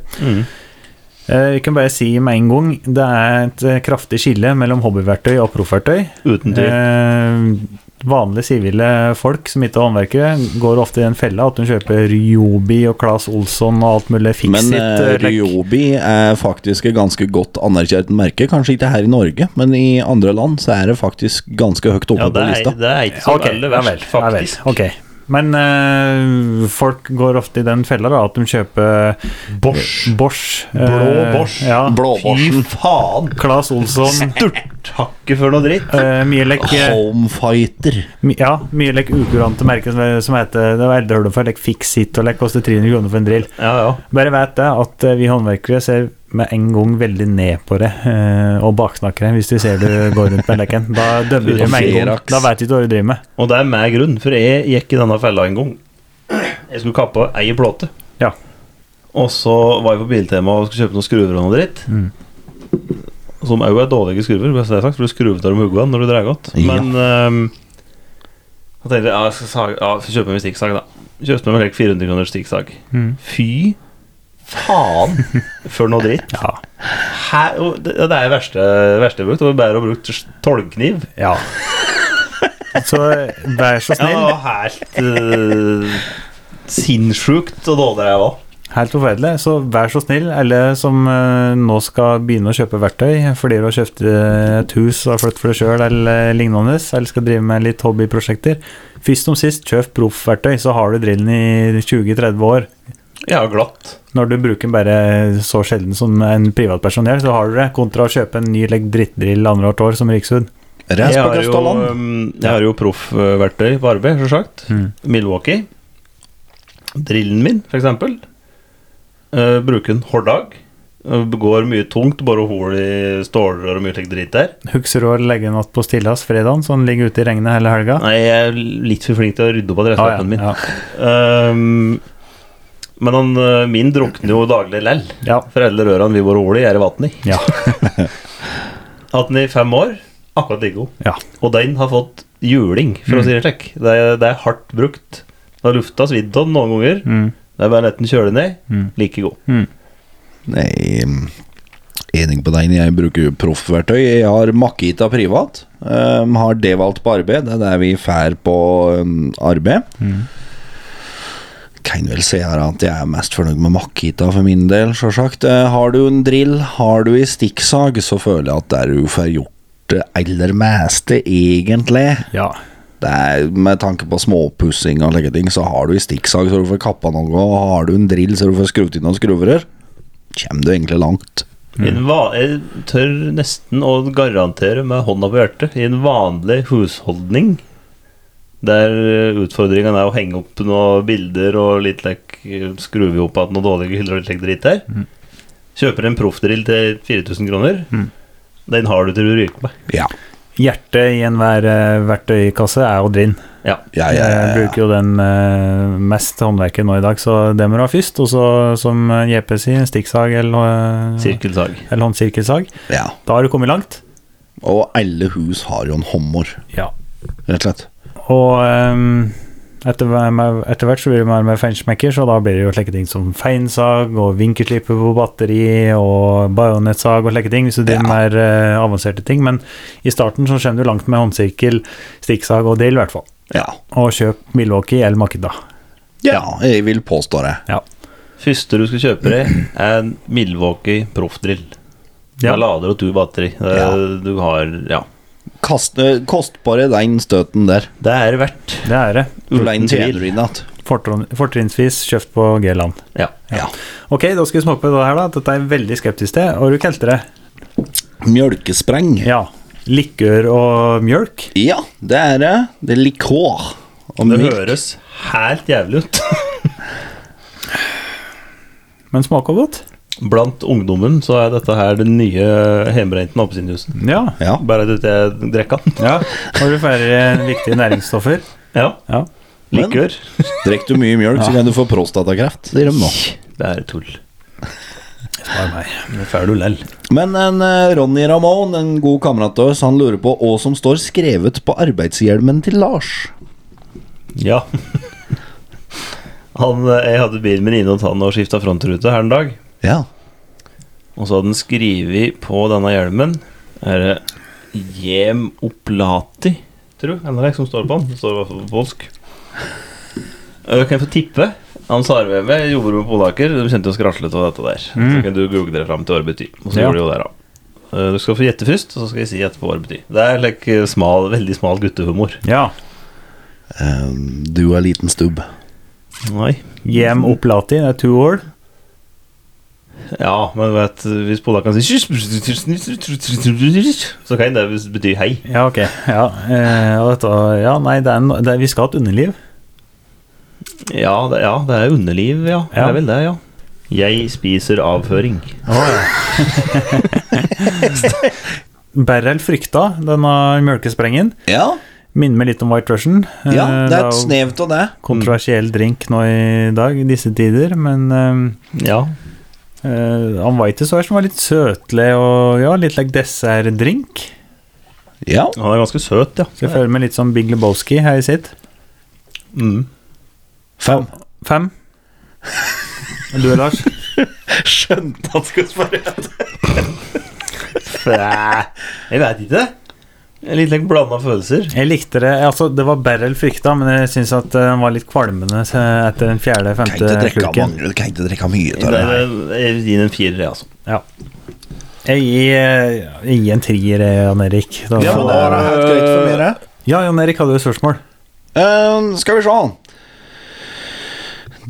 Speaker 1: Eh, Vi kan bare si med en gang det er et eh, kraftig skille mellom hobbyverktøy og proffverktøy.
Speaker 2: Uten tvil.
Speaker 1: Eh, vanlige sivile folk som ikke er håndverkere, går ofte i den fella at de kjøper Ryobi og Claes Olsson og alt mulig
Speaker 3: Men
Speaker 1: fix-it.
Speaker 3: eh,
Speaker 1: eh, lekk.
Speaker 3: Ryobi er faktisk et ganske godt anerkjent merke. Kanskje ikke her i Norge, men i andre land så er det faktisk ganske høyt oppe
Speaker 2: Ja,
Speaker 3: på
Speaker 2: det er,
Speaker 3: lista.
Speaker 2: det er ikke så
Speaker 1: Ok, ja
Speaker 2: veldig
Speaker 1: vel,
Speaker 2: verst,
Speaker 1: ja vel,
Speaker 2: faktisk.
Speaker 1: ok. Men eh, folk går ofte i den fella da, at de kjøper eh,
Speaker 2: Bosch.
Speaker 1: Bosch.
Speaker 2: Blå
Speaker 1: eh,
Speaker 2: Bosch.
Speaker 1: Ja.
Speaker 3: Blåborsen.
Speaker 2: Faen!
Speaker 1: Claes Olsson.
Speaker 2: Durthakke for noe dritt.
Speaker 1: eh, mye lek eh,
Speaker 3: Homefighter.
Speaker 1: my, Ja, mye lek ukurante merker som, eh, som heter Det var eldehullet for lek Fix It og lek koster 300 kroner for en drill.
Speaker 2: Ja, ja.
Speaker 1: Bare vet det at eh, vi håndverkere ser med en gang veldig ned på det eh, og baksnakker det hvis de ser du går rundt med leken. Da dømmer de med en gang. Da vet de ikke hva du driver med.
Speaker 2: Og det er meg grunn, for jeg gikk i denne fella en gang. Jeg skulle kappe ei plate.
Speaker 1: Ja.
Speaker 2: Og så var jeg på Biltema og skulle kjøpe noen skruver og noe dritt. Mm. Som òg er dårlige skruver, best det er sagt, for du skruver av dem hoggene når du drar godt.
Speaker 3: Ja.
Speaker 2: Men ehm, da tenkte jeg ja, jeg skal sage, ja, jeg får kjøpe meg en stikksag, da. Kjøpte meg en 400 kroner stikksag. Fy faen for noe dritt.
Speaker 1: Ja.
Speaker 2: Hæ? Og Det, det er det verste, verste jeg har brukt. Det var bare å bruke tolvkniv.
Speaker 1: ja. Så vær så
Speaker 2: Ja, det
Speaker 1: snill.
Speaker 2: var helt eh, sinnssykt og dårlig jeg var.
Speaker 1: Helt forferdelig. Så vær så snill, alle som eh, nå skal begynne å kjøpe verktøy fordi du har kjøpt eh, et hus og har flyttet for deg sjøl eller lignende, eller skal drive med litt hobbyprosjekter Først som sist, kjøp proffverktøy, så har du drillen i 20-30 år.
Speaker 2: Ja, glatt.
Speaker 1: Når du bruker den bare så sjelden som en privatperson gjør, så har du det, kontra å kjøpe en ny legg drittdrill annethvert år som Rikshund.
Speaker 3: Reis
Speaker 2: Jeg
Speaker 3: på
Speaker 2: har jo,
Speaker 3: Kastaland.
Speaker 2: um, jeg har jo proffverktøy på arbeid, selvsagt.
Speaker 1: Mm.
Speaker 2: Milwaukee. Drillen min, for eksempel. Eh, bruker den hver dag. Eh, Går mye tungt, bare hull i ståler og mye slik dritt der.
Speaker 1: Husker du å legge en natt på Stillas fredagen, så den ligger ute i regnet hele helga?
Speaker 2: Nei, jeg er litt for flink til å rydde opp
Speaker 1: Ah,
Speaker 2: adresseappen min.
Speaker 1: ja,
Speaker 2: Ehm, men han, eh, min drukner jo daglig lell.
Speaker 1: ja.
Speaker 2: For alle rørene vi bor i, er i vann i.
Speaker 1: ja,
Speaker 2: Hatt den i fem år, akkurat like god.
Speaker 1: ja.
Speaker 2: Og den har fått juling, for å si
Speaker 1: Mm.
Speaker 2: det slik. Det er, det er hardt brukt. Det har lufta svidd av den noen ganger.
Speaker 1: Mm.
Speaker 2: Det er bare å lette den kjøle ned.
Speaker 1: Mm.
Speaker 2: Like god.
Speaker 3: Nei, mm, enig på den. Jeg bruker jo proffverktøy. Jeg har Makita privat. Um, har det valgt på arbeid. Det er der vi fær på um, arbeid. Kan vel si her at jeg er mest fornøyd med Makita for min del, sjølsagt. Eh, Har du en drill, har du ei stikksag, så føler jeg at der du får gjort det aller meste, egentlig.
Speaker 1: ja.
Speaker 3: Det er, med tanke på småpussing og slike ting, så har du i stikksag så du får kappa noe, og har du en drill så du får skrudd inn noen skruverør, kommer du egentlig langt.
Speaker 1: Mm.
Speaker 2: En va- jeg tør nesten å garantere med hånda på hjertet i en vanlig husholdning der utfordringen er å henge opp noen bilder og litt lek, skru vi opp at noen dårlige hyller og litt lek dritt der.
Speaker 1: Mm.
Speaker 2: Kjøper en proffdrill til 4000 kroner.
Speaker 1: Mm.
Speaker 2: Den har du til du ryker med.
Speaker 3: Ja.
Speaker 1: Hjertet i enhver eh, verktøykasse er jo drinn.
Speaker 2: Ja.
Speaker 3: Ja, ja, ja,
Speaker 1: Jeg
Speaker 3: ja.
Speaker 1: bruker jo den eh, mest håndverket nå i dag, så det må du ha først. Og så, som eh, JP sier, stikksag eller, eh,
Speaker 2: Sirkelsag.
Speaker 1: eller håndsirkelsag.
Speaker 3: ja.
Speaker 1: Da har du kommet langt.
Speaker 3: Og alle hus har jo en hommer,
Speaker 1: Ja.
Speaker 3: rett og slett.
Speaker 1: Og ehm, etter, hver- etter hvert så blir det mer og mer feinschmecker, så da blir det jo slike ting som feinsag og vinkelslipper på batteri og bajonettsag og slike ting, hvis du driver
Speaker 3: Ja.
Speaker 1: mer eh, avanserte ting. Men i starten så kommer du langt med håndsirkel, stikksag og drill, i hvert fall.
Speaker 3: Ja.
Speaker 1: Og kjøp Milwaukee eller Makita.
Speaker 3: ja, jeg vil påstå det.
Speaker 1: Ja.
Speaker 2: Første du skal kjøpe deg, er en Milwaukee proffdrill.
Speaker 1: Ja.
Speaker 2: Da lader du to batteri. Det-
Speaker 3: Ja.
Speaker 2: Du har Ja.
Speaker 3: Kast, eh, kost på deg den støten der,
Speaker 2: Det er verdt.
Speaker 1: Det er det.
Speaker 3: for den
Speaker 2: Uten tvil.
Speaker 3: tjener du inn igjen.
Speaker 1: Fortrin- Fortrinnsvis kjøpt på G-land.
Speaker 2: Ja.
Speaker 3: Ja.
Speaker 1: Ok, da skal vi smake på det her, da. Dette er jeg veldig skeptisk til. Og du kalte det
Speaker 3: Mjølkespreng. Ja.
Speaker 1: ja, likør og mjølk.
Speaker 3: det er det. Det er likør. Og
Speaker 2: Det
Speaker 3: mjølk.
Speaker 2: høres helt jævlig ut.
Speaker 1: Men smaker godt.
Speaker 2: Blant ungdommen så er dette her den nye hjemmebrenten appelsinjuicen.
Speaker 1: Ja.
Speaker 3: Ja.
Speaker 2: Bare at jeg drikker den.
Speaker 1: Ja, har du færre viktige næringsstoffer?
Speaker 2: Ja.
Speaker 1: Ja.
Speaker 2: Likør.
Speaker 3: Drikk du mye mjølk, så kan du få prostatakreft. Det er de nå.
Speaker 2: Det er tull. Det får du lell.
Speaker 3: Men en eh, Ronny Ramon, en god kamerat av oss, han lurer på hva som står skrevet på arbeidshjelmen til Lars.
Speaker 2: Ja. Han, eh, jeg hadde bilen min inne hos han og skifta frontrute her en dag.
Speaker 3: Ja.
Speaker 2: Og så hadde han skrevet på denne hjelmen Er det Jem Oplati, tror jeg. Eller det som står på den. Det står i hvert fall på polsk. Eh, Kan jeg få tippe? Han Sarveve jobber med polaker. De kjente jo skraslet av dette der. Så kan du google det fram til hva det betyr. Og så
Speaker 1: Ja.
Speaker 2: gjorde de jo det, da. Eh, Du skal få gjette først, og så skal jeg si etterpå hva det betyr. Det er like smal, veldig smal guttehumor.
Speaker 1: ja.
Speaker 3: Ehm, du er liten stubb.
Speaker 2: Nei.
Speaker 1: Hjem opplati, det er two all.
Speaker 2: Ja, men vet, hvis polakene sier Så kan det bety hei.
Speaker 1: Ja, ok. Ja, eh, og dette, ja nei, det er, no- det er, vi skal ha et underliv.
Speaker 2: Ja, det, ja, det er underliv, ja. Det
Speaker 1: Ja.
Speaker 2: er vel det, ja. Jeg spiser avføring.
Speaker 1: Beryl frykta denne mjølkesprengen.
Speaker 3: Ja,
Speaker 1: Minner meg litt om White Russian. Eh,
Speaker 3: ja, det er et
Speaker 1: jo
Speaker 3: snev av det.
Speaker 1: Kontroversiell drink nå i dag, i disse tider, men eh,
Speaker 2: Ja.
Speaker 1: eh, han White Sauce var litt søtlig og ja, litt like dessertdrink.
Speaker 3: Ja.
Speaker 2: Han er ganske søt, ja.
Speaker 1: Så jeg føler meg litt som Big Lebowski her i sitt.
Speaker 2: Mm.
Speaker 3: Fem.
Speaker 1: Fem. Du, Lars?
Speaker 2: Skjønte han skulle spørre Jeg veit ikke. Litt like blanda følelser.
Speaker 1: Jeg likte det. Altså, det var bedre enn frykta, men jeg syns at eh, den var litt kvalmende eh, etter den
Speaker 3: Kan ikke
Speaker 1: fjerde-femte
Speaker 3: drikke
Speaker 1: sluken.
Speaker 3: mange, du kan ikke drikke mye av det. her.
Speaker 2: Jeg vil gi den en firer, jeg, altså.
Speaker 1: Ja. Jeg gir, eh, jeg gir en trier, eh, Jan Erik. Da-
Speaker 3: Ja, men det er helt greit for meg, det. Eh,
Speaker 1: ja, Jan Erik hadde jo et spørsmål.
Speaker 3: Ehm, skal vi se.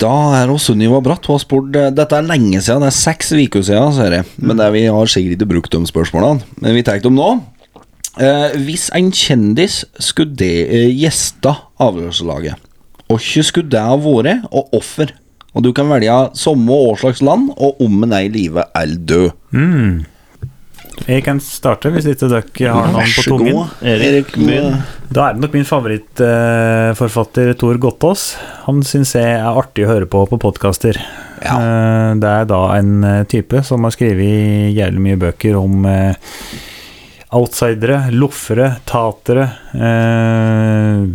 Speaker 3: Da er også Sunniva Bratt Hun har spurt eh, Dette er lenge siden, det er seks uker siden, ser jeg. Men det er, vi har sikkert ikke brukt de spørsmålene. Men vi tar dem nå. Eh, hvis en kjendis skulle de, eh, gjeste avgjørelseslaget, hvem skulle det ha vært, og hvorfor? Og du kan velge samme og hva slags land, og om en er i live eller død.
Speaker 1: Jeg kan starte, hvis ikke dere har noen på tungen.
Speaker 2: Erik, begynn.
Speaker 1: Da er det nok min favorittforfatter Tor Gottaas. Han syns jeg er artig å høre på på podkaster. Eh, Det er da en eh, type som har skrevet jævlig mye bøker om eh, outsidere, loffere, tatere eh,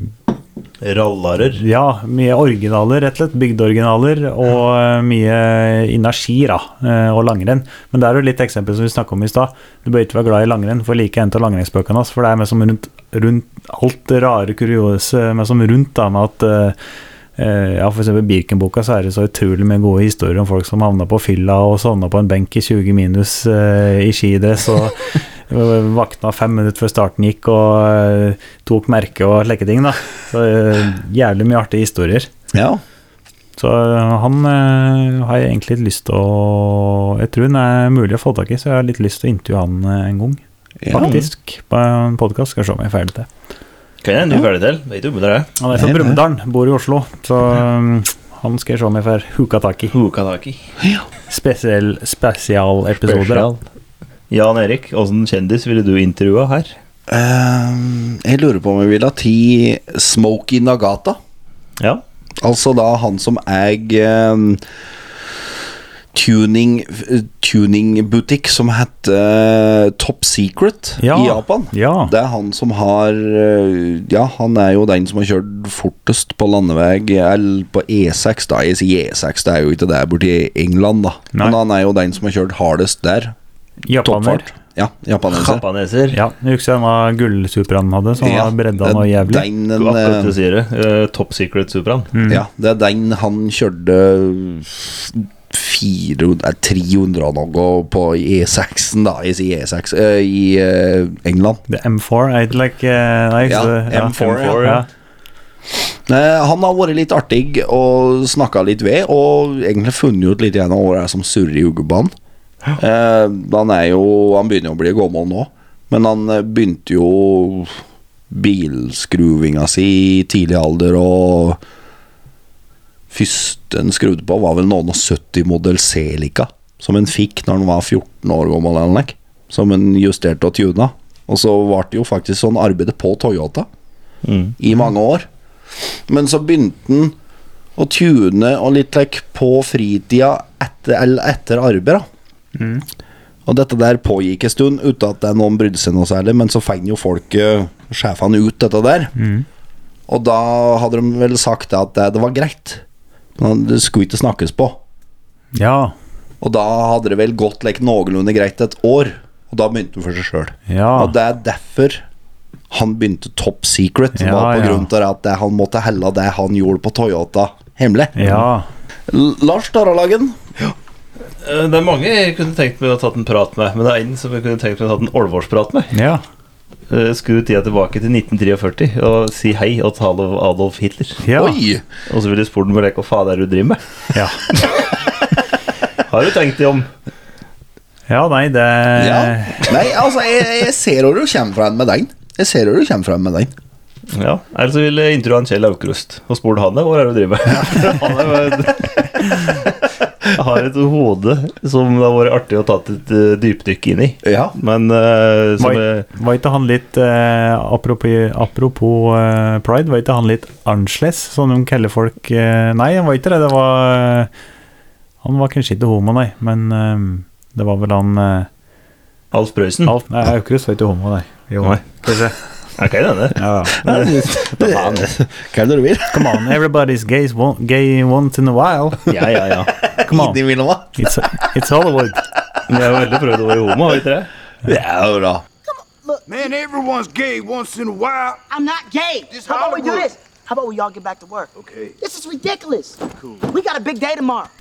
Speaker 2: Rallarer.
Speaker 1: Ja, mye originaler, rett og slett. Bygdeoriginaler og eh, mye energi da, eh, og langrenn. Men det er jo litt eksempel som vi snakket om i stad. Du bør ikke være glad i langrenn, for like en av langrennsbøkene hans. For det er med som rundt, rundt alt det rare, kuriose, med som rundt da, med at eh, eh, ja, for eksempel Birkenboka så er det så utrolig med gode historier om folk som havna på fylla og sovna på en benk i 20 minus eh, i skidress og eh, vakna fem minutter før starten gikk og eh, tok merke og slike ting. da så eh, Jævlig mye artige historier.
Speaker 3: Ja.
Speaker 1: Så eh, han eh, har jeg egentlig litt lyst til å Jeg tror han er mulig å få tak i, så jeg har litt lyst til å intervjue han eh, en gang.
Speaker 3: Ja.
Speaker 1: Faktisk. På en podkast. Skal se om jeg er ferdig til.
Speaker 2: Kan jeg en ny ferdig til? Vet du om det er?
Speaker 1: Han er fra
Speaker 3: Nei, nei.
Speaker 1: Brumunddal, bor i Oslo, så um, han skal jeg se om jeg får huka tak i.
Speaker 2: Hukataki.
Speaker 1: Spesiell spesialepisoder. da.
Speaker 2: Jan Erik, åssen kjendis ville du intervjua her?
Speaker 3: Ehm, jeg lurer på om jeg vil ha ti Smokey Nagata.
Speaker 2: Ja.
Speaker 3: Altså da han som eier um, tuning f- tuningbutikk som heter eh, Top Secret
Speaker 1: Ja,
Speaker 3: i Japan.
Speaker 1: ja.
Speaker 3: Det er han som har eh, Ja, han er jo den som har kjørt fortest på landevei, eller på E6, da. Jeg sier E6, det er jo ikke der borte i England, da.
Speaker 1: Nei.
Speaker 3: Men han er jo den som har kjørt hardest der.
Speaker 1: Japaner.
Speaker 3: Toppfart. Ja, japaner.
Speaker 2: Kappaneser.
Speaker 1: Ja, jeg husker denne gullsuperen han hadde, som var bredda noe jævlig.
Speaker 3: Den, den,
Speaker 2: Akkurat
Speaker 3: eh,
Speaker 2: det du sier det. Eh, Mm. Top Secret Supraen.
Speaker 3: Ja, det er den han kjørte 400, nei, 300 og noe på E6-en, da. Jeg sier E6 eh, i eh, England.
Speaker 1: The M4, er ikke like eh, Nei,
Speaker 3: Ja,
Speaker 1: så-
Speaker 3: M4, ja.
Speaker 1: ja.
Speaker 3: Eh, han har vært litt artig og snakka litt ved, og egentlig funnet ut litt igjen av hva det er som surrer i juggebanen. Eh, han er jo Han begynner jo å bli gammel nå, men han eh, begynte jo bilskruvinga si i tidlig alder, og første han skrudde på, var vel noen og 70 modell Celica, som han fikk når han var 14 år gammel, eller noe, som han justerte og tuna. Og så ble det jo faktisk sånn arbeidet på Toyota i mange år. Men så begynte han å tune og litt like, på fritida etter, eller etter arbeid. Da. Og dette der pågikk en stund uten at det er noen brydde seg noe særlig, men så fant jo folk eh, sjefene ut dette der. Og da hadde de vel sagt at det, det var greit, men det skulle ikke snakkes på.
Speaker 1: Ja.
Speaker 3: Og da hadde det vel gått like, noenlunde greit et år, og da begynte han for seg sjøl.
Speaker 1: Ja.
Speaker 3: Og det er derfor han begynte Top Secret.
Speaker 1: Ja,
Speaker 3: var på
Speaker 1: ja.
Speaker 3: grunn til at det, han måtte helle det han gjorde på Toyota, hemmelig.
Speaker 1: ja.
Speaker 3: L- Lars Taralagen.
Speaker 2: Eh, Det er mange jeg kunne tenkt meg å tatt en prat med, men det er en som jeg kunne tenkt meg å tatt en olvårsprat med.
Speaker 1: Ja.
Speaker 2: Eh, Skru tida tilbake til 1943 og si hei og tale om Adolf Hitler.
Speaker 1: Ja. Eh.
Speaker 3: Oi!
Speaker 2: Og så ville jeg spurt ham hva faen er det du driver med.
Speaker 1: ja.
Speaker 2: Har du tenkt deg om?
Speaker 1: Ja, nei, det
Speaker 3: Ja. Nei, altså, jeg, jeg ser hvor du kommer fra med den. Jeg ser hvor du kommer fra med den.
Speaker 2: Ja, Eller så ville jeg intervjue han Kjell Aukrust og spurt han hva er det du driver med. Han er bare- har et hode som det har vært artig å ta et eh, dypdykk inn i.
Speaker 3: Ja.
Speaker 2: Men eh, som
Speaker 1: Var,
Speaker 2: eh,
Speaker 1: var ikke han litt eh, Apropos, apropos eh, pride, var ikke han litt annerledes, som de kaller folk eh, Nei, han var ikke det. Det var eh, Han var kanskje ikke homo, nei, men eh, det var vel han eh,
Speaker 2: Alf Prøysen
Speaker 1: Alf Nei, Aukrust var ikke homo, nei. Jo,
Speaker 2: Nei.
Speaker 1: kanskje.
Speaker 2: Er ikke det det?
Speaker 1: Ja, ja.
Speaker 3: Hva er det du vil?
Speaker 1: Come on, everybody's gay, one- gay once in a while.
Speaker 2: Ja, ja, ja.
Speaker 1: Come on,
Speaker 3: Inni vil hva?
Speaker 1: it's, it's Hollywood.
Speaker 2: Vi har veldig prøvd å være homo, har vi ikke det?
Speaker 3: Ja, bra.
Speaker 6: Man, everyone's gay once in a while.
Speaker 10: I'm not gay.
Speaker 6: This
Speaker 10: How about we do
Speaker 6: Hollywood.
Speaker 10: this? How about we all get back to work?
Speaker 6: Okay.
Speaker 10: This is ridiculous. We got a big day tomorrow.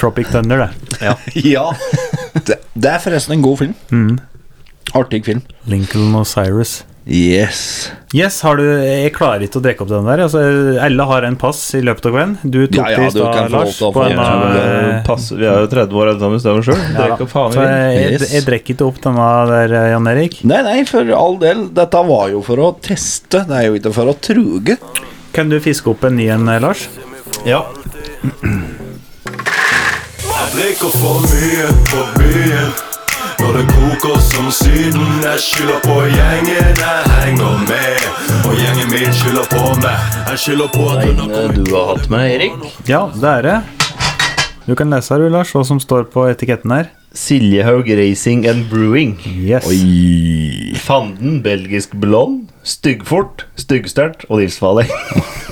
Speaker 1: Tropic Thunder, det.
Speaker 3: Ja.
Speaker 1: Mm.
Speaker 3: Det, det er forresten en god film. Artig film.
Speaker 1: Lincoln og Cyrus.
Speaker 3: Yes.
Speaker 1: Yes, har du, jeg klarer ikke å drikke opp den der. Altså, alle har en pass i løpet av kvelden. Du tok
Speaker 3: Ja, ja,
Speaker 1: det i
Speaker 3: du
Speaker 1: stad,
Speaker 3: kan
Speaker 1: Lars.
Speaker 3: få lov til å
Speaker 1: På
Speaker 3: få
Speaker 1: en
Speaker 3: det.
Speaker 1: av, eh,
Speaker 2: Pass, vi er jo 30 år alle sammen, stemmer sjøl.
Speaker 1: ja da.
Speaker 2: Drikker faen
Speaker 1: Så
Speaker 2: i
Speaker 1: jeg,
Speaker 3: vil.
Speaker 1: jeg, jeg drikker ikke opp denne der, eh, Jan Erik.
Speaker 3: Nei, nei, for all del. Dette var jo for å teste, det er jo ikke for å truge.
Speaker 1: Kan du fiske opp en ny en, eh, Lars?
Speaker 2: Ja.
Speaker 11: Jeg drikker for mye på byen Når det koker som syden Jeg skylder på gjengen jeg henger med Og gjengen min skylder på meg Jeg skylder på at hun har kommet
Speaker 2: Du har hatt med Erik.
Speaker 1: Ja, det er det. Du kan lese her, du, Lars, hva som står på etiketten her.
Speaker 2: Siljehaug Racing and Brewing.
Speaker 1: Yes.
Speaker 2: Fanden, belgisk blond, styggfort, styggsterkt og livsfarlig.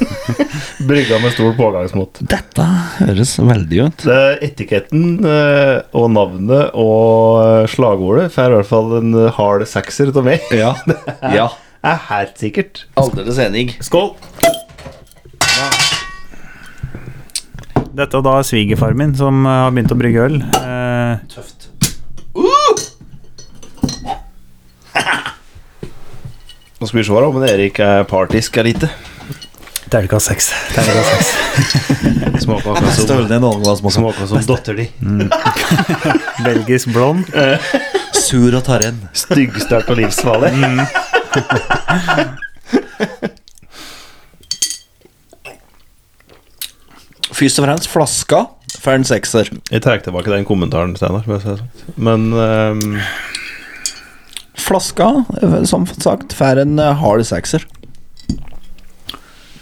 Speaker 2: Brygga med stor pågangsmot.
Speaker 3: Dette høres veldig ut.
Speaker 2: Det- Etiketten eh, og navnet og eh, slagordet får i hvert fall en eh, hard sekser av meg.
Speaker 3: Ja. ja.
Speaker 2: Er helt sikkert.
Speaker 3: Aldeles enig.
Speaker 2: Skål!
Speaker 1: Dette er da svigerfar min som eh, har begynt å brygge øl. Eh,
Speaker 2: Nå skal vi se her om Erik er partisk eller ikke.
Speaker 1: Terningkast seks.
Speaker 2: Smaker akkurat som
Speaker 7: Større enn noen gang som
Speaker 2: Smaker som datter di.
Speaker 1: Belgisk blond.
Speaker 7: sur og tarren.
Speaker 2: Styggsterkt og livsfarlig.
Speaker 1: Mm.
Speaker 3: Først og fremst flaska for en sekser.
Speaker 2: Jeg tar tilbake den kommentaren, Steinar. hvis jeg har sagt. sånn. Men ehm,
Speaker 3: Flaska, eh, som sagt, får en eh, hard sekser.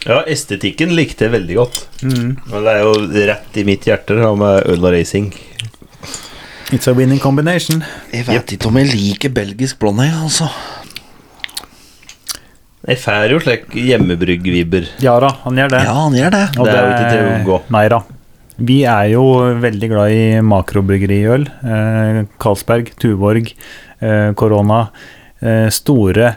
Speaker 2: ja, estetikken likte jeg veldig godt. Men det er jo rett i mitt hjerte, det her med øl og racing.
Speaker 1: It's a winning combination.
Speaker 3: Jeg vet ikke om jeg liker belgisk blond, jeg, altså.
Speaker 2: Jeg får jo slik hjemmebrygg-vibber.
Speaker 1: Ja da, han gjør det.
Speaker 3: Ja, han gjør det.
Speaker 1: Og
Speaker 2: Det er jo ikke til å unngå.
Speaker 1: Nei da. Vi er jo veldig glad i makrobryggeriøl. Eh, Carlsberg, Tuborg, eh, Korona. Eh, store,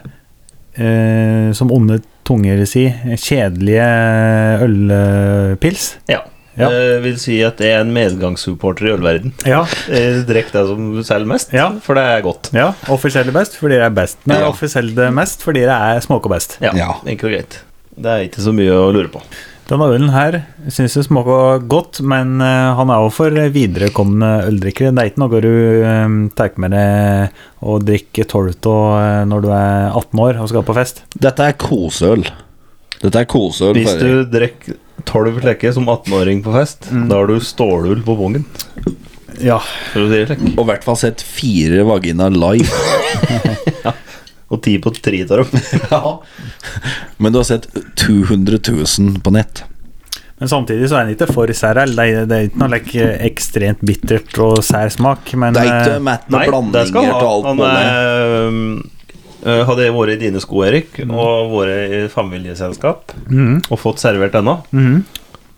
Speaker 1: eh, som onde tunger si, kjedelige eh, ølpils.
Speaker 2: Ja.
Speaker 1: Ja.
Speaker 2: Det Eh, vil si at jeg er en medgangssupporter i ølverden.
Speaker 1: Ja.
Speaker 2: Jeg drikker det som selger mest,
Speaker 1: Ja.
Speaker 2: for det er godt.
Speaker 1: ja. Offisiell best fordi det er best. Nei,
Speaker 2: Ja.
Speaker 1: offisiell det mest fordi det er smaker best.
Speaker 2: Ja,
Speaker 3: Ja.
Speaker 2: Enkelt og greit. Det er ikke så mye å lure på.
Speaker 1: Denne ølen her syns jeg smaker godt, men eh, han er jo for viderekomne øldrikkere. Det er ikke noe du um, tar med deg og drikker tolv av eh, når du er 18 år og skal på fest.
Speaker 3: Dette er koseøl. Dette er koseøl.
Speaker 2: Hvis
Speaker 3: for-
Speaker 2: du drikker tolv leker som 18-åring på fest, da har du stålull på bongen.
Speaker 1: Ja.
Speaker 2: For å si det slik.
Speaker 3: Og i hvert fall sett fire vagina live.
Speaker 2: Og ti på tre av dem.
Speaker 3: Men du har sett 200 000 på nett.
Speaker 1: Men samtidig så er den ikke for sær. eller Det, er- det er ikke noe like, ekstremt bittert og sær smak, men
Speaker 3: Det er ikke
Speaker 1: eh,
Speaker 3: mett
Speaker 2: Nei,
Speaker 3: med
Speaker 2: det
Speaker 3: blandinger
Speaker 2: skal han
Speaker 3: og
Speaker 2: ha.
Speaker 3: alt
Speaker 2: Han
Speaker 3: mulig.
Speaker 2: er, øhm, øh, hadde jeg vært i dine sko, Erik, og vært i familieselskap og fått servert denne,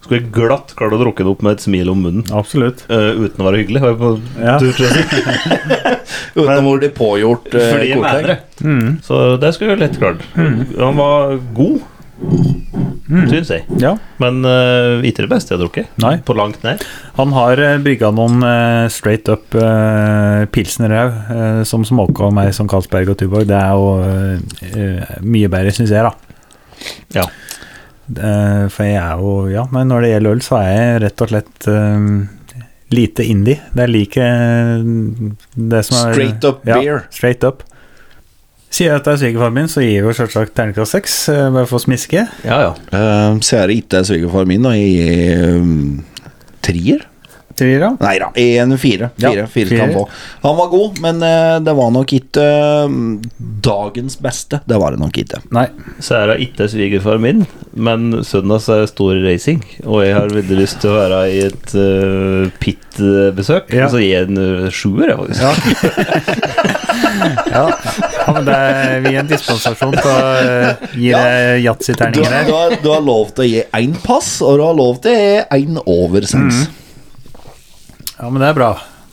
Speaker 2: skulle jeg glatt klart å drukke det opp med et smil om munnen.
Speaker 1: Absolutt.
Speaker 2: øh, uten å være hyggelig. Var jeg på
Speaker 1: Ja.
Speaker 2: tur til å si.
Speaker 3: Uten hvor de pågjort eh,
Speaker 2: Fordi jeg mener det.
Speaker 3: kortlegg.
Speaker 1: Mm,
Speaker 2: Så det skulle jeg lett klart. Han var god, syns jeg.
Speaker 1: Ja.
Speaker 2: Men øh, ikke det beste jeg har drukket.
Speaker 1: Mm. Nei.
Speaker 2: På langt nær.
Speaker 1: Han har eh, brygga noen eh, straight up uh, pilsner òg, som smaker meg som Carlsberg og Tuborg. Det er jo eh, eh, mye bedre, syns jeg, da.
Speaker 2: Ja.
Speaker 1: Eh, for jeg er jo Ja, men når det gjelder øl, så er jeg rett og slett eh, lite indie. Det er like eh, det som er
Speaker 3: Straight up
Speaker 1: ja,
Speaker 3: beer.
Speaker 1: Straight up. Sier jeg at det er svigerfaren min, så gir jeg jo selvsagt terningkast seks, eh, bare for å smiske.
Speaker 2: Ja, ja.
Speaker 3: Eh, så er det ikke svigerfar min, og jeg er um, trier.
Speaker 1: Trier, ja.
Speaker 3: Nei da, en fire.
Speaker 1: Ja,
Speaker 3: Fire, fire kan
Speaker 1: fire.
Speaker 3: få. Han var god, men eh, det var nok ikke eh, dagens beste. Det var det nok ikke.
Speaker 1: Nei.
Speaker 2: Så er det ikke svigerfar min, men søndag så er det stor racing. Og jeg har veldig lyst til å være i et uh, pit-besøk,
Speaker 1: Ja.
Speaker 2: så gir jeg en øh, sjuer, jeg, faktisk.
Speaker 1: Ja, ja men det er, vi gir en dispensasjon til å eh, gi deg
Speaker 3: Du,
Speaker 1: yatzy-terninger
Speaker 3: du,
Speaker 1: her.
Speaker 3: har, du har lov til å gi én pass, og du har lov til å gi én over seks.
Speaker 1: Ja, men det er bra.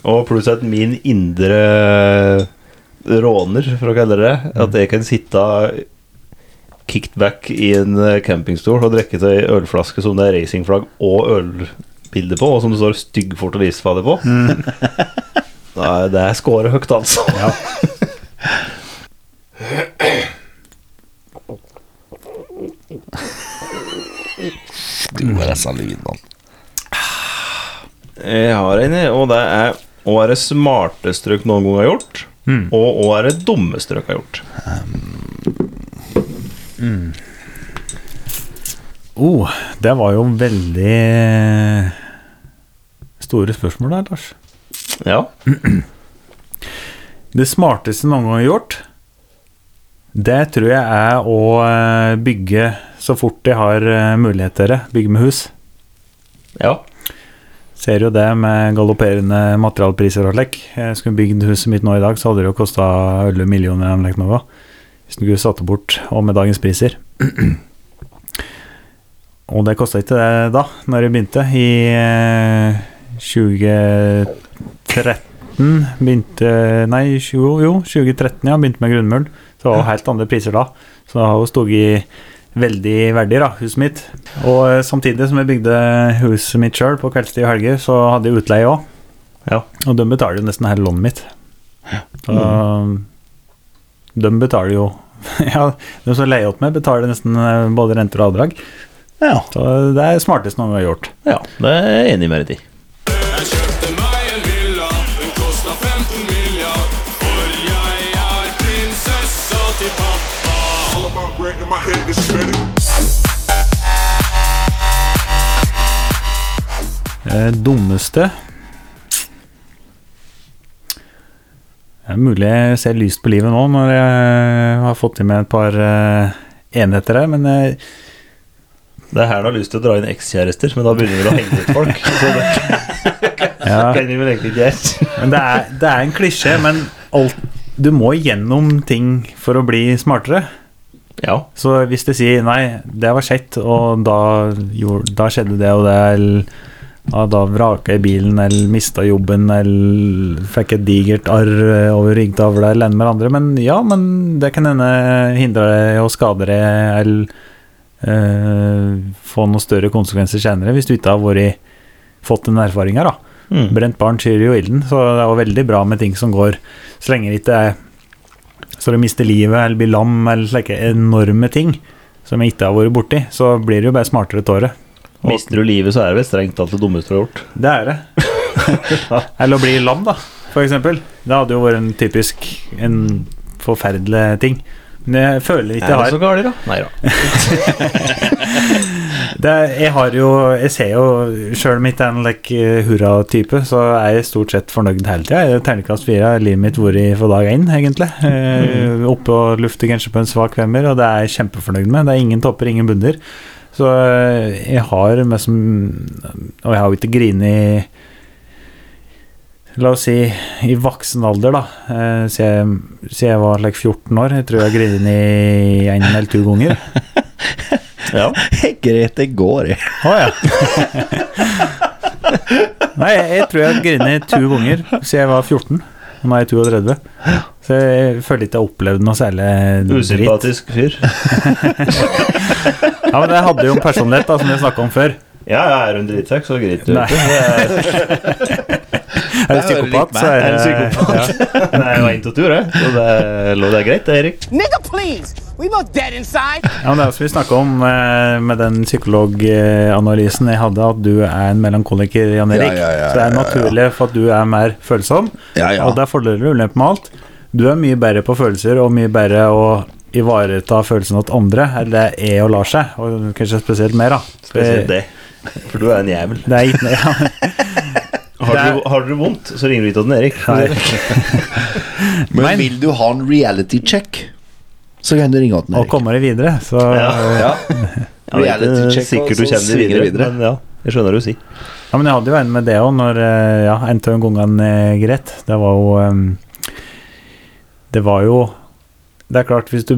Speaker 2: Og pluss at min indre råner, for å kalle det det, at jeg kan sitte kicked back i en eh, campingstol og drikke til ei ølflaske som det er racingflagg og ølbilde på, og som det står 'styggfort og isfader' på. Nei, det er scoret høyt, altså.
Speaker 3: Du sånn og disse lydene.
Speaker 2: Jeg har en, jeg, og det er Hva er det smarteste dere noen gang har gjort? Og hva er det dummeste dere har gjort?
Speaker 1: Oh, det var jo veldig eh, store spørsmål der, Lars.
Speaker 2: Ja.
Speaker 1: Det smarteste noen gang gjort, det tror jeg er å eh, bygge så fort de har eh, mulighet til det. Bygge med hus.
Speaker 2: Ja.
Speaker 1: Ser jo det med galopperende materialpriser og slik. Jeg Skulle bygd huset mitt nå i dag, så hadde det jo kosta 11 millioner eller noe. sånt nå, Hvis du skulle satt det bort, og med dagens priser. og det kosta ikke det da, når jeg begynte. I eh, 2013 begynte Nei, 20, jo, 2013, ja. Begynte med grunnmuren. Så det var jo helt andre priser da. Så det har jo stått veldig verdig, da, huset mitt. Og eh, samtidig som jeg bygde huset mitt sjøl på kveldstid og helger, så hadde jeg utleie òg. Og de betaler jo nesten hele lånet mitt. Så, eh, De betaler jo Ja, de som leier opp meg, betaler nesten eh, både renter og avdrag. Så eh, det er smartest noen gang jeg har gjort.
Speaker 2: Ja, det er jeg enig med deg i.
Speaker 1: Eh, dummeste Det er mulig jeg ser lyst på livet nå når jeg har fått i meg et par eh, enheter her, men eh, jeg
Speaker 2: Det er her du har lyst til å dra inn ekskjærester, men da begynner vi å henge ut folk. Så det
Speaker 1: Ja.
Speaker 2: kan vi vel egentlig ikke gjøre.
Speaker 1: Men det er, det er en klisjé, men alt, du må gjennom ting for å bli smartere.
Speaker 2: Ja.
Speaker 1: Så hvis de sier nei, det var kjekt, og da, gjorde, da skjedde det og det, eller ja, da vraka jeg bilen, eller mista jobben, eller fikk et digert arr eh, over ryggtavla, eller en med andre, men ja, men det kan hende hindre deg og skade deg, eller eh, få noen større konsekvenser senere, hvis du ikke har vært, fått den erfaringa, da.
Speaker 2: Mm.
Speaker 1: Brent barn skyr jo ilden, så det er jo veldig bra med ting som går Så lenge det ikke er så du mister livet eller blir lam eller slike enorme ting som jeg ikke har vært borti, så blir det jo bare smartere til året.
Speaker 2: Mister du livet, så er det vel strengt tatt det dummeste du har gjort.
Speaker 1: Det er det. eller å bli lam, da, for eksempel. Det hadde jo vært en typisk en forferdelig ting. Men jeg føler ikke jeg har
Speaker 2: galt, da? Nei da.
Speaker 1: det, er- jeg har jo Jeg ser jo Sjøl om jeg ikke er en like, hurra-type, så er jeg stort sett fornøyd hele tida. Terningkast fire har livet mitt vært fra dag én, egentlig. Eh, oppe og lufte kanskje på en svak femmer, og det er jeg kjempefornøyd med. Det er ingen topper, ingen bunner. Så eh, jeg har meg som Og jeg har jo ikke grinet La oss si i voksen alder, da. Eh, Siden jeg, siden jeg var like 14 år. Jeg tror jeg har grinet én eller to ganger.
Speaker 2: Ja.
Speaker 3: Grete går, jeg.
Speaker 1: Å ja. Nei, jeg, jeg tror jeg har grinet to ganger siden jeg var 14. Og nå er jeg 32. Så jeg føler ikke jeg har opplevd noe særlig dritt.
Speaker 2: Usympatisk fyr.
Speaker 1: Ja, men jeg hadde jo en personlighet da, som jeg snakka om før.
Speaker 2: Ja, ja, er hun drittsekk, så greit.
Speaker 1: Nei. Er du
Speaker 3: Det er veldig lik
Speaker 1: psykopat,
Speaker 3: meg.
Speaker 1: så
Speaker 2: Er en
Speaker 1: Ja.
Speaker 2: psykopat. Nei, det var inn til tur, det. Så det er, det er greit, det, Erik.
Speaker 5: Nigga, please! We both dead inside.
Speaker 1: Ja, men det er som vi snakka om eh, med den psykologanalysen jeg hadde, at du er en melankoliker, Jan Erik.
Speaker 3: Ja, ja, ja,
Speaker 1: så det er
Speaker 3: ja, ja,
Speaker 1: naturlig for at du er mer følsom.
Speaker 3: Ja, ja.
Speaker 1: Og det er fordeler og ulemper med alt. Du er mye bedre på følelser og mye bedre å ivareta følelsene til andre, eller det er og lar seg, og kanskje spesielt mer, da.
Speaker 2: Spesielt det. For du er en jævel.
Speaker 1: Det er ikke ja.
Speaker 2: Har
Speaker 1: Det er-
Speaker 2: du, har du vondt, så ringer du ikke til den Erik.
Speaker 3: Men vil du ha en reality check, så kan du ringe til
Speaker 1: Og
Speaker 3: Erik.
Speaker 1: kommer det videre, så
Speaker 2: Ja.
Speaker 3: Ja.
Speaker 2: Jeg vet ikke
Speaker 3: Reality check, og
Speaker 2: sikkert du
Speaker 3: så
Speaker 2: kjenner det
Speaker 3: svinger
Speaker 2: videre,
Speaker 3: det videre.
Speaker 2: men ja, jeg skjønner hva du sier.
Speaker 1: Ja, men jeg hadde jo en med det òg, når eh, ja, en av gangene eh, greit. Det var jo em, Det var jo Det er klart, hvis du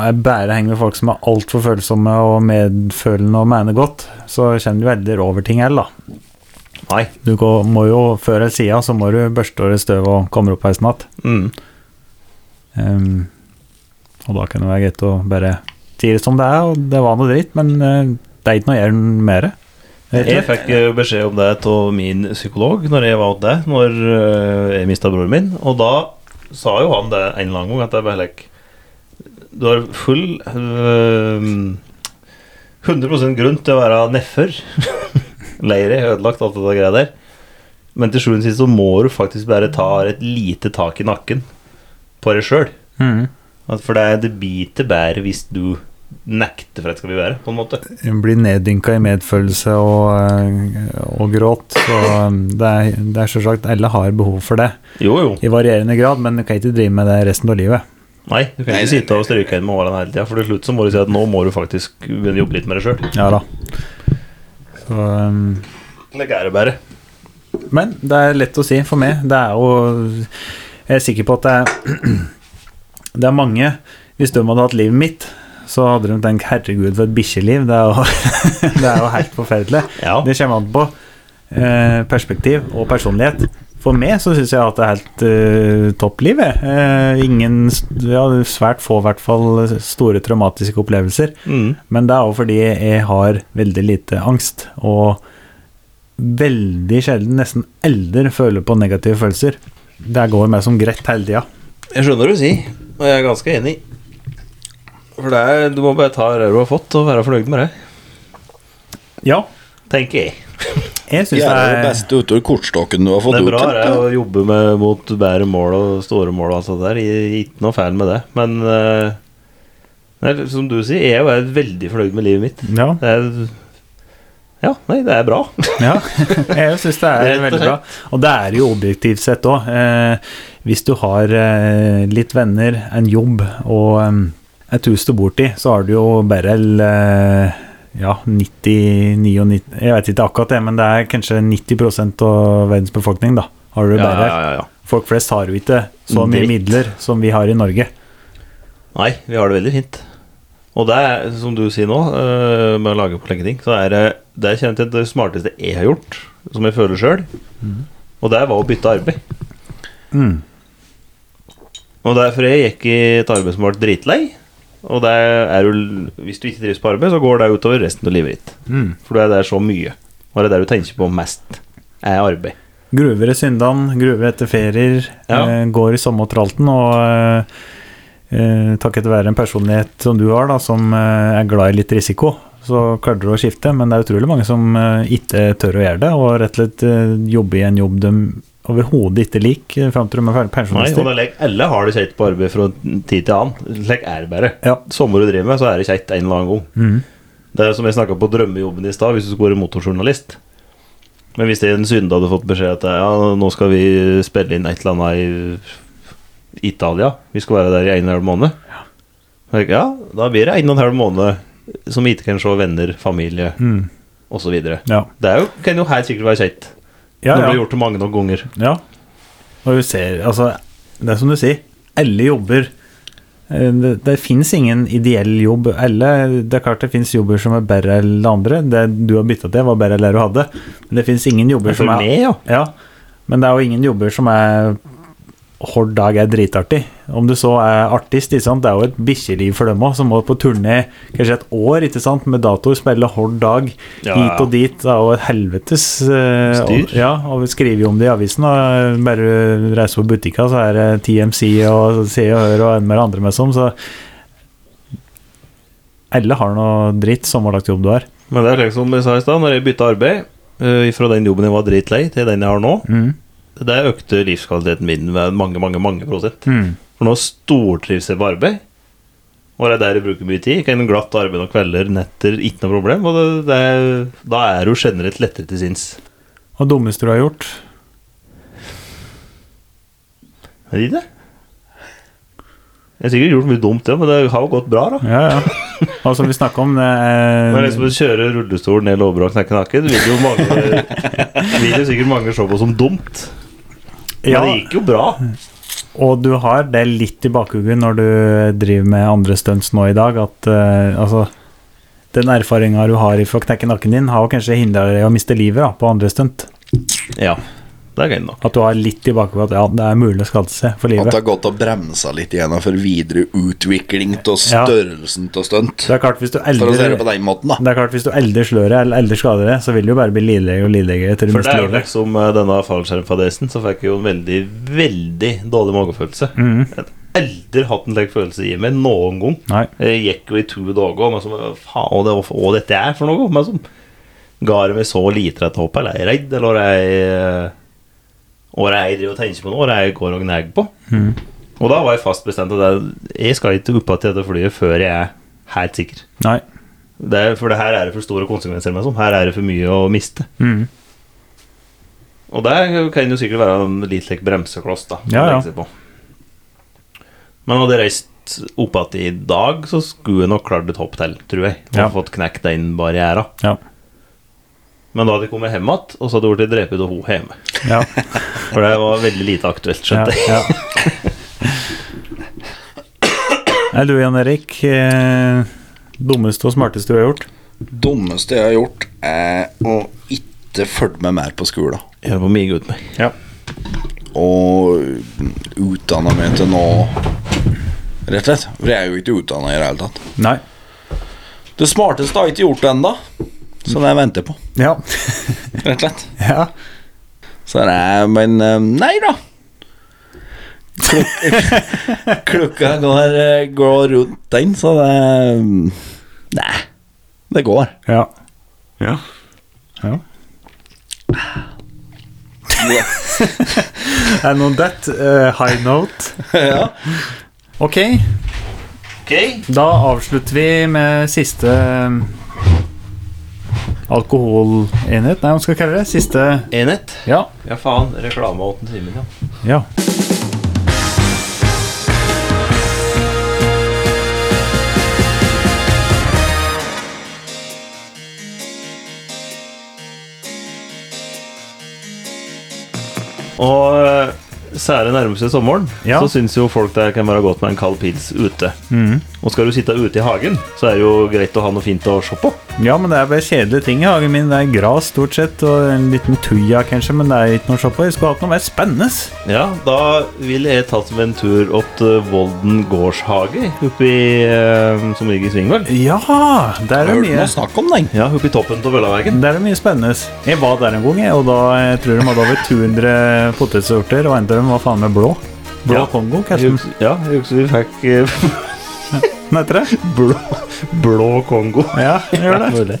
Speaker 1: er bare henger med folk som er altfor følsomme og medfølende og mener godt, så kjenner du veldig over ting heller, da.
Speaker 2: Nei.
Speaker 1: Du gå- må jo før eller siden så må du børste over støv og komme opp heisen igjen.
Speaker 2: Mm.
Speaker 1: Em, Ehm, og da kan det være greit å bare si det som det er, og det var noe dritt, men eh, det er ikke noe å gjøre med det. rett og
Speaker 2: Jeg
Speaker 1: slett.
Speaker 2: fikk eh, beskjed om det av min psykolog når jeg var hos deg, når eh, jeg mista broren min. Og da sa jo han det en eller annen gang, at jeg bare like du har full øhm, 100 grunn til å være nedfor. Leire, ødelagt, alt det der greia der. Men til sjuende og sist så må du faktisk bare ta et lite tak i nakken på deg sjøl.
Speaker 1: Mhm.
Speaker 2: For det, det biter bedre hvis du nekter for at det skal bli bedre, på en måte.
Speaker 1: Hun blir neddynka i medfølelse og, eh, og gråt. Så eh, det er, det er selvsagt alle har behov for det. I varierende grad, men du kan ikke drive med det resten av livet.
Speaker 2: Nei, du kan ikke sitte og stryke inn med årene hele tida, for til slutt så må du si at nå må du faktisk begynne å jobbe litt med deg sjøl.
Speaker 1: Ja da. Så, eh,
Speaker 2: Det er det bare.
Speaker 1: men det er lett å si for meg. Det er jo Jeg er sikker på at det er Det er mange Hvis de hadde hatt livet mitt, så hadde de tenkt 'herregud, for et bikkjeliv'. Det er jo, det er jo helt forferdelig. Det kommer an på eh, perspektiv og personlighet. For meg så syns jeg at det er helt eh, topp liv. jeg. Eh, ingen st- ja, Svært få, i hvert fall, store traumatiske opplevelser.
Speaker 2: Mm.
Speaker 1: Men det er jo fordi jeg har veldig lite angst, og veldig sjelden, nesten aldri, føler på negative følelser. Det går meg som greit hele tida.
Speaker 2: Jeg skjønner hva du sier, og jeg er ganske enig. For det er, du må bare ta det du har fått, og være fornøyd med det.
Speaker 1: Ja.
Speaker 2: Tenker jeg.
Speaker 1: Jeg
Speaker 3: Gjør det beste ut av kortstokken du har
Speaker 2: Det
Speaker 3: fått
Speaker 2: er
Speaker 3: gjort.
Speaker 2: bra det,
Speaker 3: tenker
Speaker 2: å
Speaker 3: jeg.
Speaker 2: jobbe med, mot bedre mål og store mål og alt det der. Jeg er Ikke noe feil med det. Men eh, nei, som du sier, jeg er jo er veldig fornøyd med livet mitt.
Speaker 1: Ja.
Speaker 2: Det er, ja, nei, det er bra.
Speaker 1: Ja, jeg syns det
Speaker 2: Rett
Speaker 1: er
Speaker 2: og
Speaker 1: veldig
Speaker 2: slett.
Speaker 1: bra. Og det er jo objektivt sett òg. Eh, hvis du har eh, litt venner, en jobb og eh, et hus du bor i, så har du jo bare eh, ja, 90-99 Jeg vet ikke akkurat det, men det er kanskje 90 av verdens befolkning, da. Har du
Speaker 2: Ja,
Speaker 1: bare.
Speaker 2: ja, ja, ja.
Speaker 1: Folk flest har jo ikke så mye
Speaker 2: Dritt.
Speaker 1: midler som vi har i Norge.
Speaker 2: Nei, vi har det veldig fint. Og det er, som du sier nå, eh, med å lage på lenge ting, så er det det er kjent til det smarteste jeg har gjort, som jeg føler sjøl,
Speaker 1: Mhm.
Speaker 2: og det var å bytte arbeid.
Speaker 1: Mm.
Speaker 2: Og derfor jeg gikk i et arbeid som ble dritlei. Og det er jo, hvis du ikke trives på arbeid, så går det utover resten av livet ditt.
Speaker 1: Mm.
Speaker 2: For det er der så mye. Og det er der du tenker på mest, er arbeid.
Speaker 1: Gruver i syndene, gruver etter ferier,
Speaker 2: Ja.
Speaker 1: eh, går i samme tralten. Og eh, eh, takket være en personlighet som du har, da, som eh, er glad i litt risiko, så klarer du å skifte. Men det er utrolig mange som eh, ikke tør å gjøre det, og rett og slett eh, jobbe i en jobb de overhodet ikke liker, eh, fram til de er ferdig
Speaker 2: Nei, og det
Speaker 1: pensjonister.
Speaker 2: er like, alle har det kjekt på arbeid fra tid til annen. Slik er det bare.
Speaker 1: Ja.
Speaker 2: Sommer du driver med, så er det kjekt en eller annen gang.
Speaker 1: Mm.
Speaker 2: Det er som jeg snakka på drømmejobben i stad, hvis du skulle være motorjournalist. Men hvis det er en synde hadde fått beskjed at ja, nå skal vi spille inn et eller annet i Italia, vi skal være der i en og en halv måned Da tenker jeg, Ja, da blir det en og en halv måned som ikke kan se venner, familie
Speaker 1: Mm.
Speaker 2: osv.
Speaker 1: Ja.
Speaker 2: Det er jo, kan jo helt sikkert være kjekt.
Speaker 1: Ja,
Speaker 2: når
Speaker 1: ja.
Speaker 2: du har gjort det mange nok ganger.
Speaker 1: Ja. Og du ser, altså, det er som du sier, alle jobber eh, Det, det fins ingen ideell jobb. Alle, det er klart det fins jobber som er bedre enn andre. Det du har bytta til, var bedre enn det du hadde. Men det fins ingen jobber
Speaker 2: Men for
Speaker 1: som er
Speaker 2: meg, ja.
Speaker 1: Men det er jo ingen jobber som er Hver dag er dritartig. Om du så er artist, ikke sant? det er jo et bikkjeliv for dem òg, som må på turné kanskje et år ikke sant? med datoer, spille hver dag
Speaker 2: Ja, ja.
Speaker 1: hit og dit. Det er jo et helvetes eh,
Speaker 2: Styr.
Speaker 1: og- Ja, og vi skriver jo om det i avisen. Og eh, bare reiser på butikka, så er det TMC og Se og Hør og en med det andre med som. Så alle har noe dritt, sommerlagt jobb du har.
Speaker 2: Men det er slik som jeg sa i stad, når jeg bytta arbeid eh, fra den jobben jeg var dritlei, til den jeg har nå,
Speaker 1: Mm.
Speaker 2: det økte livskvaliteten min med mange, mange, mange prosent.
Speaker 1: Mm.
Speaker 2: For nå stortrives jeg på arbeid. Og det er der jeg bruker mye tid. Jeg Kan glatt arbeide noen kvelder, netter, ikke noe problem. Og det, det er, da er du generelt lettere til sinns.
Speaker 1: Og det dummeste du har gjort?
Speaker 2: Er det ikke det? Jeg har sikkert gjort mye dumt, ja, men det har jo gått bra, da.
Speaker 1: Ja, ja. Og som vi snakka om det
Speaker 2: Når
Speaker 1: er-
Speaker 2: jeg liksom kjører rullestol ned lårbrua og knekker nakken, vil jo mange Vil jo sikkert mange se på som dumt. Men
Speaker 1: Ja.
Speaker 2: det gikk jo bra.
Speaker 1: Og du har det litt i bakhugget når du driver med andre stunts nå i dag, at eh, altså Den erfaringa du har fra å knekke nakken din, har jo kanskje hindra deg i å miste livet da, på andre stunt.
Speaker 2: Ja, det er gøy nok.
Speaker 1: At du har litt i bakhugget at ja, det er mulig å skade seg for
Speaker 3: At
Speaker 1: livet.
Speaker 3: det har gått og bremsa litt igjen for videre utvikling av
Speaker 1: Ja.
Speaker 3: størrelsen av stunt.
Speaker 1: Det er klart hvis du
Speaker 3: For å se det
Speaker 1: eldre
Speaker 3: på den måten, da.
Speaker 1: det er klart hvis du eldre slår deg eller eldre skader deg, så vil du jo bare bli lideligere og lideligere til du
Speaker 2: For det
Speaker 1: mister
Speaker 2: er jo
Speaker 1: livet.
Speaker 2: liksom eh, denne fallskjermfadesen, så fikk jeg jo en veldig, veldig dårlig magefølelse.
Speaker 1: Mhm.
Speaker 2: Et aldri hatt en slik følelse i meg noen gang.
Speaker 1: Nei.
Speaker 2: Jeg gikk jo i to dager, men som, faen, og det, og dette er for noe, men som ga det meg så lite rett håp, eller jeg er redd, eller jeg, og jeg driver og tenker på noe, eller jeg går og gnegger på.
Speaker 1: Mm.
Speaker 2: Og da var jeg fast bestemt at jeg, jeg skal ikke opp igjen til dette flyet før jeg er helt sikker.
Speaker 1: Nei.
Speaker 2: Det er, for det her er det for store konsekvenser, men som her er det for mye å miste.
Speaker 1: Mm.
Speaker 2: Og der kan jo sikkert være en litt slik bremsekloss, da.
Speaker 1: Ja, ja.
Speaker 2: å legge seg på. Men hadde jeg reist opp igjen i dag, så skulle jeg nok klart et hopp til, tror jeg. Og
Speaker 1: Ja.
Speaker 2: fått knekt den barriera.
Speaker 1: Ja.
Speaker 2: Men da hadde jeg kommet hjem igjen, og så hadde jeg blitt drept av henne hjemme.
Speaker 1: Ja.
Speaker 2: For det var veldig lite aktuelt, skjønte jeg.
Speaker 1: Ja, Nei, du Jan Erik, eh, dummeste og smarteste du har gjort?
Speaker 3: Dummeste jeg har gjort, er å ikke følge med mer på skolen.
Speaker 2: Gjøre på mye uten meg.
Speaker 1: Ja.
Speaker 3: Og utdanne meg til nå Rett og slett. For jeg er jo ikke utdanna i det hele tatt.
Speaker 1: Nei.
Speaker 3: Det smarteste har jeg ikke gjort ennå, som jeg venter på.
Speaker 1: Ja.
Speaker 3: Rett og slett.
Speaker 1: Ja.
Speaker 3: Så det er Men eh, nei da. Klok Klokka går, eh, går rundt den, så det eh, Nei. Det går.
Speaker 1: Ja.
Speaker 12: Ja.
Speaker 1: ja. And on that eh, high note
Speaker 3: Ja.
Speaker 1: Ok. Da avslutter vi med siste eh, alkoholenhet Nei, hva skal jeg kalle det? Siste
Speaker 2: Enhet?
Speaker 1: Ja.
Speaker 2: Ja, faen. Reklame av 8 timer, ja.
Speaker 1: ja.
Speaker 2: Og eh, sære nærmest seg sommeren,
Speaker 1: Ja.
Speaker 2: så syns jo folk det kan være godt med en kald pils ute.
Speaker 1: Mhm.
Speaker 2: Og skal du sitte ute i hagen, så er det jo greit å ha noe fint å se på.
Speaker 1: Ja, men det er bare kjedelige ting i hagen min. Det er gras stort sett, og en liten tuja kanskje, men det er ikke noe å se på. Jeg skulle hatt noe mer spennende.
Speaker 2: Ja, da ville jeg tatt meg en tur opp til Volden gårdshage, oppi, eh, som ligger i Svingvoll.
Speaker 1: Ja, der er det mye.
Speaker 3: snakk om den.
Speaker 2: Ja, oppi toppen av Vøllaveggen.
Speaker 1: Der er det mye spennende. Jeg var der en gang, jeg, og da jeg tror de hadde over 200 potetsorter, og en av dem var faen meg blå. Blå
Speaker 2: Ja.
Speaker 1: Kongo,
Speaker 2: Jeg
Speaker 1: kanskje.
Speaker 2: husker- Ja, jeg husker vi fikk eh,
Speaker 1: Hva heter det?
Speaker 2: blå, blå Kongo.
Speaker 1: Ja, jeg gjør det.
Speaker 2: mulig.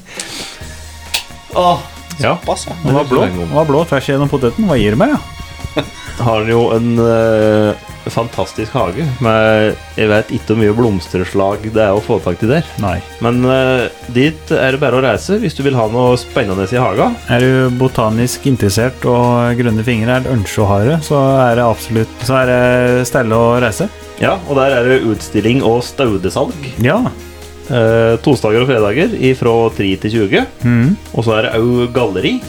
Speaker 2: Åh, ja,
Speaker 3: Pass, ja.
Speaker 1: Den var blå.
Speaker 2: Den
Speaker 1: Den var blå tvers gjennom poteten. Hva gir du meg, ja?
Speaker 2: har han jo en eh, fantastisk hage. Men jeg vet ikke hvor mye blomsterslag det er å få tak i der.
Speaker 1: Nei.
Speaker 2: Men eh, dit er det bare å reise hvis du vil ha noe spennende i haga.
Speaker 1: Er du botanisk interessert og grønne fingre er et ønske å ha det, så er det absolutt Så er det stelle å reise.
Speaker 2: Ja, og der er det utstilling og staudesalg.
Speaker 1: Ja.
Speaker 2: Eh, Tosdager og fredager fra 3 til 20.
Speaker 1: Mhm.
Speaker 2: Og så er det òg galleri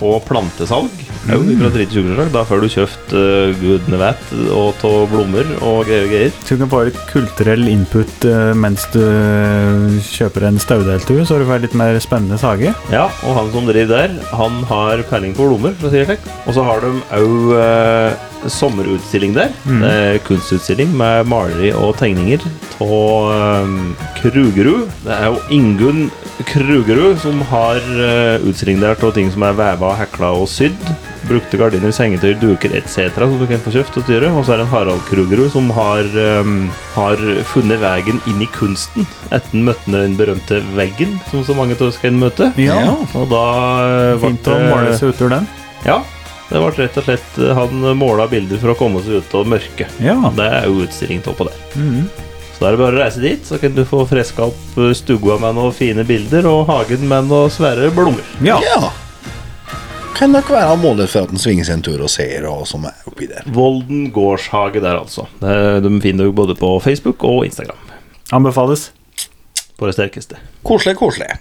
Speaker 2: og plantesalg. Au, fra 3 til 20 -slag. Da får du kjøpt eh, gudene vet og tå blommer og greier og greier.
Speaker 1: Så du kan få litt kulturell input eh, mens du eh, kjøper en staudeltue, så du får litt mer spennende sage.
Speaker 2: Ja, og han som driver der, han har peiling på blommer, for å si det slik. Og så har de òg eh, sommerutstilling der.
Speaker 1: Mhm.
Speaker 2: Det er kunstutstilling med maleri og tegninger av eh, Krugerud. Det er jo Ingunn Krugerud som har eh, utstilling der av ting som er veva, hekla og sydd. Brukte gardiner, sengetøy, duker etc. som du kan få kjøpt og styre. Og så er det en Harald Krugerud som har, eh, har funnet veien inn i kunsten. Etter møtte den berømte veggen, som så mange av oss kan møte.
Speaker 1: Ja,
Speaker 2: Og da eh, ble
Speaker 1: Fint å måle seg ut ur den.
Speaker 2: Ja. Det ble rett og slett eh, Han måla bilder for å komme seg ut av mørket.
Speaker 1: Ja.
Speaker 2: Det er jo utstilling av på det.
Speaker 1: Mhm.
Speaker 2: Så da er det bare å reise dit, så kan du få freska opp stua med noen fine bilder, og hagen med noen svære blomster.
Speaker 1: ja.
Speaker 3: Ja. Kan nok være han måler for at han svinger seg en tur og ser hva som er oppi der.
Speaker 2: Volden gårdshage der, altså. Det- De finner du både på Facebook og Instagram.
Speaker 1: Anbefales.
Speaker 2: På det sterkeste.
Speaker 3: Koselig, koselig.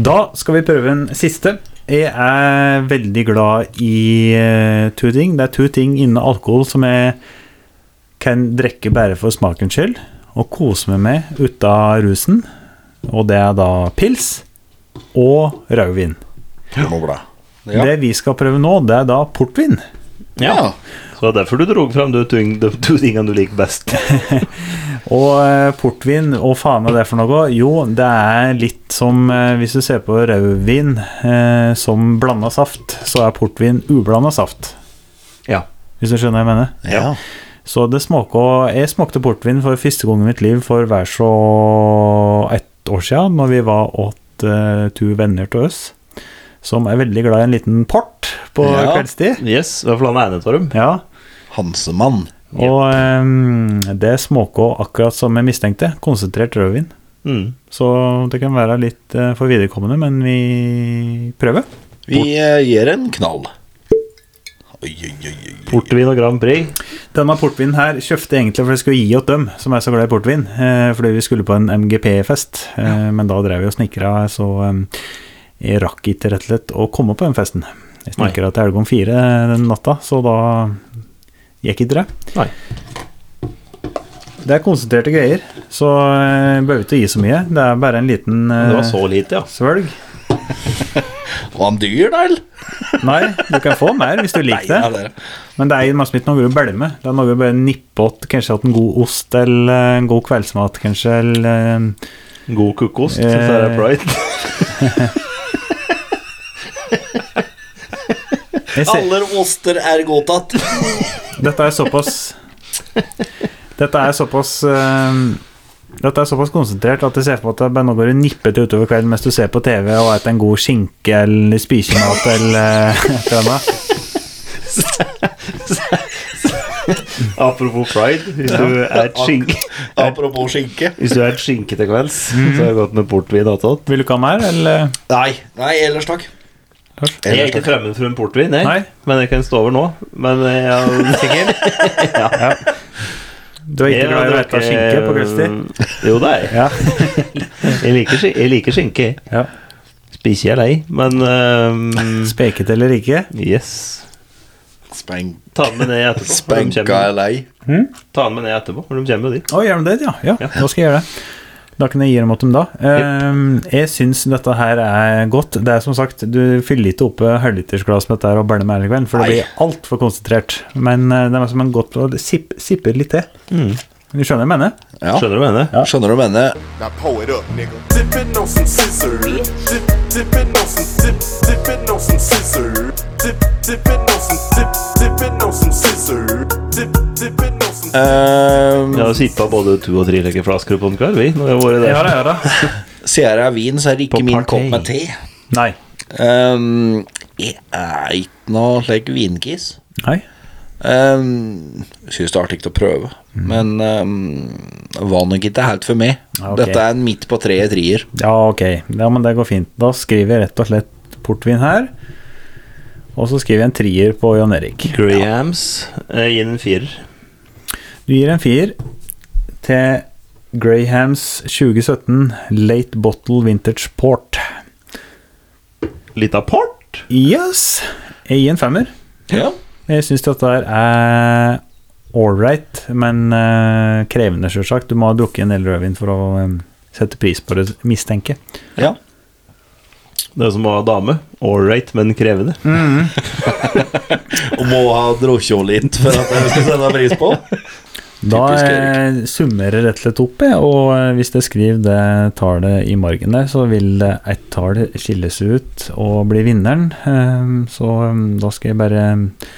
Speaker 1: Da skal vi prøve en siste. Jeg er veldig glad i eh, to ting. Det er to ting innen alkohol som jeg kan drikke bare for smakens skyld, og kose meg med ut av rusen. Og det er da pils og rødvin.
Speaker 3: Mobla. Ja.
Speaker 1: Det vi skal prøve nå, det er da portvin.
Speaker 3: Ja.
Speaker 2: Så det er derfor du dro fram de ting- de to tingene du liker best.
Speaker 1: Og eh, portvin, og faen er det for noe? Jo, det er litt som eh, hvis du ser på rødvin eh, som blanda saft, så er portvin ublanda saft.
Speaker 2: Ja.
Speaker 1: Hvis du skjønner hva jeg mener?
Speaker 3: Ja.
Speaker 1: Så det smaker, jeg smakte portvin for første gang i mitt liv for hver så ett år siden, når vi var åt eh, to venner til oss, som er veldig glad i en liten port på
Speaker 2: Ja.
Speaker 1: kveldstid.
Speaker 2: Yes, i hvert fall han ene av dem.
Speaker 1: Ja.
Speaker 3: Hansemann.
Speaker 1: Og eh, det smaker akkurat som jeg mistenkte, konsentrert rødvin.
Speaker 2: Mm.
Speaker 1: Så det kan være litt eh, for viderekommende, men vi prøver.
Speaker 3: Vi eh, gir en knall.
Speaker 2: Portvin og Grand Prix.
Speaker 1: Denne portvinen her kjøpte jeg egentlig for jeg skulle gi åt dem som er så glad i portvin. Eh, fordi vi skulle på en MGP-fest, eh, men da drev vi og snikra, så eh, jeg rakk ikke rett og slett å komme på den festen. Jeg snikra til helga om fire den natta, så da gikk ikke det.
Speaker 2: Nei.
Speaker 1: Det er konsentrerte greier, så eh, behøver ikke å gi så mye. Det er bare en liten eh,
Speaker 2: Det var så lite, ja.
Speaker 1: svelg.
Speaker 3: Var han dyr, da, eller?
Speaker 1: Nei, du kan få mer hvis du liker
Speaker 3: Nei, ja,
Speaker 1: det.
Speaker 3: det er det.
Speaker 1: Men det er jo mest litt noe du bælmer med. Det er noe du bare nipper åt. Kanskje hatt en god ost eller eh, en god kveldsmat, kanskje. Eller eh,
Speaker 2: God kukkost, så er det pride.
Speaker 1: Jeg ser-
Speaker 3: Alle oster er godtatt.
Speaker 1: Dette er såpass Dette er såpass eh, Dette er såpass konsentrert at jeg ser for meg at det bare nå går det nippete utover kvelden mens du ser på TV og spiser en god skinke eller spisemat eller eh, et eller annet.
Speaker 2: Apropos pride, hvis du er et skinke
Speaker 3: Apropos skinke.
Speaker 2: Hvis du er et skinke til kvelds, så
Speaker 1: Mhm.
Speaker 2: er det godt med portvin. attåt.
Speaker 1: Vil du ikke ha mer, eller?
Speaker 3: Nei, nei, ellers takk.
Speaker 2: Jeg er
Speaker 3: Ellers
Speaker 2: ikke
Speaker 3: takk.
Speaker 2: fremmed for en portvin, jeg.
Speaker 1: Nei.
Speaker 2: men jeg kan stå over nå. Men jeg er sikker.
Speaker 1: Du er ikke glad i å spise skinke på kveldstid?
Speaker 2: Jo, det er jeg.
Speaker 1: Ja.
Speaker 2: Jeg liker, skin- jeg liker skinke. jeg.
Speaker 1: ja.
Speaker 2: Spiser jeg lei, men ehm,
Speaker 1: Speket eller ikke?
Speaker 2: Yes.
Speaker 3: Spank,
Speaker 2: Ta den med ned etterpå. for de
Speaker 3: spanka
Speaker 2: kommer-
Speaker 3: er lei.
Speaker 2: Ta den med ned etterpå, for de kommer jo dit.
Speaker 1: Å, gjør de det? Ja. ja, da skal jeg gjøre det. Da kan jeg gi dem åt dem, da. Ehm, jeg syns dette her er godt. Det er som sagt, du fyller ikke opp et halvlitersglass med dette her og bæler med hele kvelden, for det
Speaker 3: Nei.
Speaker 1: blir altfor konsentrert. Men eh, det er som en godt å sipp, sipper litt til. Du skjønner hva jeg mener?
Speaker 3: Ja.
Speaker 2: Skjønner du hva jeg mener?
Speaker 3: Skjønner du hva jeg mener?
Speaker 8: Now pull it up, nigga. Dipping on some scissors. Dip, dipping on some dip, dipping on some scissors. Dip, dipping on some dip, dipping on some scissors. Dip, dipping on some.
Speaker 3: Ehm,
Speaker 2: Vi har sippa både to og tre lekker flasker på en kveld, vi. Når vi har vært der.
Speaker 1: Ja da, ja da.
Speaker 3: Sier jeg vin, så er det
Speaker 2: På
Speaker 3: ikke min kopp
Speaker 2: partei.
Speaker 3: med te.
Speaker 1: Nei.
Speaker 3: Ehm, jeg er ikke noe slik vinkiss.
Speaker 1: Nei.
Speaker 3: Um, Syns det er artig å prøve,
Speaker 1: Mhm.
Speaker 3: men ehm, det var nok ikke helt for meg.
Speaker 1: Ja, Ah, ok.
Speaker 3: Dette er en midt på treet trier.
Speaker 1: Ja, ok. Ja, men det går fint. Da skriver jeg rett og slett portvin her. Og så skriver jeg en trier på Jan Erik.
Speaker 2: Grahams eh, gir den en firer.
Speaker 1: Du gir en firer til Grahams 2017 Late Bottle Vintage Port.
Speaker 2: Lita port.
Speaker 1: Yes! Jeg gir en femmer.
Speaker 3: Ja.
Speaker 1: Jeg syns dette her er ålreit, men eh, krevende, sjølsagt. Du må ha drukket en del rødvin for å eh, sette pris på det, mistenker jeg.
Speaker 3: ja.
Speaker 2: Det er som å ha dame. Ålreit, men krevende.
Speaker 3: Og må ha drukket litt for at jeg skal sette pris på.
Speaker 1: Da
Speaker 3: Typisk
Speaker 1: eh, summerer jeg rett og slett opp, jeg, og eh, hvis jeg skriver det tallet i margen der, så vil eh, ett tall skilles ut og bli vinneren. Eh, Så eh, da skal jeg bare eh,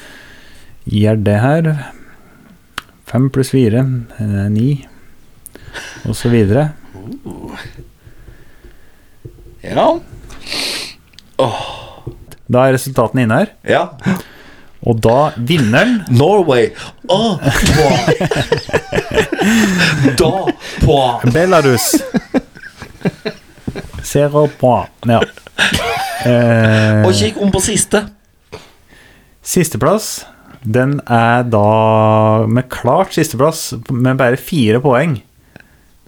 Speaker 1: gjøre det her. Fem pluss fire, eh, ni, og så videre.
Speaker 3: Ja.
Speaker 1: Da er resultatene inne her,
Speaker 3: ja.
Speaker 1: og da vinneren
Speaker 3: Norway. Åh, wow. da wow.
Speaker 1: Belarus. Zero point. Ja. Eh,
Speaker 3: Og kikk om på siste.
Speaker 1: Sisteplass Den er da med klart sisteplass Med bare fire poeng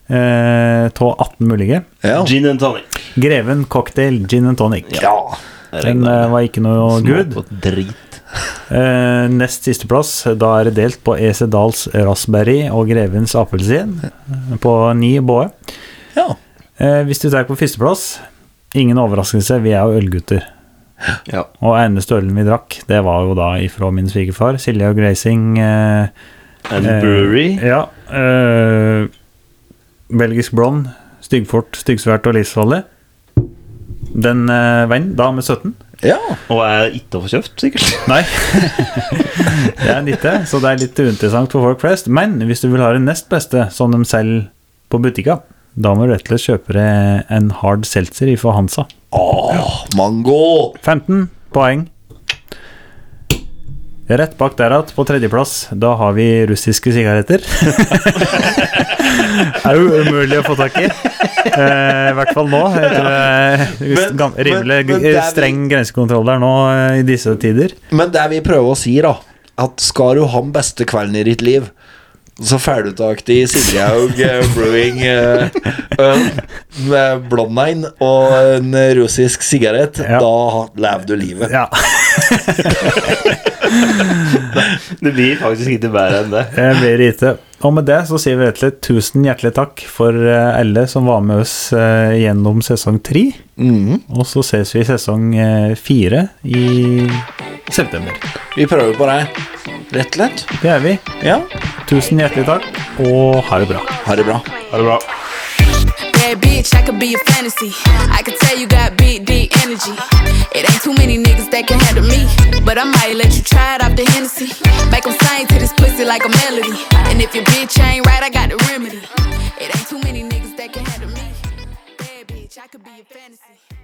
Speaker 1: eh, Tå 18 mulige
Speaker 3: Ja.
Speaker 2: Gin and tonic.
Speaker 1: Greven cocktail gin and tonic
Speaker 3: ja.
Speaker 1: Den eh, var ikke noe good
Speaker 2: Smak på drit.
Speaker 1: eh, Nest sisteplass Da er det delt på EC Dals raspberry Og Grevens appelsin eh, På ni båe
Speaker 3: ja.
Speaker 1: eh, Hvis du tar på førsteplass Ingen overraskelse, vi er jo ølgutter
Speaker 2: Ja.
Speaker 1: Og eneste ølen vi drakk Det var jo da ifra min svigerfar Silje og Greising eh,
Speaker 2: And
Speaker 1: Eh,
Speaker 2: brewery.
Speaker 1: Ja. eh, belgisk blond, styggfort, styggsvært og livsfarlig. Den uh, vant eh, da med 17.
Speaker 2: Og er ikke å få kjøpt, sikkert.
Speaker 1: Nei. Det er litt det, så det er litt uinteressant for folk flest. Men hvis du vil ha det nest beste, som de selger på butikka, da må du rett og slett kjøpe deg en hard seltzer ifra Hansa.
Speaker 3: Åh, mango!
Speaker 1: 15 poeng. Rett bak der igjen, på tredjeplass, da har vi russiske sigaretter. er jo umulig å få tak i. Eh, I hvert fall nå. Etter eh,
Speaker 3: Men-
Speaker 1: gam- rimelig
Speaker 3: men- men det er vel-
Speaker 1: streng grensekontroll der nå eh, i disse tider.
Speaker 3: Men det vi prøver å si, da At skal du ha den beste kvelden i ditt liv, så får du tak i Sigrid eh, Brewing eh, øl med blondine og en russisk sigarett. Da lever du livet.
Speaker 1: Ja.
Speaker 2: Det blir faktisk ikke bedre enn det.
Speaker 1: Det blir lite. Og med det så sier vi rett og slett tusen hjertelig takk for eh, alle som var med oss eh, gjennom sesong tre. Og så ses vi i sesong eh, fire i september.
Speaker 3: Vi prøver på det. Rett og slett.
Speaker 1: Det er vi. Tusen hjertelig takk, og ha det bra.
Speaker 3: Ha det bra.
Speaker 2: Ha det bra.
Speaker 12: Bad bitch, I could be a fantasy. I could tell you got big D energy. It ain't too many niggas that can handle me. But I might let you try it off the Hennessy. Make 'em sing to this pussy like a melody. And if your bitch ain't right, I got the remedy. It ain't too many niggas that can handle me. Bad bitch, I could be a fantasy.